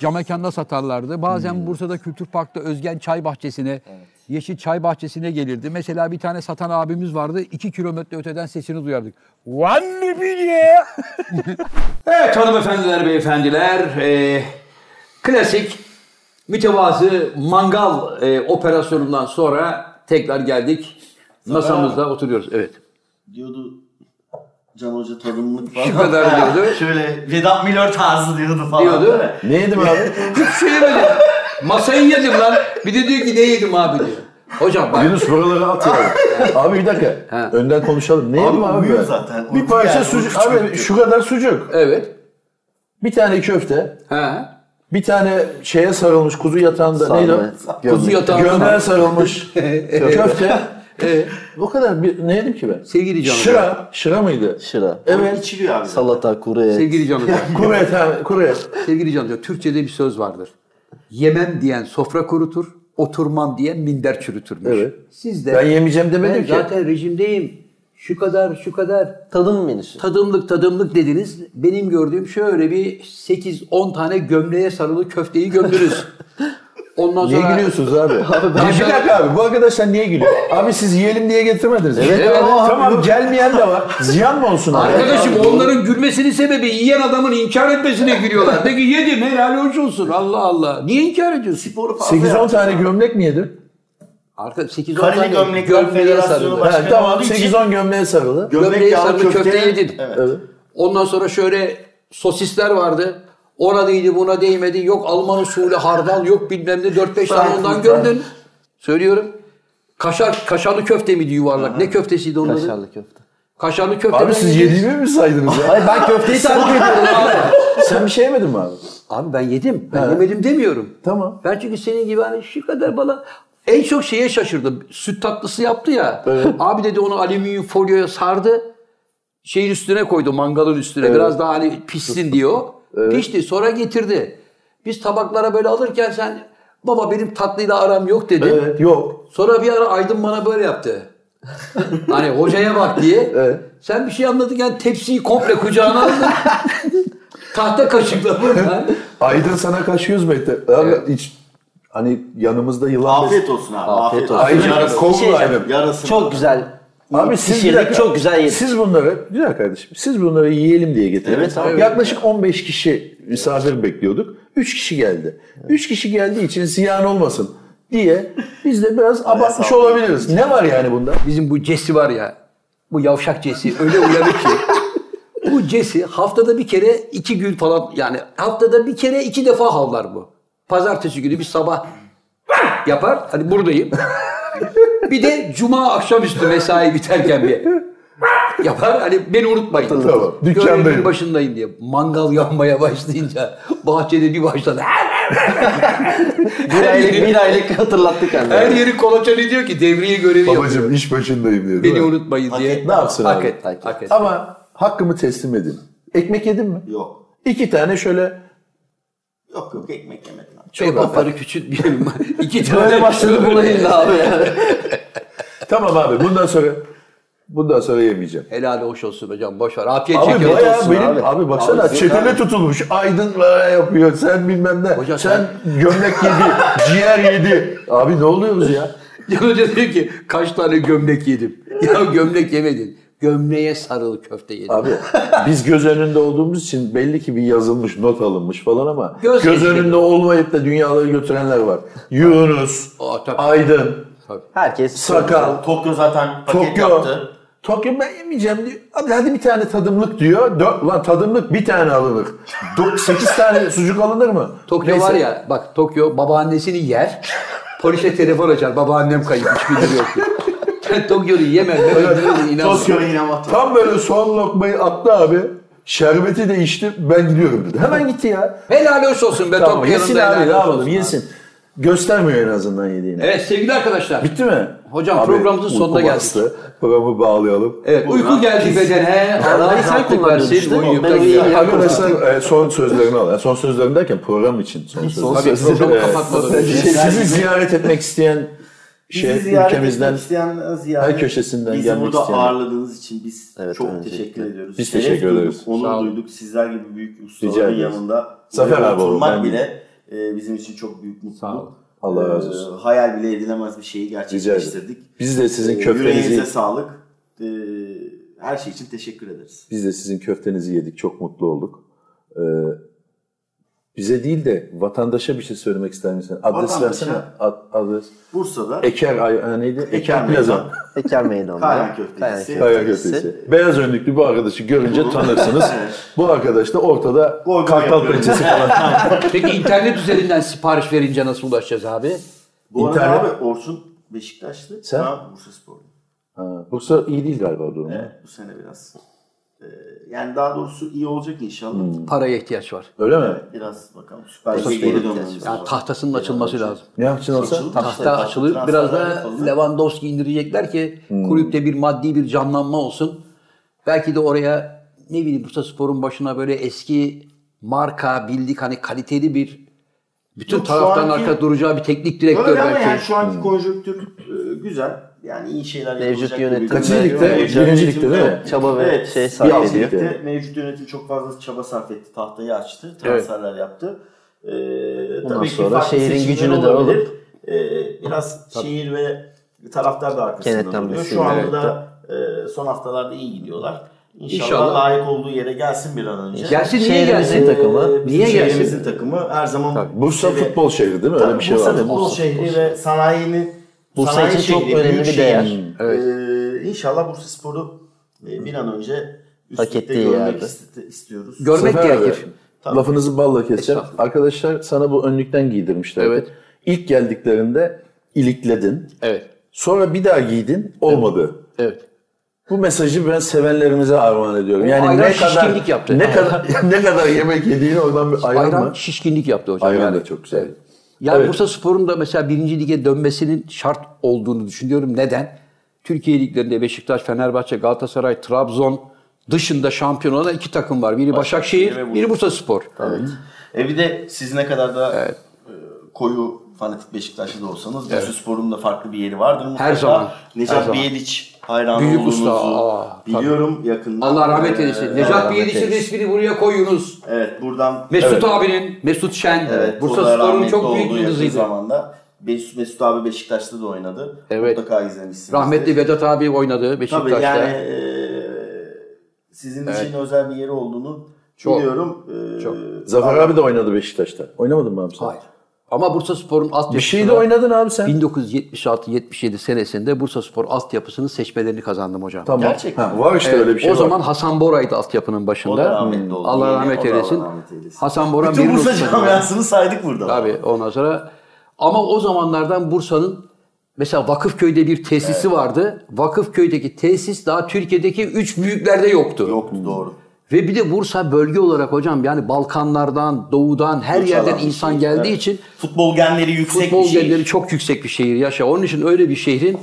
Speaker 16: camekanda satarlardı. Bazen
Speaker 2: Hmm.
Speaker 16: Bursa'da Kültür Park'ta Özgen Çay Bahçesi'ne, Yeşil Çay Bahçesi'ne gelirdi. Mesela bir tane satan abimiz vardı. iki kilometre öteden sesini duyardık. One bilye!
Speaker 1: Evet hanımefendiler, beyefendiler. e, klasik mütevazı mangal e, operasyonundan sonra tekrar geldik. Masamızda oturuyoruz. Evet.
Speaker 6: Diyordu Can Hoca tadımlık
Speaker 1: falan. Şu kadar diyordu.
Speaker 6: Şöyle Vedat Milor tarzı diyordu
Speaker 1: falan. Diyordu.
Speaker 4: Ne yedim abi?
Speaker 1: Hiç şey yemedi. Masayı yedim lan. Bir de diyor ki ne yedim abi diyor. Hocam bak.
Speaker 4: Yunus buraları at ya. abi bir dakika. Önden konuşalım. Ne yedim abi?
Speaker 6: uyuyor
Speaker 4: ben?
Speaker 6: zaten.
Speaker 4: Bir
Speaker 6: Uyku
Speaker 4: parça
Speaker 6: yani,
Speaker 4: sucuk.
Speaker 6: uyku
Speaker 4: Abi şu kadar sucuk.
Speaker 1: Evet.
Speaker 4: Bir tane köfte.
Speaker 1: He.
Speaker 4: Bir tane şeye sarılmış kuzu yatağında.
Speaker 5: Sarma,
Speaker 4: Neydi o?
Speaker 5: gömlek.
Speaker 1: Kuzu yatağı.
Speaker 4: Gömleğe sarılmış köfte.
Speaker 1: Evet.
Speaker 4: Bu kadar bir, ne yedim ki ben?
Speaker 1: Sevgili canım.
Speaker 4: Şıra. Şıra mıydı?
Speaker 5: Şıra,
Speaker 4: Evet.
Speaker 6: İçiliyor abi.
Speaker 5: salata, kuru et.
Speaker 1: Sevgili canım.
Speaker 4: Kuru et abi. Kuru et.
Speaker 1: Sevgili Can Hoca, Türkçe'de bir söz vardır. Yemem diyen sofra kurutur, oturmam diyen minder çürütürmüş.
Speaker 4: Evet.
Speaker 1: Siz de
Speaker 4: Ben yemeyeceğim demedim
Speaker 1: ben
Speaker 4: ki.
Speaker 1: zaten rejimdeyim. Şu kadar, şu kadar
Speaker 5: Tadım menüsü.
Speaker 1: tadımlık tadımlık dediniz. Benim gördüğüm şöyle bir 8-10 tane gömleğe sarılı köfteyi gömdünüz. Ondan
Speaker 4: Niye
Speaker 1: sonra...
Speaker 4: gülüyorsunuz abi?
Speaker 1: ben-
Speaker 4: bir dakika abi bu arkadaşlar niye gülüyor? Abi siz yiyelim diye getirmediniz. Evet,
Speaker 1: evet.
Speaker 4: tamam gelmeyen de var. Ziyan mı olsun abi?
Speaker 1: Arkadaşım onların gülmesinin sebebi yiyen adamın inkar etmesine gülüyorlar. Peki yedim helal hoş olsun Allah Allah. Niye inkar ediyorsun?
Speaker 6: Sporu fazla
Speaker 4: 8-10 tane gömlek mi yedim?
Speaker 1: Arka 8-10
Speaker 6: Kareli
Speaker 1: tane
Speaker 6: Gömlekler
Speaker 1: gömleğe
Speaker 6: Federasyonu
Speaker 1: sarılı.
Speaker 6: Başkanı
Speaker 4: He, tamam
Speaker 6: olduğu için-
Speaker 4: 8-10 gömleğe sarılı.
Speaker 1: Gömleğe sarılı köfte, yedin.
Speaker 4: Evet.
Speaker 1: Ondan sonra şöyle sosisler vardı. Ona değdi buna değmedi. Yok Alman usulü hardal yok bilmem ne 4-5 tane ondan gömdün. Söylüyorum. Kaşar, kaşarlı köfte miydi yuvarlak? Ne köftesiydi onun adı?
Speaker 5: Kaşarlı köfte.
Speaker 1: Kaşarlı köfte.
Speaker 4: Abi siz yediğimi mi saydınız ya?
Speaker 1: Hayır ben köfteyi tarif ediyorum abi.
Speaker 4: Sen bir şey yemedin mi abi?
Speaker 1: Abi ben yedim. Ben yemedim demiyorum.
Speaker 4: Tamam.
Speaker 1: Ben çünkü senin gibi hani şu kadar bana en çok şeye şaşırdım. Süt tatlısı yaptı ya. Abi dedi onu alüminyum folyoya sardı. Şeyin üstüne koydu mangalın üstüne. Biraz daha hani pişsin diyor. Pişti sonra getirdi. Biz tabaklara böyle alırken sen baba benim tatlıyla aram yok dedin.
Speaker 4: Evet yok.
Speaker 1: Sonra bir ara Aydın bana böyle yaptı. hani hocaya bak diye.
Speaker 4: Evet.
Speaker 1: Sen bir şey anlatırken tepsiyi komple kucağına aldın. Tahta kaşıkla böyle.
Speaker 4: Aydın sana kaç yüz metre. Abi hiç hani yanımızda yılan
Speaker 6: Afiyet olsun abi. Afiyet, olsun.
Speaker 4: Aydın
Speaker 6: Yarası-
Speaker 4: yarası- kovul
Speaker 6: Bir şey
Speaker 4: Aydın.
Speaker 6: yap, Yarası.
Speaker 5: Çok güzel.
Speaker 4: Abi siz bir
Speaker 5: Pişirdik,
Speaker 4: dakika,
Speaker 5: çok güzel yedik.
Speaker 4: Siz bunları, bir dakika kardeşim, siz bunları yiyelim diye getirdiniz.
Speaker 6: Evet abi.
Speaker 4: Yaklaşık 15 kişi misafir bekliyorduk. 3 kişi geldi. 3 kişi geldiği için ziyan olmasın diye biz de biraz abartmış
Speaker 6: sağ ol.
Speaker 4: olabiliriz. Ne var yani bunda?
Speaker 1: Bizim bu Cesi var ya. Bu yavşak Cesi öyle uyanık ki. bu Cesi haftada bir kere iki gün falan yani haftada bir kere iki defa havlar bu. Pazartesi günü bir sabah yapar. Hani buradayım. bir de cuma akşamüstü mesai biterken bir yapar. Hani beni unutmayın.
Speaker 4: Tamam, dükkandayım.
Speaker 1: Görevin başındayım diye. Mangal yanmaya başlayınca bahçede bir başladı.
Speaker 5: Bir aylık, bir aylık hatırlattık yani.
Speaker 1: Her yeri kolaçan diyor ki devriye görevi yapıyor.
Speaker 4: Babacım iş başındayım diyor.
Speaker 1: Beni unutmayın diye.
Speaker 4: Ne yapsın
Speaker 1: Hak
Speaker 4: abi?
Speaker 1: et, hak et.
Speaker 4: Ama hakkımı teslim edin. Ekmek yedin mi? Yok. İki tane şöyle
Speaker 6: Yok yok ekmek yemedim.
Speaker 4: Çok
Speaker 1: Peygamber'i küçültmeyelim. İki tane.
Speaker 4: Böyle başladı
Speaker 1: bulayım da abi
Speaker 4: yani. tamam abi bundan sonra bundan sonra yemeyeceğim.
Speaker 1: Helal hoş olsun hocam. Boş ver. Afiyet
Speaker 4: Abi
Speaker 1: şeker
Speaker 4: bayağı
Speaker 1: olsun
Speaker 4: benim abi, baksana
Speaker 1: Abi,
Speaker 4: çetele
Speaker 1: abi.
Speaker 4: tutulmuş. Aydın böyle yapıyor. Sen bilmem ne. sen, gömlek yedi, ciğer yedi. Abi ne oluyoruz ya?
Speaker 1: Ya hoca diyor ki kaç tane gömlek yedim. Ya gömlek yemedin. Gömleğe sarıl köfte yedin.
Speaker 4: Abi biz göz önünde olduğumuz için belli ki bir yazılmış, not alınmış falan ama
Speaker 1: Göz
Speaker 4: göz,
Speaker 1: geçirdi.
Speaker 4: önünde olmayıp da dünyaları götürenler var. Yunus, Aydın,
Speaker 5: Herkes
Speaker 4: Sakal,
Speaker 3: Tokyo zaten paket
Speaker 4: Tokyo.
Speaker 3: yaptı.
Speaker 4: Tokyo ben yemeyeceğim diyor. Abi hadi bir tane tadımlık diyor. Dört, lan tadımlık bir tane alınır. Dört, sekiz tane sucuk alınır mı?
Speaker 1: Tokyo
Speaker 4: Neyse.
Speaker 1: var ya bak Tokyo babaannesini yer. Polise telefon açar. Babaannem kayıp. Hiçbir şey yok. diyor. Ben Tokyo'yu yemem. Ben öldürürüm, inanmam.
Speaker 4: Tam böyle son lokmayı attı abi. Şerbeti de içti. Ben gidiyorum dedi. Hemen gitti ya.
Speaker 1: Helal hoş olsun be
Speaker 4: Tamam,
Speaker 1: Tokyo'nun
Speaker 4: yesin
Speaker 1: da helal
Speaker 4: abi ne
Speaker 1: hoş
Speaker 4: yapalım
Speaker 1: olsun
Speaker 4: yesin. Göstermiyor en azından yediğini.
Speaker 1: Evet sevgili arkadaşlar.
Speaker 4: Bitti mi?
Speaker 1: Hocam
Speaker 4: Abi,
Speaker 1: programımızın
Speaker 4: uyku
Speaker 1: sonuna geldik.
Speaker 4: bastı. Programı bağlayalım.
Speaker 1: Evet, uyku geldi bedene. Allah rahatlık versin. Uyuyup da güzel.
Speaker 4: Arkadaşlar e, son sözlerini al. Yani Son sözlerini derken program için son
Speaker 1: Tabii,
Speaker 4: sözlerini.
Speaker 1: programı
Speaker 4: E,
Speaker 1: kapatmadan
Speaker 4: e,
Speaker 1: önce.
Speaker 4: Sizi ziyaret etmek isteyen
Speaker 6: Bizi
Speaker 4: şey
Speaker 6: ziyaret
Speaker 4: ülkemizden
Speaker 6: etmek isteyen, ziyaret,
Speaker 4: her köşesinden
Speaker 6: bizi
Speaker 4: gelmek
Speaker 6: burada
Speaker 4: isteyen-
Speaker 6: ağırladığınız için biz çok
Speaker 4: öncelikle.
Speaker 6: teşekkür ediyoruz.
Speaker 4: Biz
Speaker 6: Şeref
Speaker 4: teşekkür
Speaker 6: duyduk,
Speaker 4: ederiz. Sağ
Speaker 6: Onur
Speaker 4: olun.
Speaker 6: duyduk. Sizler gibi büyük
Speaker 4: Rica
Speaker 6: ustaların
Speaker 4: ederiz.
Speaker 6: yanında
Speaker 4: Zafer
Speaker 6: burada
Speaker 4: abi olur,
Speaker 6: oturmak
Speaker 4: ben
Speaker 6: bile e, bizim için çok büyük mutluluk.
Speaker 4: Allah razı
Speaker 6: E,
Speaker 4: olsun.
Speaker 6: hayal bile edilemez bir şeyi
Speaker 4: Rica
Speaker 6: gerçekleştirdik.
Speaker 4: ederim. Biz de sizin
Speaker 1: Ee,
Speaker 6: E,
Speaker 4: köftenizi-
Speaker 6: Yüreğinize sağlık. E, her şey için teşekkür ederiz.
Speaker 4: Biz de sizin köftenizi yedik. Çok mutlu olduk. Ee, bize değil de vatandaşa bir şey söylemek ister misin? Adres
Speaker 6: Vatandaşa-
Speaker 4: versene. Ad, adres.
Speaker 6: Bursa'da
Speaker 4: Eker, ay, ha, neydi? Eker,
Speaker 6: Eker
Speaker 4: Plaza.
Speaker 5: Eker Meydanı.
Speaker 6: Kayan Köftecisi.
Speaker 4: Kaya köftesi. Beyaz önlüklü bu arkadaşı görünce tanırsınız. bu arkadaş da ortada kartal pençesi falan.
Speaker 1: Peki internet üzerinden sipariş verince nasıl ulaşacağız abi?
Speaker 6: Bu arada
Speaker 4: İnternet-
Speaker 6: abi Orçun Beşiktaşlı.
Speaker 4: Sen?
Speaker 6: Ben Bursa Sporlu.
Speaker 4: Ha, Bursa iyi değil galiba durumu.
Speaker 6: Evet, bu sene biraz. e, yani daha doğrusu iyi olacak inşallah.
Speaker 4: Hmm.
Speaker 1: Paraya ihtiyaç var.
Speaker 4: Öyle mi?
Speaker 6: Evet, biraz bakalım. Süper
Speaker 1: Bursa
Speaker 6: Lig'e geri
Speaker 1: Spor'a
Speaker 6: dönmemiz
Speaker 1: ihtiyaç var. Yani tahtasının açılması lazım.
Speaker 4: Ne yapacaksın olsa?
Speaker 1: Tahta, açılıyor. Biraz da Lewandowski indirecekler ki
Speaker 4: Hmm.
Speaker 1: kulüpte bir maddi bir canlanma olsun. Belki de oraya ne bileyim Bursa Spor'un başına böyle eski marka bildik hani kaliteli bir bütün
Speaker 6: Yok, şu
Speaker 1: taraftan
Speaker 6: anki-
Speaker 1: arka duracağı bir teknik direktör
Speaker 6: Öyle ama
Speaker 1: belki.
Speaker 6: yani şu anki konjonktür e, güzel. Yani iyi şeyler
Speaker 5: Hmm. Mevcut
Speaker 6: yapılacak
Speaker 5: yönetim
Speaker 6: gibi.
Speaker 5: Kaçıncı ligde?
Speaker 6: Mevcut
Speaker 5: Birinci
Speaker 6: yönetim
Speaker 5: ligde değil mi?
Speaker 6: de-
Speaker 5: Çaba ve
Speaker 6: evet,
Speaker 5: şey
Speaker 6: bir
Speaker 5: sarf
Speaker 6: alt
Speaker 5: ediyor.
Speaker 6: ligde Mevcut yönetim çok fazla çaba sarf etti. Tahtayı açtı. Transferler yaptı. Ee,
Speaker 5: Ondan
Speaker 6: tabii ki
Speaker 5: sonra
Speaker 6: farklı
Speaker 5: şehrin
Speaker 6: seçimler
Speaker 5: gücünü de
Speaker 6: olabilir.
Speaker 5: alıp-
Speaker 6: Ee, biraz şehir ve taraftar da arkasında
Speaker 5: Kenetlenmesi,
Speaker 6: duruyor. Şu anda
Speaker 5: evet.
Speaker 6: da e, son haftalarda iyi gidiyorlar. İnşallah,
Speaker 5: İnşallah.
Speaker 6: layık olduğu yere gelsin bir an önce.
Speaker 1: Gelsin, niye Şehrimizin gelsin? takımı.
Speaker 6: Ee, Bizim
Speaker 1: Niye gelsin?
Speaker 6: şehrimizin takımı her zaman
Speaker 4: Bursa
Speaker 6: seviye-
Speaker 4: futbol şehri değil mi? Öyle
Speaker 6: Tabii
Speaker 4: bir şey
Speaker 6: Bursa
Speaker 4: var.
Speaker 6: futbol şehri ve sanayinin
Speaker 5: Bursa
Speaker 6: sanayi
Speaker 5: için çok
Speaker 6: şehri,
Speaker 5: önemli
Speaker 6: büyük
Speaker 5: bir
Speaker 6: şehir.
Speaker 5: değer. Evet.
Speaker 6: Ee, inşallah Bursa Sporu e, bir an önce üst
Speaker 5: Hak
Speaker 6: ligde
Speaker 5: ettiği
Speaker 6: görmek
Speaker 5: yerde.
Speaker 6: ist- istiyoruz.
Speaker 4: Zafer abi, Lafınızı balla keseceğim. Arkadaşlar sana bu önlükten giydirmişler.
Speaker 1: Evet.
Speaker 4: İlk geldiklerinde ilikledin.
Speaker 1: Evet.
Speaker 4: Sonra bir daha giydin olmadı.
Speaker 1: Evet.
Speaker 4: Bu mesajı ben sevenlerimize armağan ediyorum.
Speaker 1: O
Speaker 4: Yani
Speaker 1: ayran
Speaker 4: ne kadar
Speaker 1: şişkinlik yaptı.
Speaker 4: ne kadar ne kadar yemek yediğini oradan bir ayran,
Speaker 1: Ayran
Speaker 4: mı?
Speaker 1: şişkinlik yaptı hocam.
Speaker 4: Ayran
Speaker 1: yani.
Speaker 4: da çok güzel.
Speaker 1: Yani
Speaker 4: Evet.
Speaker 1: Bursa Spor'un da mesela birinci lige dönmesinin şart olduğunu düşünüyorum. Neden? Türkiye liglerinde Beşiktaş, Fenerbahçe, Galatasaray, Trabzon dışında şampiyon olan iki takım var. Biri Başakşehir,
Speaker 6: Başakşehir ve
Speaker 1: biri Bursa Spor.
Speaker 6: Evet. E bir de siz ne kadar da e, koyu fanatik Beşiktaşlı da olsanız
Speaker 1: Evet.
Speaker 6: Bursa Spor'un da farklı bir yeri vardır mutlaka.
Speaker 1: Her zaman, her
Speaker 6: Necat
Speaker 1: zaman.
Speaker 6: Biyediç hayranı
Speaker 1: Büyük
Speaker 6: olduğunuzu
Speaker 1: usta, aa, tabii.
Speaker 6: biliyorum yakında.
Speaker 1: Allah rahmet eylesin.
Speaker 6: Ee,
Speaker 1: Necat
Speaker 6: Allah
Speaker 1: Biyediç'in
Speaker 6: rahmet eylesin.
Speaker 1: resmini buraya koyunuz.
Speaker 6: Evet buradan
Speaker 1: Mesut
Speaker 6: Evet.
Speaker 1: abinin, Mesut Şen,
Speaker 6: Evet,
Speaker 1: Bursa
Speaker 6: burada
Speaker 1: Spor'un
Speaker 6: rahmetli
Speaker 1: çok büyük
Speaker 6: olduğu yakın
Speaker 1: yıldızıydı.
Speaker 6: zamanda. Mesut, Mesut abi Beşiktaş'ta da oynadı.
Speaker 1: Evet.
Speaker 6: Mutlaka izlemişsiniz.
Speaker 1: Rahmetli Vedat abi oynadı Beşiktaş'ta.
Speaker 6: Tabii yani eee, sizin
Speaker 1: Evet.
Speaker 6: için özel bir yeri olduğunu
Speaker 1: Çok.
Speaker 6: biliyorum. Eee,
Speaker 4: Zafer abi de oynadı Beşiktaş'ta. Oynamadın mı abi sen? Hayır.
Speaker 1: Ama Bursa Spor'un altyapısına...
Speaker 4: Bir şeyde oynadın abi sen.
Speaker 1: 1976-77 senesinde Bursa Spor altyapısının seçmelerini kazandım hocam.
Speaker 4: Tamam. Gerçekten. Ha, var işte öyle bir şey
Speaker 1: O
Speaker 4: var.
Speaker 1: zaman Hasan Bora'ydı altyapının başında.
Speaker 4: O da rahmetli oldu.
Speaker 1: Allah
Speaker 4: Yeni,
Speaker 1: rahmet
Speaker 4: o da Allah
Speaker 1: eylesin.
Speaker 4: rahmet eylesin.
Speaker 1: Hasan Bora
Speaker 4: Bütün
Speaker 1: bir
Speaker 4: Bursa
Speaker 1: numara.
Speaker 4: camiasını saydık burada.
Speaker 1: Tabii ondan sonra. Ama o zamanlardan Bursa'nın mesela Vakıfköy'de bir tesisi vardı. Vakıfköy'deki tesis daha Türkiye'deki üç büyüklerde yoktu.
Speaker 4: Yoktu doğru.
Speaker 1: Ve bir de Bursa bölge olarak hocam yani Balkanlardan, doğudan her
Speaker 4: Göç
Speaker 1: yerden
Speaker 4: alan bir
Speaker 1: insan
Speaker 4: şehir,
Speaker 1: geldiği
Speaker 4: evet.
Speaker 1: için
Speaker 4: Futbol genleri yüksek
Speaker 1: futbol
Speaker 4: bir şey. şehir.
Speaker 1: genleri çok yüksek bir şehir yaşa. Onun için öyle bir şehrin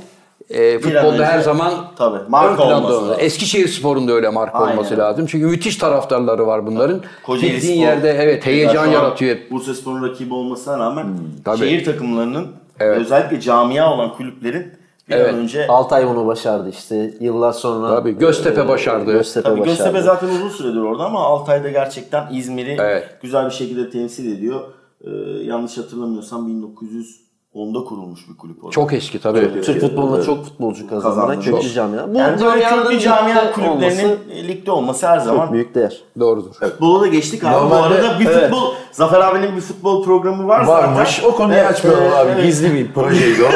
Speaker 1: e,
Speaker 4: önce-
Speaker 1: futbolda her zaman
Speaker 4: Tabii,
Speaker 1: ön
Speaker 4: marka
Speaker 1: planda
Speaker 4: olması
Speaker 1: olur.
Speaker 4: lazım.
Speaker 1: Eskişehir Spor'un da öyle marka
Speaker 4: Aynen
Speaker 1: olması
Speaker 4: öyle.
Speaker 1: lazım. Çünkü müthiş taraftarları var bunların.
Speaker 4: Kocaeli
Speaker 1: Gittiğin
Speaker 4: Spor.
Speaker 1: yerde evet heyecan
Speaker 4: Mesela şu an
Speaker 1: yaratıyor. Hmm,
Speaker 4: Bursa Spor'un rakibi olmasına rağmen
Speaker 1: tabii.
Speaker 4: şehir takımlarının özellikle camia olan kulüplerin bir
Speaker 5: Evet.
Speaker 4: an önce
Speaker 5: Altay bunu başardı işte yıllar sonra. Ee,
Speaker 1: Tabii, Göztepe başardı.
Speaker 5: Göztepe
Speaker 4: Tabii
Speaker 5: başardı.
Speaker 4: Göztepe zaten uzun süredir orada ama Altay'da gerçekten İzmir'i güzel bir şekilde temsil ediyor. Ee, yanlış hatırlamıyorsam 1910'da kurulmuş bir kulüp orada.
Speaker 1: Çok eski tabii.
Speaker 5: Türk futboluna
Speaker 4: Evet.
Speaker 5: çok futbolcu kazandı. Köklü
Speaker 4: Çok.
Speaker 5: camia. Bu
Speaker 4: yani böyle
Speaker 5: camianın
Speaker 4: köklü camia
Speaker 5: ligde
Speaker 4: kulüplerinin
Speaker 5: olması-
Speaker 4: ligde olması her zaman
Speaker 5: Çok büyük değer.
Speaker 1: Doğrudur.
Speaker 4: Futbola da geçtik abi.
Speaker 5: Normalde-
Speaker 4: Bu arada bir
Speaker 5: evet.
Speaker 4: futbol, Zafer abinin bir futbol programı var
Speaker 5: Varmış.
Speaker 4: zaten.
Speaker 5: O konuyu
Speaker 4: açmıyor
Speaker 5: açmayalım abi.
Speaker 4: Gizli bir projeydi o.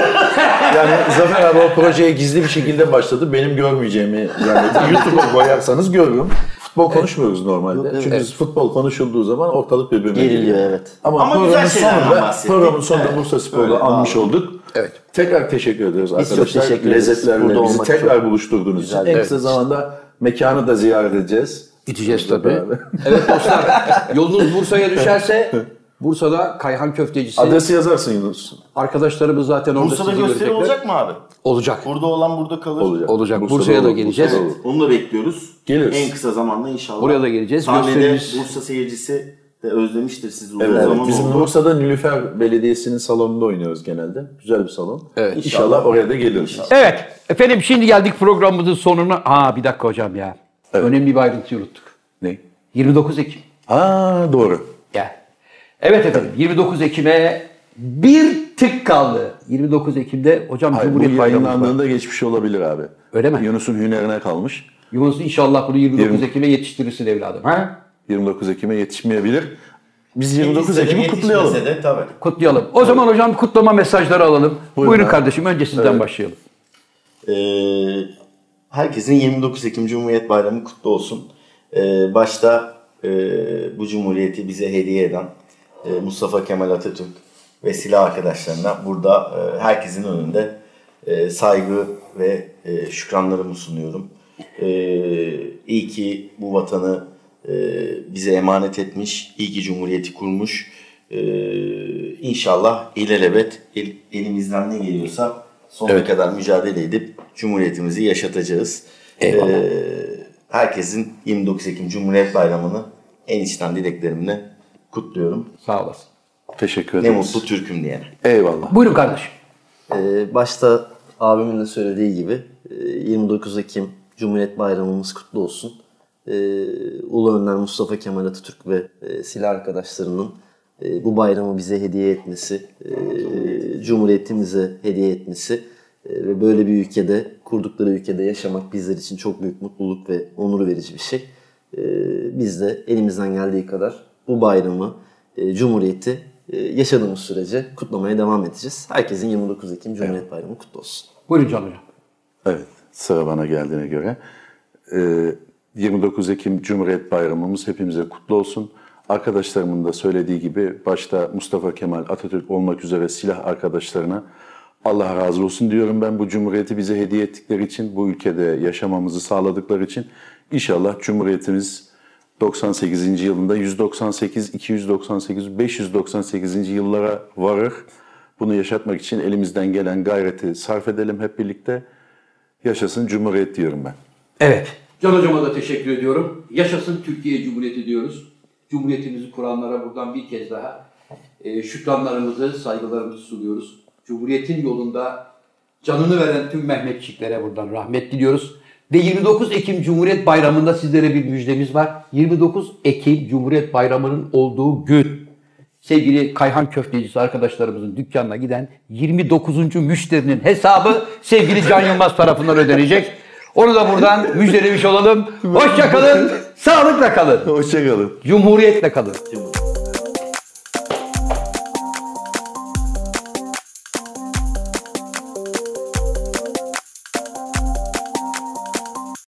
Speaker 4: yani Zafer abi o projeye gizli bir şekilde başladı. Benim görmeyeceğimi yani YouTube'a koyarsanız görürüm. Futbol konuşmuyoruz normalde. Çünkü futbol konuşulduğu zaman ortalık birbirine
Speaker 5: Geriliyor, giriyor. evet.
Speaker 4: Ama,
Speaker 5: Ama
Speaker 4: programın
Speaker 5: güzel şeylerden
Speaker 4: sonunda,
Speaker 5: bahsettik.
Speaker 4: programın sonunda
Speaker 5: Evet.
Speaker 4: Bursa
Speaker 5: Öyle,
Speaker 4: Spor'u
Speaker 5: vallahi.
Speaker 4: anmış olduk.
Speaker 1: Evet.
Speaker 4: Tekrar teşekkür ediyoruz
Speaker 5: Biz çok
Speaker 4: arkadaşlar.
Speaker 5: teşekkür ederiz.
Speaker 4: Lezzetlerle
Speaker 5: Burada
Speaker 4: bizi
Speaker 5: olmak
Speaker 4: tekrar
Speaker 5: çok
Speaker 4: buluşturduğunuz için.
Speaker 5: güzel.
Speaker 4: En
Speaker 5: Evet.
Speaker 4: kısa zamanda mekanı da ziyaret edeceğz.
Speaker 1: Gideceğiz
Speaker 4: Burada
Speaker 1: tabii.
Speaker 4: beraber.
Speaker 1: Evet dostlar yolunuz Bursa'ya düşerse Bursa'da Kayhan Köftecisi.
Speaker 4: Adresi yazarsın Yunus.
Speaker 1: Arkadaşlarımız zaten orada
Speaker 4: Bursa'da
Speaker 1: sizi
Speaker 4: gösteri
Speaker 1: görecekler.
Speaker 4: olacak mı abi?
Speaker 1: Olacak.
Speaker 4: Burada olan burada kalır.
Speaker 1: Olacak. Olacak. Bursa'ya da
Speaker 4: olur,
Speaker 1: geleceğiz.
Speaker 4: Bursa'da olur. Onu da bekliyoruz.
Speaker 1: Geliriz.
Speaker 4: En kısa zamanda inşallah.
Speaker 1: Buraya da geleceğiz.
Speaker 4: Sahnede
Speaker 1: Gösterimiz-
Speaker 4: Bursa seyircisi de özlemiştir sizi uzun
Speaker 1: Evet,
Speaker 4: zaman
Speaker 1: bizim
Speaker 4: oldu. Bursa'da Nilüfer Belediyesi'nin salonunda oynuyoruz genelde. Güzel bir salon. Evet.
Speaker 1: İnşallah
Speaker 4: oraya da geliriz.
Speaker 1: Evet efendim şimdi geldik programımızın sonuna. Aa bir dakika hocam ya. Önemli bir ayrıntıyı unuttuk.
Speaker 4: Ne?
Speaker 1: 29 Ekim.
Speaker 4: Aa doğru.
Speaker 1: Ya. Evet efendim 29 Ekim'e bir tık kaldı. 29 Ekim'de hocam
Speaker 4: Hayır, bu
Speaker 1: Cumhuriyet Bayramı. var.
Speaker 4: yayınlandığında geçmiş olabilir abi.
Speaker 1: Öyle mi?
Speaker 4: Yunus'un hünerine kalmış.
Speaker 1: Yunus inşallah bunu 29
Speaker 4: Yirmi-
Speaker 1: Ekim'e yetiştirirsin evladım. Ha?
Speaker 4: 29 Ekim'e yetişmeyebilir. Biz 29 Ekim'i kutlayalım. tabii.
Speaker 1: Kutlayalım. O zaman hocam kutlama mesajları alalım. Buyurun,
Speaker 4: Buyurun abi.
Speaker 1: kardeşim önce sizden
Speaker 4: Evet.
Speaker 1: başlayalım.
Speaker 4: Ee, herkesin 29 Ekim Cumhuriyet Bayramı kutlu olsun. Ee, başta e, bu cumhuriyeti bize hediye eden e, Mustafa Kemal Atatürk ve silah arkadaşlarına burada e, herkesin önünde e, saygı ve e, şükranlarımı sunuyorum. E, iyi ki bu vatanı e, bize emanet etmiş, iyi ki cumhuriyeti kurmuş. E, inşallah ilelebet el- elimizden ne geliyorsa sonuna
Speaker 1: Evet.
Speaker 4: kadar mücadele edip Cumhuriyetimizi yaşatacağız.
Speaker 1: Eyvallah.
Speaker 4: Ee, herkesin 29 Ekim Cumhuriyet Bayramı'nı en içten dileklerimle kutluyorum.
Speaker 1: Sağ olasın.
Speaker 4: Teşekkür Ne
Speaker 5: ederiz.
Speaker 4: mutlu Türk'üm diyene.
Speaker 5: Eyvallah.
Speaker 1: Buyurun kardeşim.
Speaker 5: Ee, başta abimin de söylediği gibi e, 29 Ekim Cumhuriyet Bayramımız kutlu olsun. Ee, Ulu Önder Mustafa Kemal Atatürk ve e, silah arkadaşlarının e, bu bayramı bize hediye etmesi, e, Cumhuriyetimize hediye etmesi e, ve böyle bir ülkede, kurdukları ülkede yaşamak bizler için çok büyük mutluluk ve onur verici bir şey. E, Biz de elimizden geldiği kadar bu bayramı, e, Cumhuriyeti e, yaşadığımız sürece kutlamaya devam edeceğiz. Herkesin 29 Ekim Cumhuriyet Bayramı kutlu olsun.
Speaker 1: Buyurun Can Hocam.
Speaker 4: Evet, sıra bana geldiğine göre. Ee, 29 Ekim Cumhuriyet Bayramımız hepimize kutlu olsun. Arkadaşlarımın da söylediği gibi başta Mustafa Kemal Atatürk olmak üzere silah arkadaşlarına Allah razı olsun diyorum ben bu cumhuriyeti bize hediye ettikleri için, bu ülkede yaşamamızı sağladıkları için. İnşallah cumhuriyetimiz 98. yılında 198, 298, 598. yıllara varır. Bunu yaşatmak için elimizden gelen gayreti sarf edelim hep birlikte. Yaşasın Cumhuriyet diyorum ben.
Speaker 1: Evet. Can Hocama da teşekkür ediyorum. Yaşasın Türkiye Cumhuriyeti diyoruz. Cumhuriyetimizi kuranlara buradan bir kez daha e, şükranlarımızı, saygılarımızı sunuyoruz. Cumhuriyetin yolunda canını veren tüm Mehmetçiklere buradan rahmet diliyoruz. Ve 29 Ekim Cumhuriyet Bayramı'nda sizlere bir müjdemiz var. 29 Ekim Cumhuriyet Bayramı'nın olduğu gün sevgili Kayhan Köftecisi arkadaşlarımızın dükkanına giden 29. müşterinin hesabı sevgili Can Yılmaz tarafından ödenecek. Onu da buradan müjdelemiş olalım. Hoşça kalın, sağlıkla kalın.
Speaker 4: Hoşça kalın.
Speaker 1: Cumhuriyetle kalın.